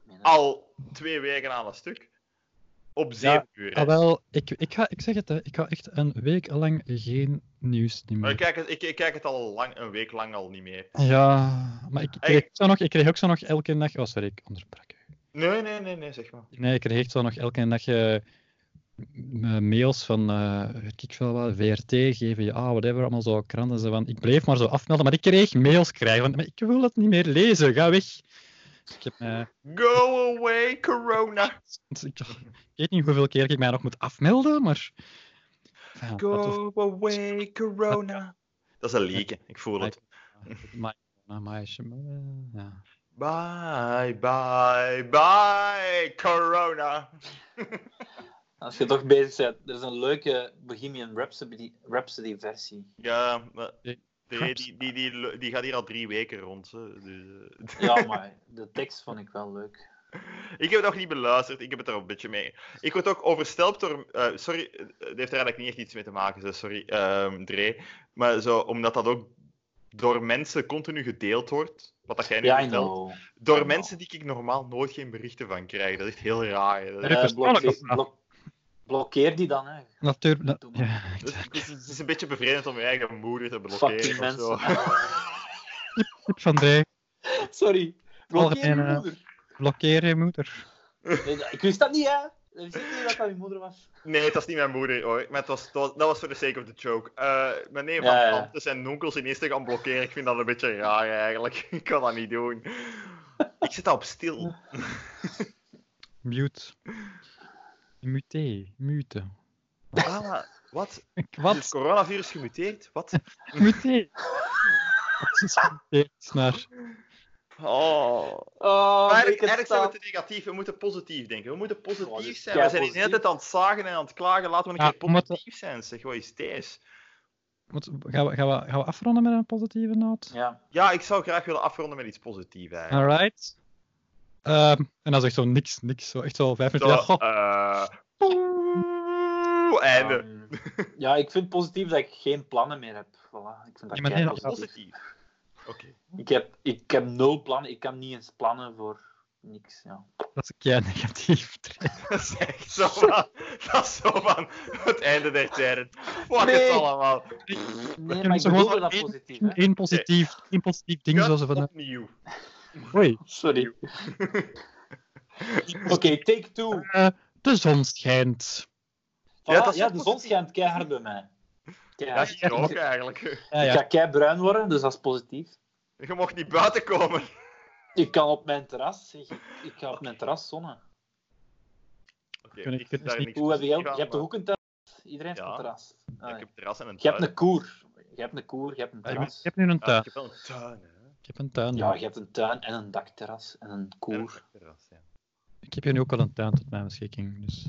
Speaker 3: Nee, nee.
Speaker 2: Al twee weken aan een stuk. Op 7 uur. hè.
Speaker 1: Ah, wel, ik, ik, ga, ik zeg het, hè, ik ga echt een week lang geen nieuws niet
Speaker 2: Maar
Speaker 1: meer.
Speaker 2: ik kijk het, ik, ik kijk het al lang, een week lang al niet meer.
Speaker 1: Ja, maar ik kreeg,
Speaker 2: Hey.
Speaker 1: zo nog, ik kreeg ook zo nog elke dag. Oh, sorry, ik onderbrak. u.
Speaker 2: Nee, nee, nee, nee, zeg maar.
Speaker 1: Nee, ik kreeg echt zo nog elke dag eh, m- mails van, eh weet ik veel wat, VRT, GVA, ah, whatever, allemaal zo kranten. Zo van, ik bleef maar zo afmelden, maar ik kreeg mails krijgen. Van, maar ik wil het niet meer lezen, ga weg. Ik heb eh, mij.
Speaker 2: Go away, corona.
Speaker 1: want Ik, ik weet niet hoeveel keer ik mij nog moet afmelden, maar. Ja, dat was-
Speaker 2: Go away, corona. Dat is een leak, hè. ik voel het.
Speaker 1: Maar, maar, maar, eh, ja.
Speaker 2: Bye, bye, bye, corona.
Speaker 3: Als je toch bezig bent, er is een leuke Bohemian Rhapsody, Rhapsody versie.
Speaker 2: Ja, maar
Speaker 1: Eh,
Speaker 2: die, die, die, die, die gaat hier al drie weken rond. Hè. Dus, eh.
Speaker 3: Ja, maar de tekst vond ik wel leuk.
Speaker 2: Ik heb het nog niet beluisterd, ik heb het er een beetje mee. Ik word ook overstelpt door. eh, sorry, eh, het heeft er eigenlijk niet echt iets mee te maken, zo, sorry, ehm Dre. Maar zo, omdat dat ook door mensen continu gedeeld wordt, wat dat jij nu
Speaker 3: Ja, I
Speaker 2: vertelt.
Speaker 3: know.
Speaker 2: Door
Speaker 3: I know.
Speaker 2: mensen die ik normaal nooit geen berichten van krijg. Dat is echt heel raar. hè. Dat,
Speaker 1: Ja,
Speaker 3: Eh,
Speaker 1: persoonlijk
Speaker 3: blokke-
Speaker 1: of nou?
Speaker 3: blok- blokkeer die dan, hè.
Speaker 1: Natuurlijk. na-
Speaker 3: Doe maar.
Speaker 1: ja,
Speaker 2: dat- het is- het is een beetje bevreemd om je eigen moeder te
Speaker 3: Fucking
Speaker 2: blokkeren of zo.
Speaker 3: mensen.
Speaker 1: tip van Dre,
Speaker 3: Sorry. Blokkeer je
Speaker 1: Algemene-
Speaker 3: moeder.
Speaker 1: blokkeer je moeder.
Speaker 3: Nee, dat- Ik wist dat niet, hè. Ik wist niet dat dat je moeder was.
Speaker 2: Nee, het was niet mijn moeder hoor. Maar het was, het was- dat was voor de sake of the joke. Eh maar nee, van
Speaker 3: Ja, ja.
Speaker 2: tantes en onkels in Instagram blokkeren, ik vind dat een beetje raar eigenlijk. Ik kan dat niet doen. Ik zit al op stil.
Speaker 1: Mute. Mute. Mute.
Speaker 2: Ah, wat? Is het
Speaker 1: Wat?
Speaker 2: coronavirus gemuteerd? Wat?
Speaker 1: Mute. Het is gemuteerd naar...
Speaker 2: Oh.
Speaker 3: Oh,
Speaker 2: Maar
Speaker 3: ik
Speaker 2: eigenlijk,
Speaker 3: het
Speaker 2: eigenlijk zijn we
Speaker 3: staat.
Speaker 2: te negatief. We moeten positief denken. We moeten
Speaker 3: Oh, dit
Speaker 2: positief
Speaker 3: is
Speaker 2: zijn. We zijn de
Speaker 3: keipositief.
Speaker 2: hele tijd aan het zagen en aan het klagen. Laten we een
Speaker 1: Ja,
Speaker 2: keer
Speaker 1: we moeten-
Speaker 2: positief zijn. Zeg, wat is deze?
Speaker 1: Moet- Gaan we, gaan, we, gaan we afronden met een positieve noot?
Speaker 3: Ja.
Speaker 2: Ja, ik zou graag willen afronden met iets positiefs eigenlijk.
Speaker 1: Alright. Ehm, en dat is echt zo niks, niks. Zo, echt zo vijf
Speaker 2: Zo,
Speaker 1: minuten. Oh, Ja, goh,
Speaker 2: eh, poeh, einde.
Speaker 3: Ehm, ja, ik vind het positief dat ik geen plannen meer heb. Voilà. Ik vind dat
Speaker 1: Ja, maar nee,
Speaker 3: kei
Speaker 1: dat-
Speaker 2: Positief. Oké.
Speaker 3: Ik heb, ik heb nul plannen. Ik kan niet eens plannen voor niks. Ja.
Speaker 1: Dat is kei negatief.
Speaker 2: Dat is echt zo van, dat is zo van het einde der tijden. Wat is
Speaker 3: Nee.
Speaker 2: allemaal?
Speaker 3: Nee,
Speaker 1: maar
Speaker 3: maar
Speaker 1: ik Gewoon
Speaker 3: ik bedoel
Speaker 1: bedoel
Speaker 3: dat
Speaker 1: één-
Speaker 3: positief.
Speaker 1: Eén positief, één positief ding
Speaker 2: Ja,
Speaker 1: zoals ze van...
Speaker 2: Opnieuw.
Speaker 1: Oei,
Speaker 3: Sorry. Oké, take two.
Speaker 1: eh, de zon schijnt.
Speaker 3: Voilà,
Speaker 2: Ja,
Speaker 3: Ja,
Speaker 2: dat is ook
Speaker 3: de zon
Speaker 2: positief.
Speaker 3: schijnt keihard bij mij.
Speaker 2: Dat
Speaker 3: Keihard.
Speaker 2: is hier ook eigenlijk.
Speaker 1: Ja,
Speaker 3: Ik
Speaker 1: ja.
Speaker 3: ga keihard bruin worden, dus dat is positief.
Speaker 2: Je mocht niet buiten komen.
Speaker 3: Ik kan op mijn terras, zeg, ik, ik ga op mijn terras zonnen.
Speaker 2: Oké,
Speaker 1: Kun ik-
Speaker 2: zie
Speaker 1: het is
Speaker 2: daar
Speaker 1: niet-
Speaker 2: niks
Speaker 3: Hoe heb jij,
Speaker 2: positiefs
Speaker 3: je
Speaker 2: aan,
Speaker 3: hebt toch
Speaker 2: maar-
Speaker 3: ook een terras? Iedereen heeft
Speaker 2: Ja.
Speaker 3: een terras. Ah,
Speaker 2: Ja, Ik heb terras en een
Speaker 3: Je hebt een
Speaker 2: tuin.
Speaker 3: koer. Je hebt een koer, je hebt een
Speaker 1: Ik heb-
Speaker 3: terras.
Speaker 1: ik heb nu een
Speaker 2: Ja,
Speaker 1: tuin.
Speaker 2: ik heb wel een tuin, hè.
Speaker 1: Ik heb een tuin.
Speaker 3: Ja, je hebt een tuin en een dakterras en een
Speaker 2: En
Speaker 3: koer.
Speaker 2: een terras, ja.
Speaker 1: Ik heb hier nu ook al een tuin tot mijn beschikking. Dus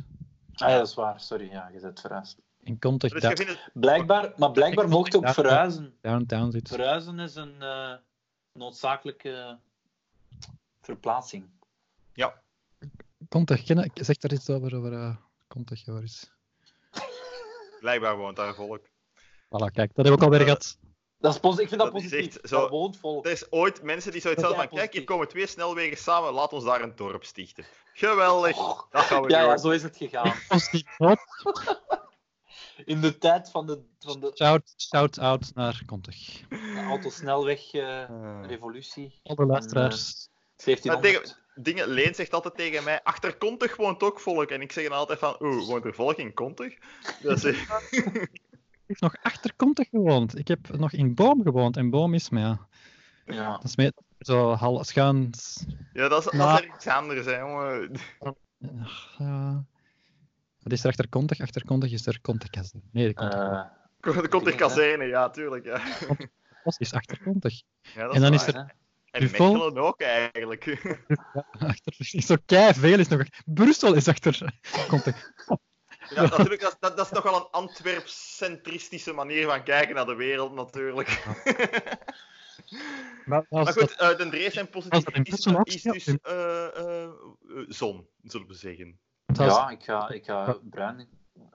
Speaker 3: Ah ja, dat is waar. Sorry, ja, je bent verhuisd.
Speaker 1: in contact
Speaker 2: Dus
Speaker 1: dat
Speaker 2: je
Speaker 1: ik
Speaker 2: vindt het...
Speaker 3: Blijkbaar, maar blijkbaar
Speaker 1: Ik-
Speaker 3: mocht je ook
Speaker 1: Ja.
Speaker 3: verhuizen.
Speaker 1: downtown zit.
Speaker 3: Verhuizen is een eh, noodzakelijke verplaatsing.
Speaker 2: Ja.
Speaker 1: Contact, ken- zeg daar iets over. over eh, contact, Joris.
Speaker 2: Blijkbaar woont daar volk.
Speaker 1: Voilà, kijk, dat heb ik alweer
Speaker 2: Eh,
Speaker 1: gehad.
Speaker 3: Dat is posi- ik vind dat,
Speaker 2: Dat is
Speaker 3: positief.
Speaker 2: echt zo-
Speaker 3: Dat woont volk.
Speaker 2: Er is ooit mensen die zoiets
Speaker 3: Dat
Speaker 2: hadden
Speaker 3: is
Speaker 2: van, kijk, hier
Speaker 3: positief.
Speaker 2: komen twee snelwegen samen, laat ons daar een dorp stichten. Geweldig,
Speaker 3: Och.
Speaker 2: dat gaan we
Speaker 3: Oh. Ja,
Speaker 2: doen.
Speaker 3: ja, zo is het gegaan.
Speaker 1: Positief hoor.
Speaker 3: In de tijd van de, van de
Speaker 1: Shout, shout out naar Contig.
Speaker 3: autosnelweg-revolutie.
Speaker 2: Eh.
Speaker 1: Alle luisteraars.
Speaker 3: 1700.
Speaker 2: Dingen, Leen zegt altijd tegen mij, achter Kontig woont ook volk. En ik zeg dan altijd van, oeh, woont er volk in Kontig? Dat is,
Speaker 1: Ik heb nog achter Contig gewoond. Ik heb nog in Boom gewoond. En Boom is mij.
Speaker 3: Ja.
Speaker 1: Dat is meer zo hal, schuin.
Speaker 2: ja, dat is, dat
Speaker 1: Maar-
Speaker 2: is iets anders, hè, jongen.
Speaker 1: Ach, eh, ja. Wat is er achter Contig? Achter Contig is er Contig. Nee, de Contig.
Speaker 3: Eh,
Speaker 2: Er komt een kazerne, ja, tuurlijk. Ja.
Speaker 1: is achter Contig.
Speaker 2: Ja, dat
Speaker 1: En dan
Speaker 2: waar.
Speaker 1: is er-
Speaker 3: hè.
Speaker 2: En
Speaker 1: Duvel.
Speaker 2: Mechelen ook eigenlijk.
Speaker 1: Achter, zo kei veel is nog. Brussel is achter Contig.
Speaker 2: Ja, natuurlijk, dat, dat, dat is toch wel een Antwerp-centristische manier van kijken naar de wereld, natuurlijk.
Speaker 1: Maar, als
Speaker 2: Maar
Speaker 1: dat-
Speaker 2: goed, eh de Drees en
Speaker 1: als dat in Brussel
Speaker 2: positief is
Speaker 1: afspeelt,
Speaker 2: dus
Speaker 1: in-
Speaker 2: eh, eh, eh, zon, zullen we zeggen.
Speaker 1: dat is-
Speaker 3: ja, ik ga, ik ga bruin,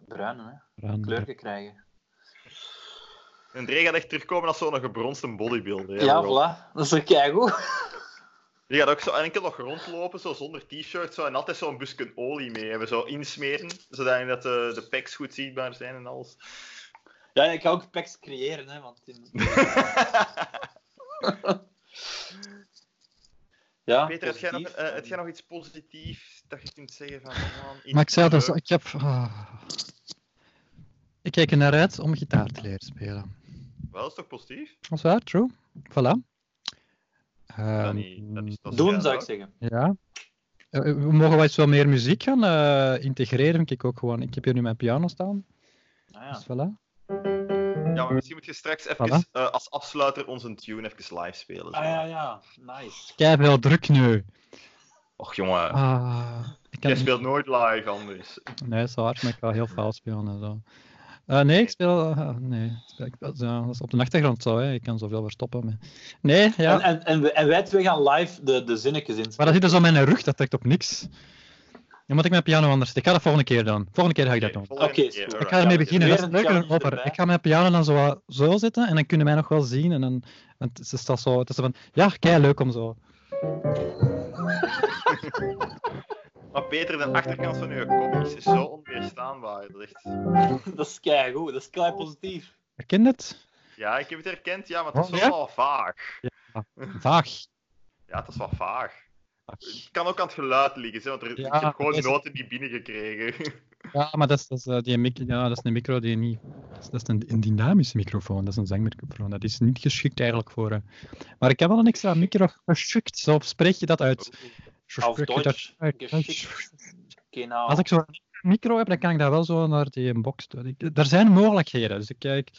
Speaker 3: bruin hè. kleuren krijgen.
Speaker 2: Een Dree gaat echt terugkomen als zo'n gebronste bodybuilder. hè,
Speaker 3: Ja,
Speaker 2: wel.
Speaker 3: voilà. Dat is ook keigoed.
Speaker 2: Die gaat ook zo enkel nog rondlopen, zo zonder t-shirt, zo, en altijd zo'n busken olie mee hebben, zo insmeren, zodat je dat eh, de, de pecs goed zichtbaar zijn en alles.
Speaker 3: Ja, ik ga ook packs creëren, hè. Want in- ja,
Speaker 2: Peter, heb jij, nog,
Speaker 3: positief.
Speaker 2: eh, heb jij nog iets positiefs dat je kunt zeggen van... oh man, iets
Speaker 1: Maar ik zei dat
Speaker 2: leuk?
Speaker 1: ik heb. ah. Ik kijk er naar uit om gitaar te leren spelen.
Speaker 2: Wel, dat is toch positief?
Speaker 1: Dat is waar, true. Voilà.
Speaker 2: Ja,
Speaker 1: Ehm,
Speaker 2: nee, dat is, dat is
Speaker 3: Doen,
Speaker 2: ja,
Speaker 3: zou ik
Speaker 2: leuk.
Speaker 3: zeggen.
Speaker 1: ja. Eh, We mogen wel eens wel meer muziek gaan eh, integreren. Kijk ook gewoon. Ik heb hier nu mijn piano staan.
Speaker 3: Ah, ja.
Speaker 1: Dus voilà.
Speaker 2: Ja, maar misschien moet je straks even
Speaker 1: Voilà.
Speaker 2: eh, als afsluiter onze tune even live spelen. zo.
Speaker 3: Ah, ja, ja. Nice.
Speaker 1: Kijk wel druk nu.
Speaker 2: Och jongen,
Speaker 1: Ah, ik kan
Speaker 2: jij
Speaker 1: niet-
Speaker 2: speelt nooit live anders.
Speaker 1: Nee, dat is waar, maar ik ga heel fout spelen en zo. Eh, nee, ik speel. eh, nee, ik speel- ik- dat is, ja, dat is op de achtergrond zo. Hè. Ik kan zoveel verstoppen. Maar... Nee, ja.
Speaker 3: En, en, en, we- en wij twee gaan live de, de zinnetjes in.
Speaker 1: Maar dat zit dus op mijn rug, dat trekt op niks. Dan moet ik mijn piano anders. Ik ga dat volgende keer doen. Volgende keer ga ik dat doen.
Speaker 2: volgende
Speaker 3: Oké,
Speaker 2: keer,
Speaker 3: is goed.
Speaker 2: alright.
Speaker 1: Ik ga ermee
Speaker 2: Ja,
Speaker 1: beginnen.
Speaker 3: weer
Speaker 1: Dat is
Speaker 3: een
Speaker 1: leuker dan
Speaker 3: piano
Speaker 1: opper.
Speaker 3: erbij.
Speaker 1: Ik ga mijn piano dan zo, wat zo zitten en dan kunnen wij nog wel zien. En dan, want ze staat zo. Het is zo van. Ja, kei leuk om zo.
Speaker 2: Maar Peter, de achterkant van je kop is zo onweerstaanbaar. Dat is echt-
Speaker 3: Dat is keigoed. Dat is kei positief.
Speaker 1: Herken je het?
Speaker 2: Ja, ik heb het herkend, ja, maar het is
Speaker 1: Oh,
Speaker 2: wel
Speaker 1: ja?
Speaker 2: wel vaag.
Speaker 1: Vaag.
Speaker 2: Ja, het is wel vaag.
Speaker 1: Vaag.
Speaker 2: Het kan ook aan het geluid liggen, hè, want er,
Speaker 1: Ja,
Speaker 2: ik heb gewoon
Speaker 1: is-
Speaker 2: noten niet binnengekregen.
Speaker 1: Ja, maar dat is, dat is, eh, die mic- ja, dat is een micro die niet. Dat is, dat is een, een dynamische microfoon, dat is een zangmicrofoon. Dat is niet geschikt eigenlijk voor. eh, maar ik heb wel een extra micro geschikt. Zo spreek je dat uit. Zo
Speaker 3: Auf
Speaker 1: spreek je dat
Speaker 3: Deutsch.
Speaker 1: uit.
Speaker 3: Geschikt. nou. Genau.
Speaker 1: Als ik zo'n micro heb, dan kan ik dat wel zo naar die box doen. Ik- Er zijn mogelijkheden, dus ik, ik,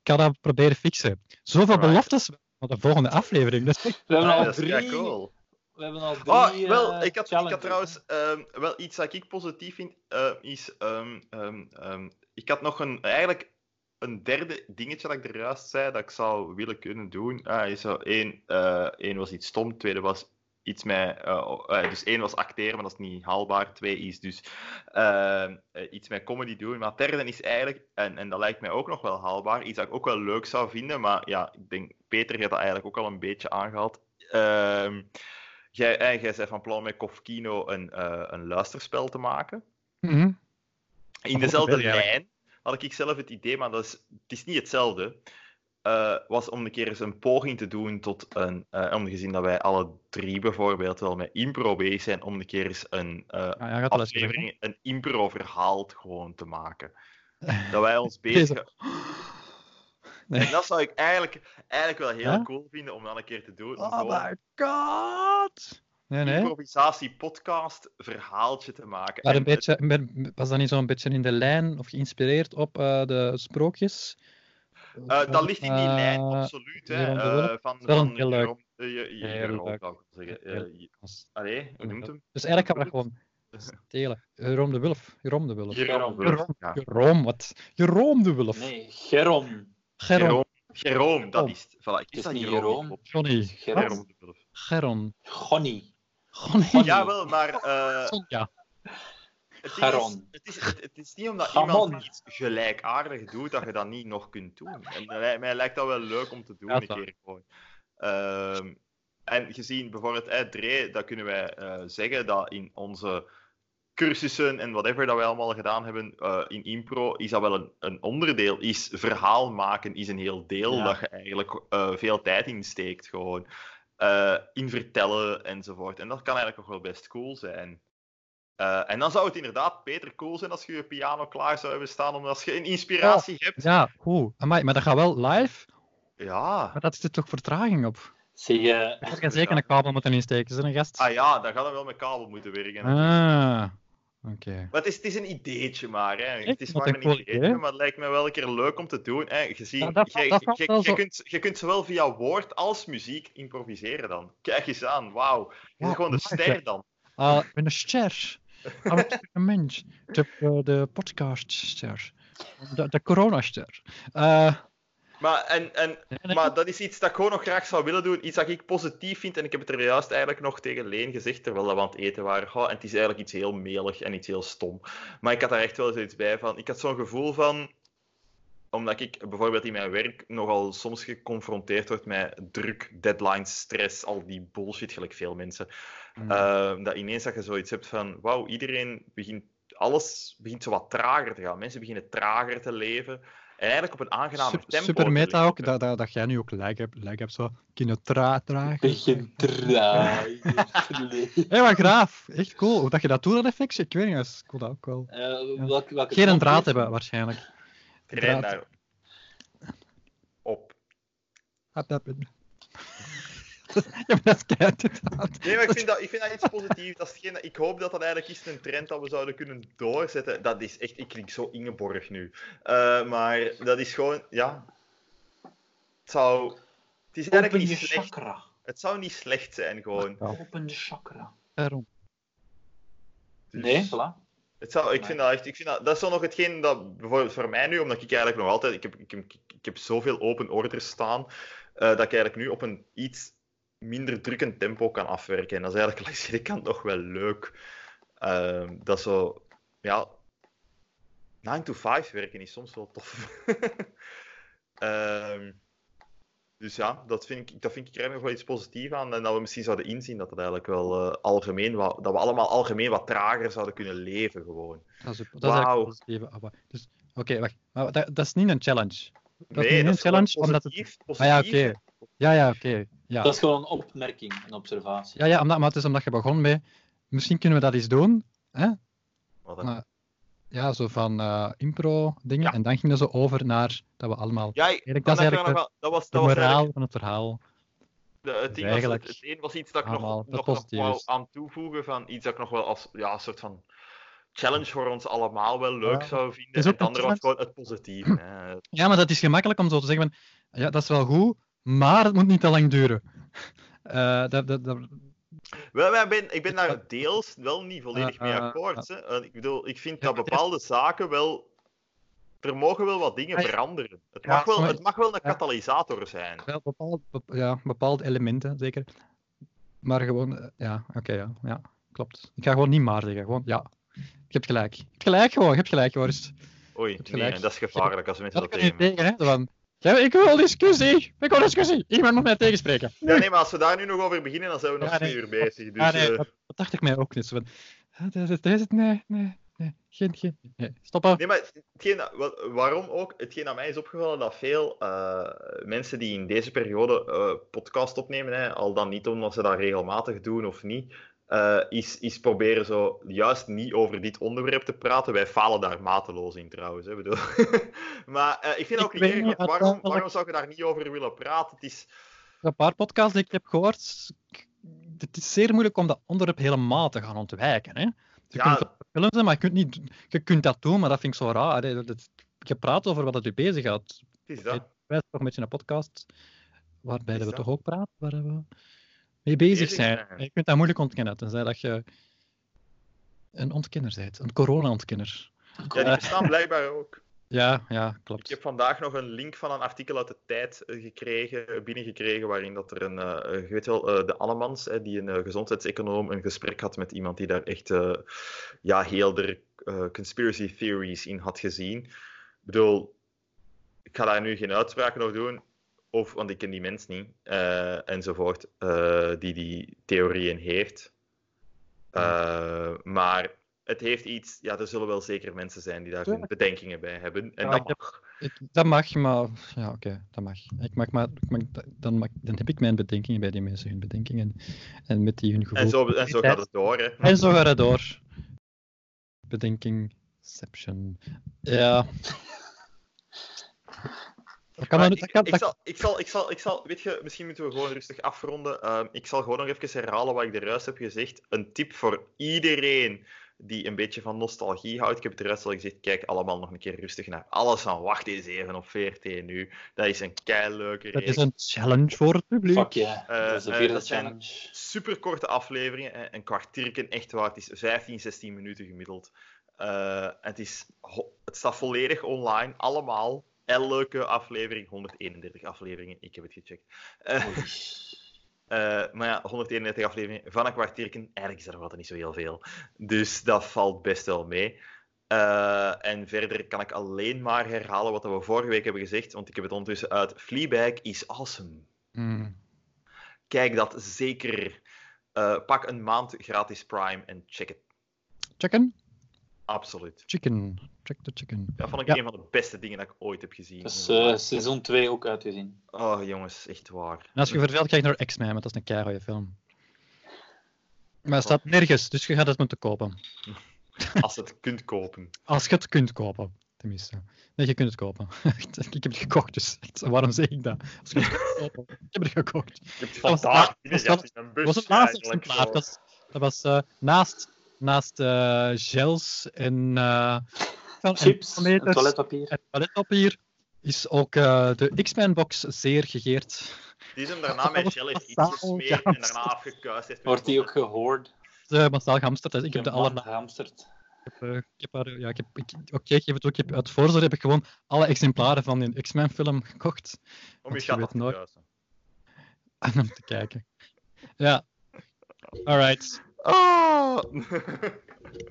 Speaker 1: ik ga dat proberen fixen. Zoveel
Speaker 2: Alright.
Speaker 1: beloftes voor de volgende aflevering. dus Dat is echt-
Speaker 3: We hebben
Speaker 2: Ja,
Speaker 3: al
Speaker 2: dat is
Speaker 3: drie...
Speaker 2: kei cool.
Speaker 3: We hebben al drie...
Speaker 2: Oh, wel,
Speaker 3: eh,
Speaker 2: ik had, ik
Speaker 3: challenges.
Speaker 2: had trouwens ehm, wel iets dat ik positief vind, eh, is... ehm, ehm, ehm, ik had nog een, eigenlijk een derde dingetje dat ik er juist zei, dat ik zou willen kunnen doen. Ah, is zo, één, eh, één was iets stom, tweede was iets met... eh, eh, dus één was acteren, maar dat is niet haalbaar. Twee is dus eh, eh, iets met comedy doen. Maar derde is eigenlijk, en, en dat lijkt mij ook nog wel haalbaar, iets dat ik ook wel leuk zou vinden, maar ja, ik denk, Peter heeft dat eigenlijk ook al een beetje aangehaald. Ehm, jij, eh, jij zei van plan om met Kofkino een, eh, een luisterspel te maken.
Speaker 1: Mhm.
Speaker 2: In
Speaker 1: Of
Speaker 2: dezelfde
Speaker 1: een film,
Speaker 2: lijn
Speaker 1: eigenlijk.
Speaker 2: had ik zelf het idee, maar dat is, het is niet hetzelfde. eh, was om een keer eens een poging te doen tot een. eh omgezien dat wij alle drie bijvoorbeeld wel met impro bezig zijn, om een keer eens een eh,
Speaker 1: Ah, ja, gaat wel eens lukken.
Speaker 2: aflevering, een impro-verhaal gewoon te maken. Dat wij ons
Speaker 1: Deze.
Speaker 2: bezig.
Speaker 1: Nee.
Speaker 2: En dat zou ik eigenlijk, eigenlijk wel heel
Speaker 1: Ja?
Speaker 2: cool vinden om dat een keer te doen. Om
Speaker 1: Oh
Speaker 2: gewoon
Speaker 1: my god! Nee,
Speaker 2: een
Speaker 1: nee.
Speaker 2: improvisatie-podcast verhaaltje te maken.
Speaker 1: Maar
Speaker 2: En eh,
Speaker 1: een beetje, ben- was dat niet zo'n beetje in de lijn of geïnspireerd op eh, de sprookjes?
Speaker 2: Eh, dat ligt in die lijn,
Speaker 1: Eh,
Speaker 2: absoluut. Hè.
Speaker 1: Jeroen de
Speaker 2: eh,
Speaker 1: Wulf.
Speaker 2: van,
Speaker 1: Wel een
Speaker 2: van
Speaker 1: heel leuk.
Speaker 2: Jeroen- eh, je- je-
Speaker 1: Heel
Speaker 2: Jeroen,
Speaker 1: leuk.
Speaker 2: wou ik zeggen. Eh,
Speaker 1: Heel
Speaker 2: je- Allee, hoe noemt hem?
Speaker 1: Dus eigenlijk kan we dat gewoon stelen. Jeroen de Wulf. Jeroen de Wulf.
Speaker 2: Jeroen. de Wulf, ja.
Speaker 1: Jeroen, wat? Jeroen de Wulf.
Speaker 3: Nee, Gerom.
Speaker 1: Geron.
Speaker 2: Jeroen, dat
Speaker 1: Jeroen.
Speaker 2: is het. Voilà, ik
Speaker 3: is
Speaker 2: dat
Speaker 3: niet
Speaker 2: Jeroen.
Speaker 3: Jeroen.
Speaker 2: klopt.
Speaker 1: Johnny.
Speaker 3: Gerom.
Speaker 2: Jeroen de Wulf.
Speaker 1: Geron.
Speaker 3: Gonnie.
Speaker 1: Johnny.
Speaker 3: Ja.
Speaker 2: Jawel, maar eh,
Speaker 1: Sonja.
Speaker 2: het, is, dus-
Speaker 3: Garon.
Speaker 2: het, is, het, het is niet omdat
Speaker 3: Gamon.
Speaker 2: iemand iets gelijkaardig doet dat je dat niet nog kunt doen. En dat lijkt- mij lijkt dat wel leuk om te doen
Speaker 1: Ja,
Speaker 2: een
Speaker 1: dat is
Speaker 2: keer gewoon. Ehm, en gezien bijvoorbeeld eh, Dre, dat kunnen wij eh, zeggen dat in onze cursussen en whatever dat wij allemaal gedaan hebben eh, in impro, is dat wel een, een onderdeel. Is verhaal maken is een heel deel
Speaker 3: Ja.
Speaker 2: dat je eigenlijk eh, veel tijd insteekt gewoon. Eh, in vertellen enzovoort. En dat kan eigenlijk nog wel best cool zijn. Eh, en dan zou het inderdaad beter cool zijn als je je piano klaar zou hebben staan, omdat als je een inspiratie hebt.
Speaker 1: Ja, goed. Amai, maar dat gaat wel live.
Speaker 2: Ja.
Speaker 1: Maar dat zit toch vertraging op?
Speaker 3: Zeg, eh,
Speaker 1: Daar kan zeker een kabel moeten insteken, is er een gast?
Speaker 2: Ah ja, dan gaat dat wel met kabel moeten werken.
Speaker 1: Ah, oké.
Speaker 2: Maar het is, het is een ideetje maar. Hè. Het is
Speaker 1: wat
Speaker 2: maar
Speaker 1: een
Speaker 2: een
Speaker 1: cool
Speaker 2: ideetje,
Speaker 1: idee.
Speaker 2: maar het lijkt me wel een keer leuk om te doen. Hè. Gezien,
Speaker 1: Ja, dat-
Speaker 2: jij-
Speaker 1: dat valt
Speaker 2: jij-
Speaker 1: wel
Speaker 2: jij
Speaker 1: zo.
Speaker 2: kunt, jij kunt zowel via woord als muziek improviseren dan. Kijk eens aan, wauw. Je bent
Speaker 1: Ja,
Speaker 2: gewoon de
Speaker 1: nice, hè.
Speaker 2: ster dan.
Speaker 1: Ah, ik ben een ster. Ah, ik ben een mens. Ik heb eh, de podcastster. De, de coronaster. Eh,
Speaker 2: Maar, en, en,
Speaker 1: nee, nee.
Speaker 2: maar dat is iets dat ik gewoon nog graag zou willen doen. Iets dat ik positief vind. En ik heb het er juist eigenlijk nog tegen Leen gezegd, terwijl dat we aan het eten waren. Goh, en het is eigenlijk iets heel melig en iets heel stom. Maar ik had daar echt wel zoiets bij van. Ik had zo'n gevoel van omdat ik bijvoorbeeld in mijn werk nogal soms geconfronteerd word met druk, deadlines, stress, al die bullshit, gelijk veel mensen.
Speaker 1: Mm.
Speaker 2: Ehm, dat ineens dat je zoiets hebt van, wauw, iedereen begint, alles begint zo wat trager te gaan. Mensen beginnen trager te leven. En eigenlijk op een aangenaam
Speaker 1: Sup-
Speaker 2: tempo.
Speaker 1: super
Speaker 2: te
Speaker 1: meta
Speaker 2: leven.
Speaker 1: ook, dat, dat, dat jij nu ook lijk hebt, lijk hebt zo. Kinotra, traag.
Speaker 3: begin draaien.
Speaker 1: Hé, hey, wat graaf. Echt cool. Hoe dat je dat doet, dat effect, ik weet niet, dat is cool, dat ook wel.
Speaker 3: Eh, welke- welke
Speaker 1: Geen een
Speaker 3: knop
Speaker 1: draad
Speaker 3: is?
Speaker 1: hebben, waarschijnlijk.
Speaker 2: Train
Speaker 1: Draad.
Speaker 2: daar nou op.
Speaker 1: Hap, hap, hap. Ja, maar dat is keihard, inderdaad.
Speaker 2: Nee, maar ik vind dat, ik vind dat iets positiefs. Dat is hetgeen dat- ik hoop dat dat eigenlijk is een trend dat we zouden kunnen doorzetten. Dat is echt, ik klink zo Ingeborg nu. Eh, maar dat is gewoon, ja. Het zou. Het is
Speaker 3: Open
Speaker 2: eigenlijk
Speaker 3: je
Speaker 2: niet slecht.
Speaker 3: chakra.
Speaker 2: Het zou niet slecht zijn, gewoon.
Speaker 1: Ja,
Speaker 3: Open je chakra.
Speaker 1: daarom.
Speaker 2: Dus-
Speaker 3: Nee, voilà.
Speaker 2: Het zou, ik vind dat echt, ik vind dat, dat is zo nog hetgeen dat bijvoorbeeld voor mij nu, omdat ik eigenlijk nog altijd, ik heb, ik, heb- ik heb zoveel open orders staan, eh, dat ik eigenlijk nu op een iets minder drukkend tempo kan afwerken. En dat is eigenlijk langs de kant nog wel leuk. Ehm, dat zo, ja, 9 to 5 werken is soms wel tof. Ehm, dus ja, dat vind ik, dat vind ik er eigenlijk wel iets positiefs aan. En dat we misschien zouden inzien dat het eigenlijk wel eh, algemeen, wat, dat we allemaal algemeen wat trager zouden kunnen leven gewoon.
Speaker 1: Dat is, dat is
Speaker 2: Wauw.
Speaker 1: eigenlijk positief. Ah, wa- Dus, Oké, wacht. Maar dat, dat is niet een challenge. Dat is niet
Speaker 2: nee, dat
Speaker 1: een
Speaker 2: is gewoon
Speaker 1: challenge, omdat het...
Speaker 2: positief.
Speaker 1: Ah ja, oké.
Speaker 2: positief.
Speaker 1: Ja, ja, oké. Ja.
Speaker 3: Dat is gewoon een opmerking, een observatie.
Speaker 1: Ja, ja omdat, maar het is omdat je begon met... Misschien kunnen we dat eens doen. Hè?
Speaker 2: Wat dan?
Speaker 1: Maar- Ja, zo van eh, impro-dingen.
Speaker 2: Ja.
Speaker 1: En dan ging dat zo over naar dat we allemaal...
Speaker 2: Ja, ik-
Speaker 1: Eigenlijk,
Speaker 2: dan
Speaker 1: dat is
Speaker 2: heb je
Speaker 1: eigenlijk
Speaker 2: nog wel- dat was,
Speaker 1: de
Speaker 2: dat was
Speaker 1: moraal van het verhaal.
Speaker 2: De, het, ding was-
Speaker 1: Eigenlijk
Speaker 2: het een was iets dat ik
Speaker 1: allemaal
Speaker 2: nog,
Speaker 1: dat
Speaker 2: nog, nog
Speaker 1: positief
Speaker 2: wou
Speaker 1: is.
Speaker 2: aan toevoegen, van iets dat ik nog wel als ja, een soort van challenge voor ons allemaal wel leuk
Speaker 1: Ja.
Speaker 2: zou vinden.
Speaker 1: Is
Speaker 2: en
Speaker 1: ook
Speaker 2: het andere
Speaker 1: een
Speaker 2: was gewoon het positieve. hè.
Speaker 1: Ja, maar dat is gemakkelijk om zo te zeggen van... Ja, dat is wel goed, maar het moet niet te lang duren. Eh, dat, dat, dat,
Speaker 2: Wel, wij ben, ik ben daar deels wel niet volledig mee
Speaker 1: Eh, eh,
Speaker 2: akkoord. hè. Eh, Ik bedoel, ik vind
Speaker 1: Ja,
Speaker 2: dat
Speaker 1: maar het
Speaker 2: bepaalde zaken wel... Er mogen wel wat dingen
Speaker 1: Ah, ja.
Speaker 2: veranderen. Het
Speaker 1: Ja,
Speaker 2: mag wel,
Speaker 1: maar-
Speaker 2: het mag wel een
Speaker 1: ja.
Speaker 2: katalysator zijn.
Speaker 1: wel bepaald, bep- ja, bepaalde elementen, zeker. Maar gewoon, eh, ja, oké, ja, ja, klopt. Ik ga gewoon niet maar zeggen. Gewoon, ja. Je hebt gelijk. Je hebt gelijk gewoon, je hebt gelijk, Joris.
Speaker 2: Oei,
Speaker 1: hebt
Speaker 2: nee,
Speaker 1: gelijk.
Speaker 2: dat is gevaarlijk als mensen
Speaker 1: Dat
Speaker 2: dat
Speaker 1: kan je
Speaker 2: tegen
Speaker 1: tegen, hè? zo Van, ja, ik wil discussie! Ik wil discussie! Iemand moet mij tegenspreken.
Speaker 2: Ja, nee, maar als we daar nu nog over beginnen, dan zijn we nog
Speaker 1: Ja,
Speaker 2: twee
Speaker 1: nee.
Speaker 2: uur bezig. Dus,
Speaker 1: ah, nee,
Speaker 2: eh,
Speaker 1: dat, dat dacht ik mij ook niet. Zo van, ah, dat is het, dat is het, nee, nee, nee. Geen, geen, nee. Stoppen.
Speaker 2: Nee, maar hetgeen, dat- wat- waarom ook? Hetgeen aan mij is opgevallen dat veel eh, mensen die in deze periode eh, podcast opnemen, hè, al dan niet omdat ze dat regelmatig doen of niet, eh, is, is proberen zo juist niet over dit onderwerp te praten. Wij falen daar mateloos in trouwens. Hè, bedoel. maar eh, ik vind
Speaker 1: Ik
Speaker 2: ook
Speaker 1: weet
Speaker 2: niet,
Speaker 1: niet,
Speaker 2: eerlijk, waarom,
Speaker 1: uiteindelijk-
Speaker 2: waarom zou je daar niet over willen praten? Het is,
Speaker 1: Een paar podcasts die ik heb gehoord, k- het is zeer moeilijk om dat onderwerp helemaal te gaan ontwijken. Hè? Je
Speaker 2: Ja.
Speaker 1: kunt wel films zijn, maar je kunt, niet, je kunt dat doen, maar dat vind ik zo raar. Hè? Dat, je praat over wat het je bezighoudt.
Speaker 2: het is dat.
Speaker 1: Wij zijn toch een beetje een podcast waarbij
Speaker 2: Is
Speaker 1: we
Speaker 2: dat?
Speaker 1: toch ook praten, waar we mee bezig
Speaker 2: Bezig
Speaker 1: zijn.
Speaker 2: zijn.
Speaker 1: En Je kunt dat moeilijk ontkennen, tenzij dat je een ontkenner bent, een corona-ontkenner.
Speaker 2: Ja,
Speaker 1: eh,
Speaker 2: die bestaan blijkbaar ook.
Speaker 1: Ja, ja,
Speaker 2: Ik
Speaker 1: klopt.
Speaker 2: heb vandaag nog een link van een artikel uit de tijd eh, gekregen, eh, binnengekregen, waarin dat er een, eh, eh, je weet wel, eh, de Allemans, hè, die een eh, gezondheidseconoom, een gesprek had met iemand die daar echt eh, ja, heel de eh, conspiracy theories in had gezien. Ik bedoel, ik ga daar nu geen uitspraken over doen, of, want ik ken die mens niet, eh, enzovoort, eh, die die theorieën heeft. Eh, maar het heeft iets, ja, er zullen wel zeker mensen zijn die daar hun
Speaker 1: Tuurlijk.
Speaker 2: bedenkingen bij hebben. En
Speaker 1: Ja,
Speaker 2: dat
Speaker 1: ik heb-
Speaker 2: mag.
Speaker 1: Ik, dat mag, maar ja, oké, dat mag. Ik mag maar, ik mag- dan, mag- dan heb ik mijn bedenkingen bij die mensen, hun bedenkingen. En met die hun gevoel.
Speaker 2: En zo, en zo gaat het door, hè.
Speaker 1: En zo gaat het door. Bedenkingception. Ja. Dat kan,
Speaker 2: Maar
Speaker 1: dat,
Speaker 2: ik,
Speaker 1: kan,
Speaker 2: ik
Speaker 1: dat-
Speaker 2: zal, ik, zal, ik, zal, ik zal, weet je, misschien moeten we gewoon rustig afronden. Ehm, ik zal gewoon nog even herhalen wat ik er juist heb gezegd. Een tip voor iedereen die een beetje van nostalgie houdt. Ik heb het er juist al gezegd, kijk allemaal nog een keer rustig naar alles aan. Wacht eens even op 14 nu. Dat is een keileuke
Speaker 1: dat
Speaker 2: reeks.
Speaker 1: is een challenge voor het publiek.
Speaker 3: Fuck yeah.
Speaker 2: Eh,
Speaker 3: dat is de
Speaker 2: eh,
Speaker 3: vierde
Speaker 2: dat zijn-
Speaker 3: challenge.
Speaker 2: superkorte afleveringen. hè. Een kwartierken, echt waar. Het is 15, 16 minuten gemiddeld. Eh, het, is, ho- het staat volledig online, allemaal. Elke aflevering, 131 afleveringen, ik heb het gecheckt. Eh,
Speaker 3: Oei.
Speaker 2: eh, maar ja, 131 afleveringen van een kwartierken, eigenlijk is er wat niet zo heel veel. Dus dat valt best wel mee. Eh, en verder kan ik alleen maar herhalen wat we vorige week hebben gezegd, want ik heb het ondertussen uit. Fleabag is awesome
Speaker 1: Hmm.
Speaker 2: kijk dat zeker. Eh, pak een maand gratis Prime en check het.
Speaker 1: Chicken?
Speaker 2: Absoluut.
Speaker 1: Chicken. Check the chicken.
Speaker 2: Dat vond ik
Speaker 1: Ja.
Speaker 2: een van de beste dingen dat ik ooit heb gezien.
Speaker 3: Dat is eh, seizoen 2 ook uitgezien.
Speaker 2: Oh, jongens, echt waar.
Speaker 1: En als je verveelt, krijg je naar X-Men, want dat is een keiharde film. Maar het staat nergens, dus je gaat het moeten kopen.
Speaker 2: Als je het kunt kopen.
Speaker 1: Als je het kunt kopen, tenminste. Nee, je kunt het kopen. ik heb het gekocht, dus echt, waarom zeg ik dat? Als je het kunt kopen. Ik heb het gekocht.
Speaker 2: Ik heb het
Speaker 1: was-
Speaker 2: vandaag
Speaker 1: dat-
Speaker 2: binnengezet
Speaker 1: dat-
Speaker 2: in een
Speaker 1: Dat
Speaker 2: bus.
Speaker 1: was het laatste
Speaker 2: eigenlijk,
Speaker 1: exemplaar. Dat
Speaker 2: zo.
Speaker 1: was, dat was eh, naast, naast eh, gels en, eh en
Speaker 3: Chips, en
Speaker 1: toiletmeters
Speaker 3: toiletpapier.
Speaker 1: en toiletpapier is ook eh, de X-Men-box zeer gegeerd.
Speaker 2: Die is hem daarna met gel heeft
Speaker 1: Massaal
Speaker 2: iets gesmeerd en daarna
Speaker 1: gehamsterd.
Speaker 2: afgekuist. heeft.
Speaker 3: Wordt die ook gehoord?
Speaker 1: De massaal gehamsterd. is. ik heb de allerlaatste.
Speaker 3: Hamsterd.
Speaker 1: Eh, ik heb haar, ja, ik heb, ik, oké, ik geef het ook. Ik heb, uit voorzorg heb ik gewoon alle exemplaren van die X-Men-film gekocht.
Speaker 2: Om je
Speaker 1: Want je
Speaker 2: gat
Speaker 1: weet
Speaker 2: af te
Speaker 1: nooit.
Speaker 2: kuisen.
Speaker 1: En om te kijken. Ja. Alright.
Speaker 2: Ah!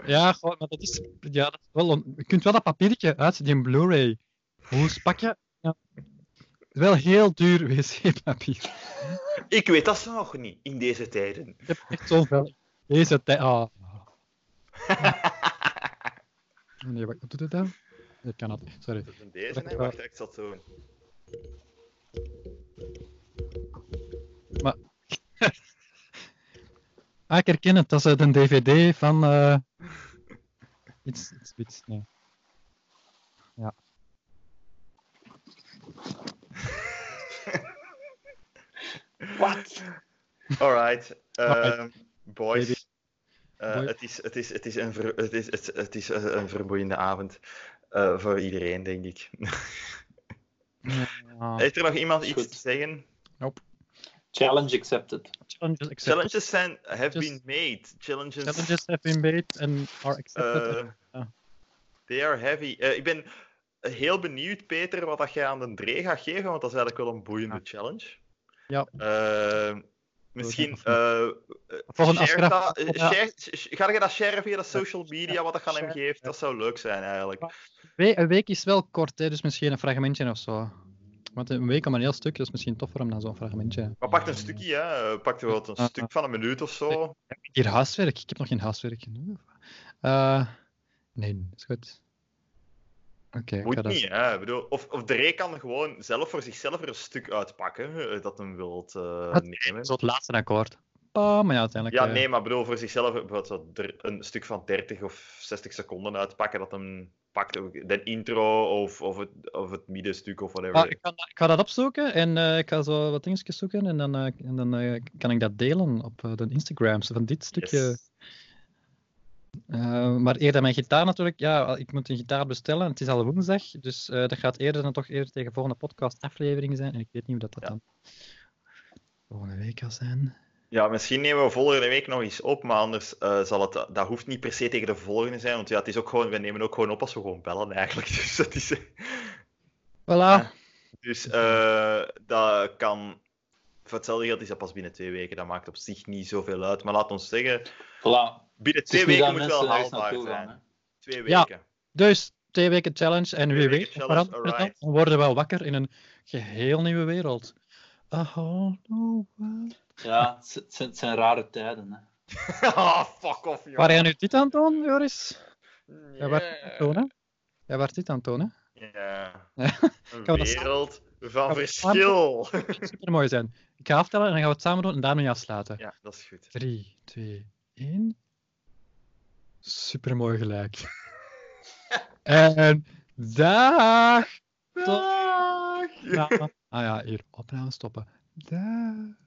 Speaker 1: Ja, goh, maar dat is, ja, dat is wel... on- Je kunt wel dat papiertje uit die Blu-ray hoes pakken. Ja. Wel heel duur wc-papier.
Speaker 2: ik weet dat ze nog niet, in deze tijden.
Speaker 1: Ik heb echt zo'n vel. Deze tijd... ah. Nee, wat doet het dan? Ik kan dat. Sorry.
Speaker 2: Dat is een deze, hè. Wacht, ik zal het zo doen.
Speaker 1: Ah, ik herken het. Dat is uit een dvd van... eh, Iets, iets, iets. Nee. Ja.
Speaker 3: Wat?
Speaker 2: Alright.
Speaker 1: Alright.
Speaker 2: ehm, boys.
Speaker 1: Maybe.
Speaker 2: Eh,
Speaker 1: Boys.
Speaker 2: Het, is, het, is, het is een, ver, het is, het, het is eh, een vermoeiende avond. eh, voor iedereen, denk ik. Eh,
Speaker 1: Ja.
Speaker 2: Heeft er nog iemand iets
Speaker 3: Goed.
Speaker 2: te zeggen?
Speaker 3: Challenge accepted.
Speaker 1: Challenges accepted.
Speaker 2: Challenges zijn, have been
Speaker 1: Just-
Speaker 2: made. Challenges,
Speaker 1: Challenges have been made and are accepted.
Speaker 2: eh,
Speaker 1: Ja.
Speaker 2: they are heavy. Eh, ik ben heel benieuwd, Peter, wat dat jij aan de Dree gaat geven, want dat is eigenlijk wel een boeiende challenge.
Speaker 1: Ja.
Speaker 2: Eh, Misschien.
Speaker 1: Of niet?
Speaker 2: eh
Speaker 1: was een
Speaker 2: share
Speaker 1: afspraak-
Speaker 2: dat, eh,
Speaker 1: ja.
Speaker 2: share- sh- ga je dat share via de social media, wat dat aan hem
Speaker 1: share,
Speaker 2: geeft?
Speaker 1: ja.
Speaker 2: Dat zou leuk zijn eigenlijk.
Speaker 1: We- een week is wel kort, hè, dus misschien een fragmentje of zo. Want een week om een heel stuk, dat is misschien toffer om dan zo'n fragmentje.
Speaker 2: Maar pak een stukje, hè? Eh, pak er wel een
Speaker 1: Ja.
Speaker 2: stuk van een minuut of zo.
Speaker 1: Hier huiswerk, ik heb nog geen huiswerk. Eh, nee, is goed. Oké, ik ga
Speaker 2: Moet
Speaker 1: dat-
Speaker 2: niet, hè? Ik Bedoel, of, of de Ray kan gewoon zelf voor zichzelf er een stuk uitpakken eh, dat hem wilt eh,
Speaker 1: Wat?
Speaker 2: nemen.
Speaker 1: Zo het laatste akkoord. Bam, maar ja, uiteindelijk.
Speaker 2: Ja,
Speaker 1: eh,
Speaker 2: nee, maar bedoel, voor zichzelf bijvoorbeeld zo dr- een stuk van 30 of 60 seconden uitpakken dat hem pakt. ook De intro of, of, het, of het middenstuk of whatever.
Speaker 3: Ah,
Speaker 1: maar Ah, ik, kan, ik ga dat opzoeken en eh, ik ga zo wat dingetjes zoeken en dan, eh, en dan eh, kan ik dat delen op eh, de Instagrams van dit stukje.
Speaker 2: Yes.
Speaker 1: Eh, maar eerder mijn gitaar natuurlijk. Ja, ik moet een gitaar bestellen. Het is al woensdag, dus eh, dat gaat eerder dan toch eerder tegen volgende podcast aflevering zijn. En ik weet niet hoe dat, dat
Speaker 2: Ja.
Speaker 1: dan volgende week al zijn.
Speaker 2: Ja, misschien nemen we volgende week nog eens op, maar anders eh, zal het, dat hoeft niet per se tegen de volgende zijn. Want ja, het is ook gewoon, we nemen ook gewoon op als we gewoon bellen eigenlijk. Dus dat is.
Speaker 1: Voilà.
Speaker 2: Dus eh, dat kan. Voor hetzelfde geld is dat pas binnen twee weken. Dat maakt op zich niet zoveel uit. Maar laat ons zeggen,
Speaker 3: Voilà.
Speaker 2: binnen
Speaker 3: Het is niet
Speaker 2: twee weken
Speaker 3: dat
Speaker 2: moet
Speaker 3: mensen
Speaker 2: wel
Speaker 3: daar eens
Speaker 2: haalbaar
Speaker 3: naartoe
Speaker 2: zijn.
Speaker 3: gaan.
Speaker 2: Twee
Speaker 1: Ja.
Speaker 2: weken.
Speaker 1: Dus twee weken challenge en
Speaker 2: Twee
Speaker 1: wie
Speaker 2: weken
Speaker 1: weet, we
Speaker 2: challenge,
Speaker 1: veranderen dan,
Speaker 2: alright.
Speaker 1: we worden wel wakker in een geheel nieuwe wereld. A whole new world.
Speaker 3: hè. Ja, het zijn- het zijn, het zijn rare tijden. Hè.
Speaker 2: Ah, fuck off, joh.
Speaker 1: Waar jij nu dit aan het doen, Joris? Jij wordt dit aan het
Speaker 2: Ja.
Speaker 1: doen, hè? Jij wordt dit aan het doen, hè?
Speaker 2: Ja.
Speaker 1: Ja.
Speaker 2: Een
Speaker 1: dat
Speaker 2: wereld van
Speaker 1: dat
Speaker 2: verschil.
Speaker 1: Supermooi zijn. Ik ga aftellen en dan gaan we het samen doen en daarmee afsluiten.
Speaker 2: Ja, dat is goed.
Speaker 1: 3, 2, 1. Supermooi gelijk. en dag! Tot-
Speaker 2: Dag.
Speaker 1: Ja. Ah ja, hier. Opname stoppen. Dag!